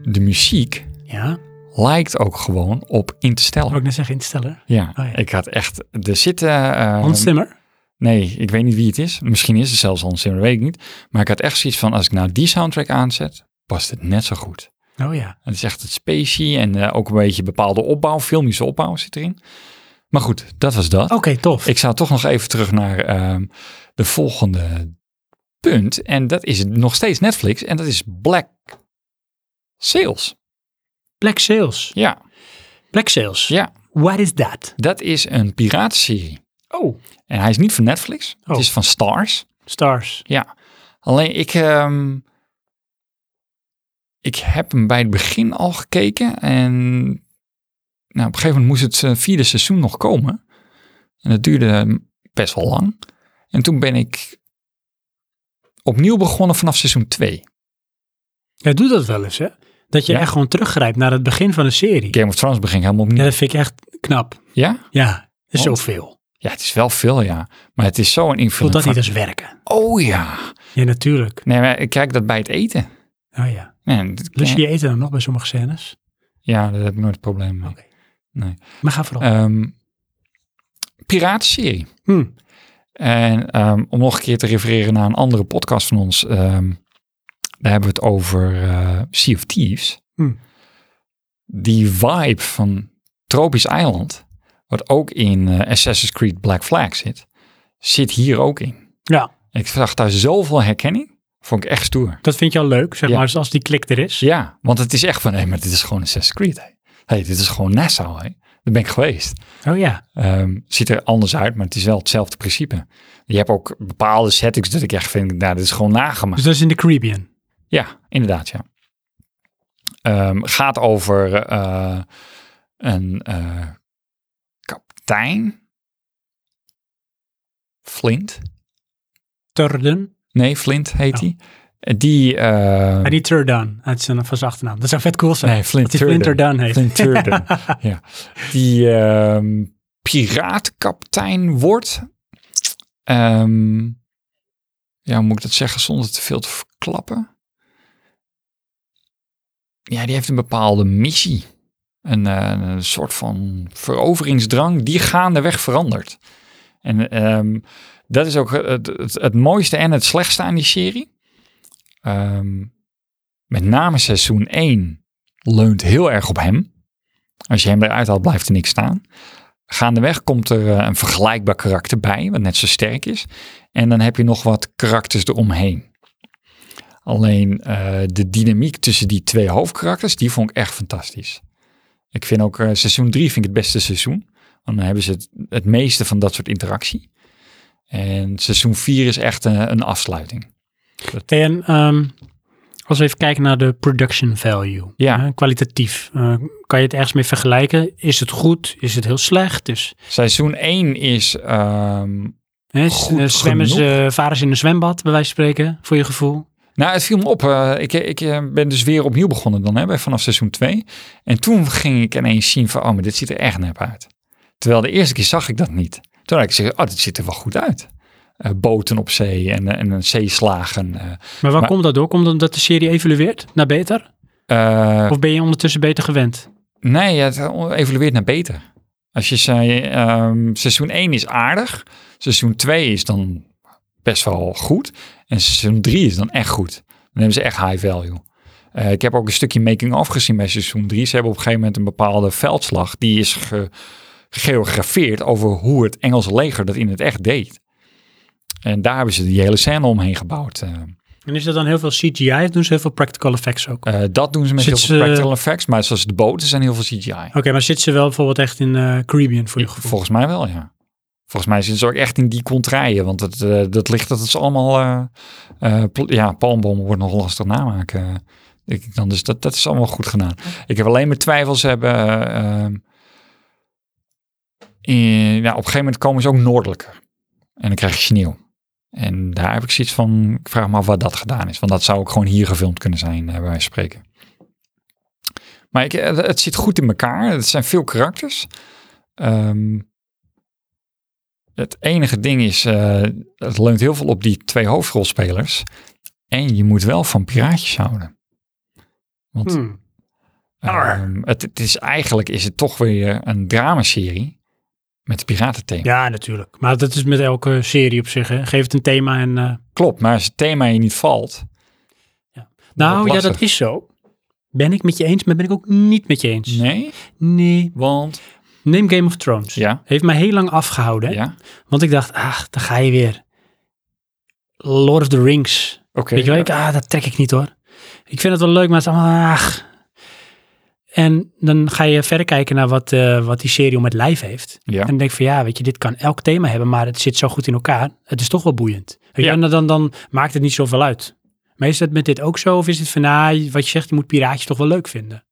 Speaker 2: de muziek
Speaker 1: Ja,
Speaker 2: lijkt ook gewoon op Interstellar.
Speaker 1: wou ik net zeggen instellen.
Speaker 2: Ja,
Speaker 1: Oh. ja.
Speaker 2: ik had echt... Er zitten... eh,
Speaker 1: Hans Zimmer.
Speaker 2: Nee, ik weet niet wie het is. Misschien is het zelfs Hans Zimmer, weet ik niet. Maar ik had echt zoiets van, als ik nou die soundtrack aanzet, past het net zo goed.
Speaker 1: Oh ja.
Speaker 2: Het is echt het specie en eh, ook een beetje bepaalde opbouw, filmische opbouw zit erin. Maar goed, dat was dat.
Speaker 1: Oké, tof.
Speaker 2: Ik zou toch nog even terug naar ehm, de volgende punt. En dat is nog steeds Netflix en dat is Black Sales.
Speaker 1: Black Sales.
Speaker 2: Ja,
Speaker 1: Black Sales.
Speaker 2: ja.
Speaker 1: What is that?
Speaker 2: dat is een piratenserie.
Speaker 1: Oh,
Speaker 2: En hij is niet van Netflix,
Speaker 1: Oh.
Speaker 2: het is van Stars.
Speaker 1: Stars.
Speaker 2: Ja, alleen ik, ehm, ik heb hem bij het begin al gekeken en nou, op een gegeven moment moest het eh, vierde seizoen nog komen. En dat duurde best wel lang. En toen ben ik opnieuw begonnen vanaf seizoen 2.
Speaker 1: Ja, doe dat wel eens, hè? Dat je
Speaker 2: Ja.
Speaker 1: echt gewoon teruggrijpt naar het begin van een serie.
Speaker 2: Game of Thrones begin ik helemaal
Speaker 1: Ja,
Speaker 2: opnieuw.
Speaker 1: dat vind ik echt knap.
Speaker 2: Ja?
Speaker 1: Ja, dat is
Speaker 2: Want?
Speaker 1: zoveel.
Speaker 2: Ja, het is wel veel, ja. Maar het is zo een
Speaker 1: Voelt
Speaker 2: invulling
Speaker 1: dat
Speaker 2: van-
Speaker 1: niet als werken?
Speaker 2: Oh ja.
Speaker 1: Ja, natuurlijk.
Speaker 2: Nee, maar ik kijk dat bij het eten.
Speaker 1: Oh ja.
Speaker 2: Nee, dat-
Speaker 1: Lust je je eten dan nog bij sommige scènes?
Speaker 2: Ja, daar heb ik nooit problemen mee.
Speaker 1: Oké.
Speaker 2: Nee.
Speaker 1: Maar ga vooral.
Speaker 2: Ehm piratenserie.
Speaker 1: Hm.
Speaker 2: En ehm, om nog een keer te refereren naar een andere podcast van ons. ehm, daar hebben we het over eh, Sea of Thieves.
Speaker 1: Hm.
Speaker 2: Die vibe van Tropisch Eiland, wat ook in eh, Assassin's Creed Black Flag zit, zit hier ook in.
Speaker 1: Ja,
Speaker 2: Ik zag daar zoveel herkenning. Vond ik echt stoer.
Speaker 1: dat vind je al leuk, zeg
Speaker 2: Ja.
Speaker 1: maar, als die klik er is.
Speaker 2: Ja, want het is echt van, hé, maar dit is gewoon Assassin's Creed. Hé, Hey, dit is gewoon Nassau. Hé. Daar ben ik geweest.
Speaker 1: Oh ja.
Speaker 2: Ehm, ziet er anders uit, maar het is wel hetzelfde principe. Je hebt ook bepaalde settings dat ik echt vind, nou, dit is gewoon nagemaakt.
Speaker 1: Dus dat is in de Caribbean.
Speaker 2: Ja, inderdaad, ja. Ehm, gaat over eh, een eh, kapitein. Flint?
Speaker 1: Turden.
Speaker 2: Nee, Flint heet
Speaker 1: Oh.
Speaker 2: hij. Die... eh,
Speaker 1: En niet Turdan, uit zijn van zijn achternaam. Dat zou vet cool zijn.
Speaker 2: nee, Flint
Speaker 1: dat hij Flint
Speaker 2: Turden.
Speaker 1: Turdan heet.
Speaker 2: Flint Turden, ja. Die ehm piraatkapitein wordt. Ehm, ja, hoe moet ik dat zeggen zonder te veel te verklappen? ja, die heeft een bepaalde missie. Een, eh, een soort van veroveringsdrang die gaandeweg verandert. En ehm, dat is ook het, het, het mooiste en het slechtste aan die serie. Ehm, met name seizoen 1 leunt heel erg op hem. Als je hem eruit haalt, blijft er niks staan. Gaandeweg komt er eh, een vergelijkbaar karakter bij, wat net zo sterk is. En dan heb je nog wat karakters eromheen. Alleen eh, de dynamiek tussen die twee hoofdkarakters, die vond ik echt fantastisch. Ik vind ook eh, seizoen 3 vind ik het beste seizoen. Want dan hebben ze het, het meeste van dat soort interactie. En seizoen 4 is echt eh, een afsluiting.
Speaker 1: Hey, en ehm, als we even kijken naar de production value,
Speaker 2: Ja.
Speaker 1: hè, kwalitatief, eh, kan je het ergens mee vergelijken? Is het goed? Is het heel slecht? Is,
Speaker 2: Seizoen 1 is ehm,
Speaker 1: hè, s-
Speaker 2: Goed
Speaker 1: eh, zwemmen
Speaker 2: genoeg?
Speaker 1: ze, varen ze in een zwembad, bij wijze van spreken, voor je gevoel?
Speaker 2: Nou, het viel me op. Eh, ik ik eh, ben dus weer opnieuw begonnen dan, hè, bij- vanaf seizoen 2. En toen ging ik ineens zien van, oh, maar dit ziet er echt nep uit. Terwijl de eerste keer zag ik dat niet. Toen had ik gezegd, oh, dit ziet er wel goed uit. Eh, boten op zee en, eh, en een zeeslagen. eh.
Speaker 1: Maar waar
Speaker 2: Maar-
Speaker 1: komt dat door? Komt het omdat de serie evolueert naar beter?
Speaker 2: Eh,
Speaker 1: Of ben je ondertussen beter gewend?
Speaker 2: nee, het evolueert naar beter. Als je zei, ehm, seizoen 1 is aardig. Seizoen 2 is dan best wel goed. En seizoen 3 is dan echt goed. Dan hebben ze echt high value. Eh, ik heb ook een stukje making-of gezien bij seizoen 3. Ze hebben op een gegeven moment een bepaalde veldslag. Die is ge- gegeografeerd over hoe het Engelse leger dat in het echt deed. En daar hebben ze die hele scène omheen gebouwd. Eh,
Speaker 1: En is dat dan heel veel CGI? Of doen ze heel veel practical effects ook?
Speaker 2: eh, dat doen ze met
Speaker 1: Zit
Speaker 2: heel veel
Speaker 1: ze-
Speaker 2: practical effects. Maar zoals de boten zijn heel veel CGI.
Speaker 1: Oké, maar zitten ze wel bijvoorbeeld echt in eh, Caribbean voor je gevoel?
Speaker 2: Volgens mij wel, ja. Volgens mij zitten ze ook echt in die contraien. Want het, eh, dat ligt dat het ze allemaal... eh, eh, pl- ja, palmboom wordt nog lastig namaken. denk Ik dan, dus dat, dat is allemaal goed gedaan. Ik heb alleen mijn twijfels hebben... eh, ehm, in, ja, op een gegeven moment komen ze ook noordelijker. En dan krijg je sneeuw. En daar heb ik zoiets van... Ik vraag me af wat dat gedaan is. Want dat zou ook gewoon hier gefilmd kunnen zijn, eh, bij wijze van spreken. Maar ik, het, het zit goed in elkaar. Het zijn veel karakters. Ehm, het enige ding is, eh, het leunt heel veel op die twee hoofdrolspelers. En je moet wel van piraatjes houden. Want
Speaker 1: Hmm. Arr.
Speaker 2: ehm, het, het is eigenlijk is het toch weer een dramaserie met piratenthema.
Speaker 1: Ja, natuurlijk. Maar dat is met elke serie op zich. Hè. Geef het een thema en... eh,
Speaker 2: Klopt, maar als het thema je niet valt.
Speaker 1: Ja.
Speaker 2: wordt
Speaker 1: Nou
Speaker 2: het
Speaker 1: ja, dat
Speaker 2: lastig.
Speaker 1: is zo. Ben ik met je eens, maar ben ik ook niet met je eens.
Speaker 2: Nee,
Speaker 1: Nee.
Speaker 2: want
Speaker 1: Neem Game of Thrones.
Speaker 2: ja,
Speaker 1: Heeft mij heel lang afgehouden. hè.
Speaker 2: ja,
Speaker 1: Want ik dacht, ach, daar ga je weer. Lord of the Rings.
Speaker 2: oké.
Speaker 1: Weet je wel, ik, ah, dat trek ik niet hoor. Ik vind het wel leuk, maar het is allemaal, ach. En dan ga je verder kijken naar wat, eh, wat die serie om het lijf heeft.
Speaker 2: Ja.
Speaker 1: En dan denk ik van ja, weet je, dit kan elk thema hebben, maar het zit zo goed in elkaar. Het is toch wel boeiend. Weet je,
Speaker 2: Ja.
Speaker 1: En dan, dan, dan maakt het niet zoveel uit. Maar is dat met dit ook zo? Of is het van nou, wat je zegt, je moet piraatjes toch wel leuk vinden?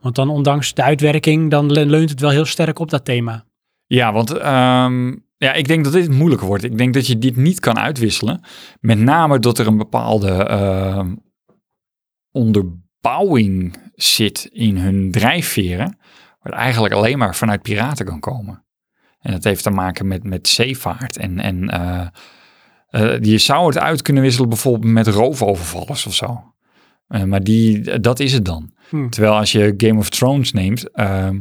Speaker 1: Want dan, ondanks de uitwerking, dan le- leunt het wel heel sterk op dat thema.
Speaker 2: Ja, want ehm, ja, ik denk dat dit moeilijker wordt. Ik denk dat je dit niet kan uitwisselen. Met name dat er een bepaalde ehm, onderbouwing zit in hun drijfveren. Wat eigenlijk alleen maar vanuit piraten kan komen. En dat heeft te maken met, met zeevaart. En, en eh, eh, je zou het uit kunnen wisselen bijvoorbeeld met roofovervallers of zo. Eh, maar die, dat is het dan.
Speaker 1: Hm.
Speaker 2: Terwijl als je Game of Thrones neemt, ehm,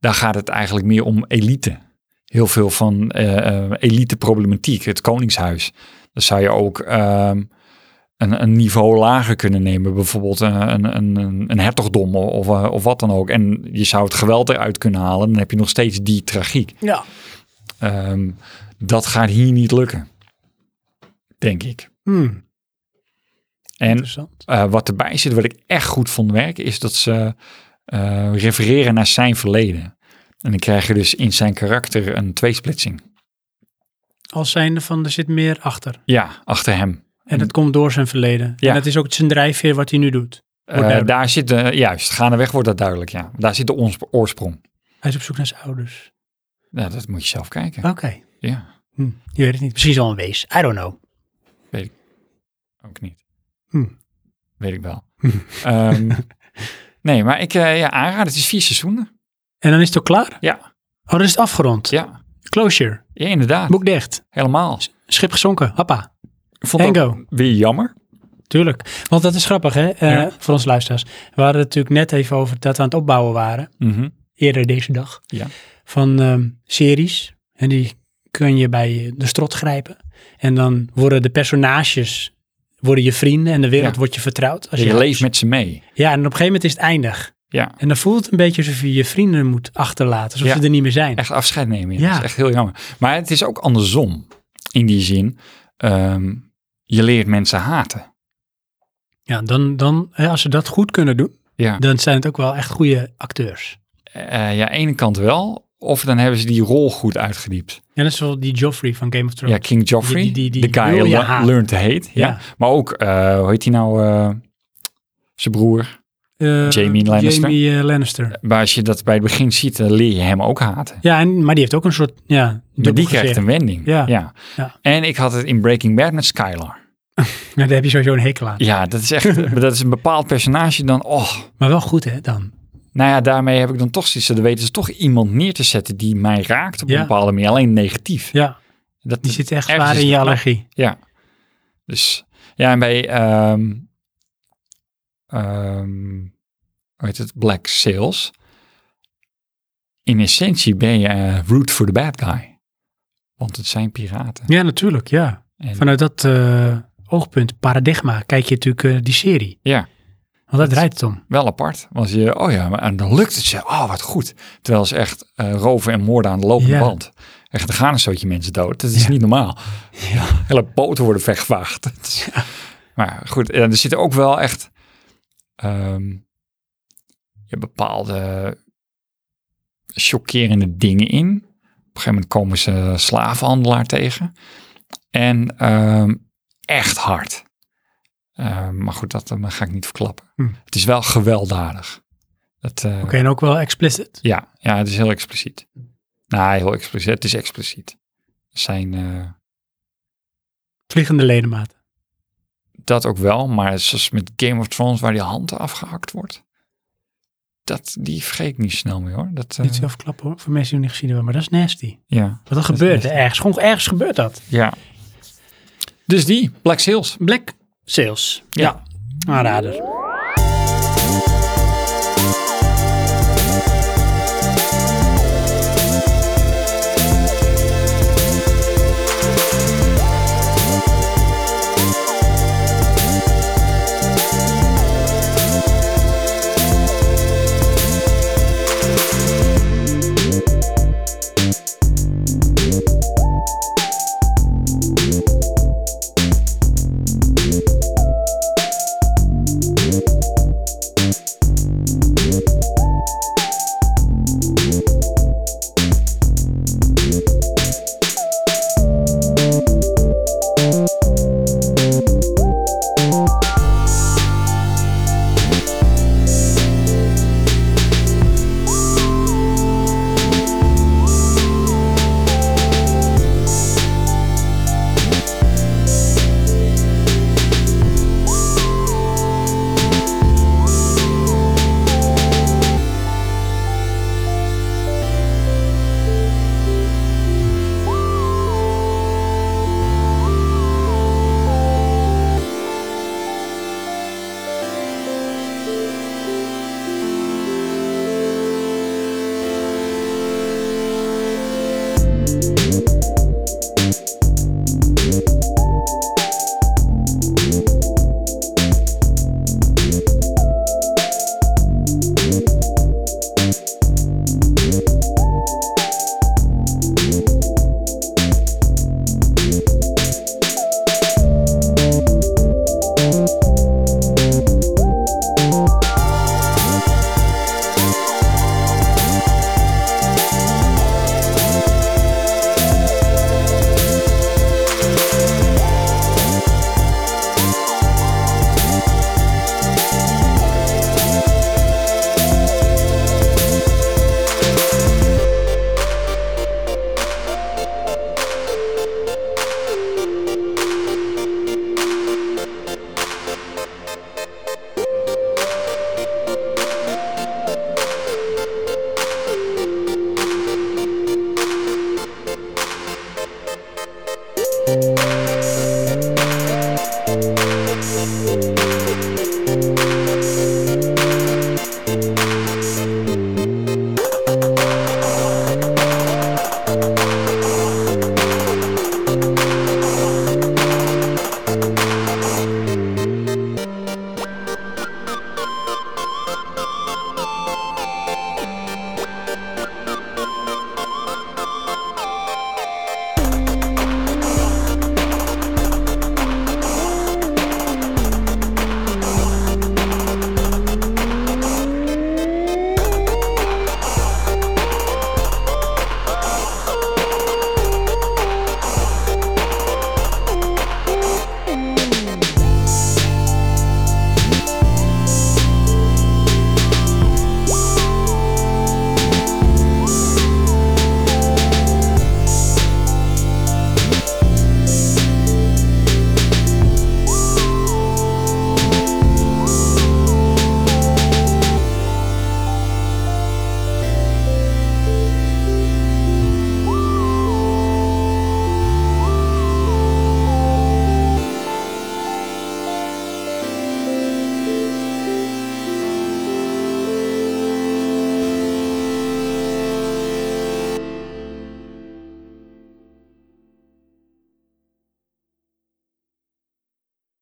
Speaker 2: daar gaat het eigenlijk meer om elite. Heel veel van eh, eh, elite problematiek, het koningshuis. Dan zou je ook ehm, een, een niveau lager kunnen nemen. Bijvoorbeeld eh, een, een, een, een hertogdom of, eh, of wat dan ook. En je zou het geweld eruit kunnen halen. Dan heb je nog steeds die tragiek.
Speaker 1: Ja.
Speaker 2: Ehm, dat gaat hier niet lukken. Denk ik. En
Speaker 1: Hmm, Interessant.
Speaker 2: eh, wat erbij zit, wat ik echt goed vond werken, is dat ze eh, refereren naar zijn verleden. En dan krijg je dus in zijn karakter een tweesplitsing.
Speaker 1: Als zijnde van, er zit meer achter.
Speaker 2: Ja, achter hem.
Speaker 1: En dat komt door zijn verleden.
Speaker 2: Hmm. Ja.
Speaker 1: En dat is ook zijn drijfveer wat hij nu doet.
Speaker 2: Eh,
Speaker 1: duidelijk.
Speaker 2: daar zit, de juist, gaandeweg wordt dat duidelijk, ja. Daar zit de ons- oorsprong.
Speaker 1: Hij is op zoek naar zijn ouders.
Speaker 2: Nou, dat moet je zelf kijken.
Speaker 1: Oké.
Speaker 2: Ja,
Speaker 1: Hm. Je weet het niet. Misschien is al een wees. I don't know.
Speaker 2: ook niet.
Speaker 1: Hm.
Speaker 2: Weet ik wel. Ehm, nee, maar ik eh ja, aanraad, het is vier seizoenen.
Speaker 1: En dan is het ook klaar?
Speaker 2: Ja.
Speaker 1: Oh, dan is het afgerond.
Speaker 2: Ja,
Speaker 1: Closure.
Speaker 2: ja inderdaad.
Speaker 1: Boek dicht.
Speaker 2: Helemaal.
Speaker 1: Schip gezonken. Happa.
Speaker 2: Ik vond het
Speaker 1: Tango.
Speaker 2: ook weer jammer
Speaker 1: Tuurlijk. Want dat is grappig, hè? eh,
Speaker 2: Ja.
Speaker 1: Voor ons luisteraars. We hadden het natuurlijk net even over dat we aan het opbouwen waren.
Speaker 2: Mhm.
Speaker 1: Eerder deze dag.
Speaker 2: Ja.
Speaker 1: Van ehm, series. En die kun je bij eh, de strot grijpen. En dan worden de personages worden je vrienden en de wereld
Speaker 2: Ja.
Speaker 1: wordt je vertrouwd. Als
Speaker 2: Je leeft met ze mee.
Speaker 1: Ja, en op een gegeven moment is het eindig.
Speaker 2: Ja.
Speaker 1: En dan voelt het een beetje alsof je je vrienden moet achterlaten. Alsof
Speaker 2: Ja.
Speaker 1: ze er niet meer zijn.
Speaker 2: Echt afscheid nemen. Ja.
Speaker 1: Ja.
Speaker 2: Dat is echt heel jammer. Maar het is ook andersom. In die zin, ehm, je leert mensen haten.
Speaker 1: Ja, dan, dan, hè, als ze dat goed kunnen doen,
Speaker 2: Ja.
Speaker 1: dan zijn het ook wel echt goede acteurs.
Speaker 2: Eh, ja, ene kant wel. Of dan hebben ze die rol goed uitgediept.
Speaker 1: Ja, dat is wel die Joffrey van Game of
Speaker 2: Ja,
Speaker 1: Thrones.
Speaker 2: King Joffrey,
Speaker 1: Die- die- die-
Speaker 2: de guy
Speaker 1: wil je
Speaker 2: le-
Speaker 1: haten.
Speaker 2: learned to hate. Ja.
Speaker 1: Ja.
Speaker 2: Maar ook, eh, hoe heet hij nou, eh, zijn broer.
Speaker 1: Eh,
Speaker 2: Jamie Lannister.
Speaker 1: Jamie eh, Lannister.
Speaker 2: Maar als je dat bij het begin ziet, dan leer je hem ook haten.
Speaker 1: Ja, en, maar die heeft ook een soort, ja,
Speaker 2: Maar die
Speaker 1: dubbel
Speaker 2: krijgt
Speaker 1: gezicht.
Speaker 2: een wending.
Speaker 1: Ja.
Speaker 2: Ja.
Speaker 1: Ja.
Speaker 2: En ik had het in Breaking Bad met Skylar.
Speaker 1: Nou, daar heb je sowieso een hekel aan.
Speaker 2: Ja, dat is echt, dat is een bepaald personage dan, oh,
Speaker 1: Maar wel goed, hè, dan.
Speaker 2: Nou ja, daarmee heb ik dan toch zoiets. Dan weten ze toch iemand neer te zetten die mij raakt op
Speaker 1: Ja.
Speaker 2: een bepaalde manier. Alleen negatief.
Speaker 1: Ja,
Speaker 2: Dat
Speaker 1: die zit echt
Speaker 2: ergens
Speaker 1: zwaar
Speaker 2: is
Speaker 1: in
Speaker 2: het
Speaker 1: je
Speaker 2: knap.
Speaker 1: allergie.
Speaker 2: Ja. Dus ja, en bij ehm, ehm, hoe heet het? Black Sales. In essentie ben je eh, root for the bad guy. Want het zijn piraten.
Speaker 1: Ja, natuurlijk, ja.
Speaker 2: En,
Speaker 1: Vanuit dat eh, oogpunt, paradigma, kijk je natuurlijk eh, die serie.
Speaker 2: Ja,
Speaker 1: Want daar draait het om.
Speaker 2: wel apart. Want je, oh ja, maar, en dan lukt het ze. Oh, wat goed. Terwijl ze echt eh, roven en moorden aan de lopende
Speaker 1: Ja.
Speaker 2: band. Echt, er gaan een zootje mensen dood. Dat is niet normaal. Hele boten worden weggevaagd. Het is- Maar goed, ja, er zitten ook wel echt ehm, je bepaalde chockerende dingen in. Op een gegeven moment komen ze slavenhandelaar tegen. En ehm, echt hard. Ehm, maar goed, dat eh, ga ik niet verklappen.
Speaker 1: Hm.
Speaker 2: Het is wel gewelddadig. Dat, eh,
Speaker 1: Oké, en ook wel explicit.
Speaker 2: ja, ja, het is heel expliciet. Nou, heel expliciet. Het is expliciet. Zijn eh,
Speaker 1: Vliegende ledematen.
Speaker 2: dat ook wel, maar zoals met Game of Thrones waar die hand afgehakt wordt. Dat, die vergeet ik niet snel meer hoor. Dat, eh,
Speaker 1: Niet zelf klappen hoor, voor mensen die het niet gezien hebben, maar dat is nasty.
Speaker 2: ja,
Speaker 1: Wat er
Speaker 2: is
Speaker 1: gebeurt
Speaker 2: nasty.
Speaker 1: er ergens, gewoon ergens gebeurt dat.
Speaker 2: ja. Dus die, Black Sails.
Speaker 1: Black Sales.
Speaker 2: Ja.
Speaker 1: Aanrader.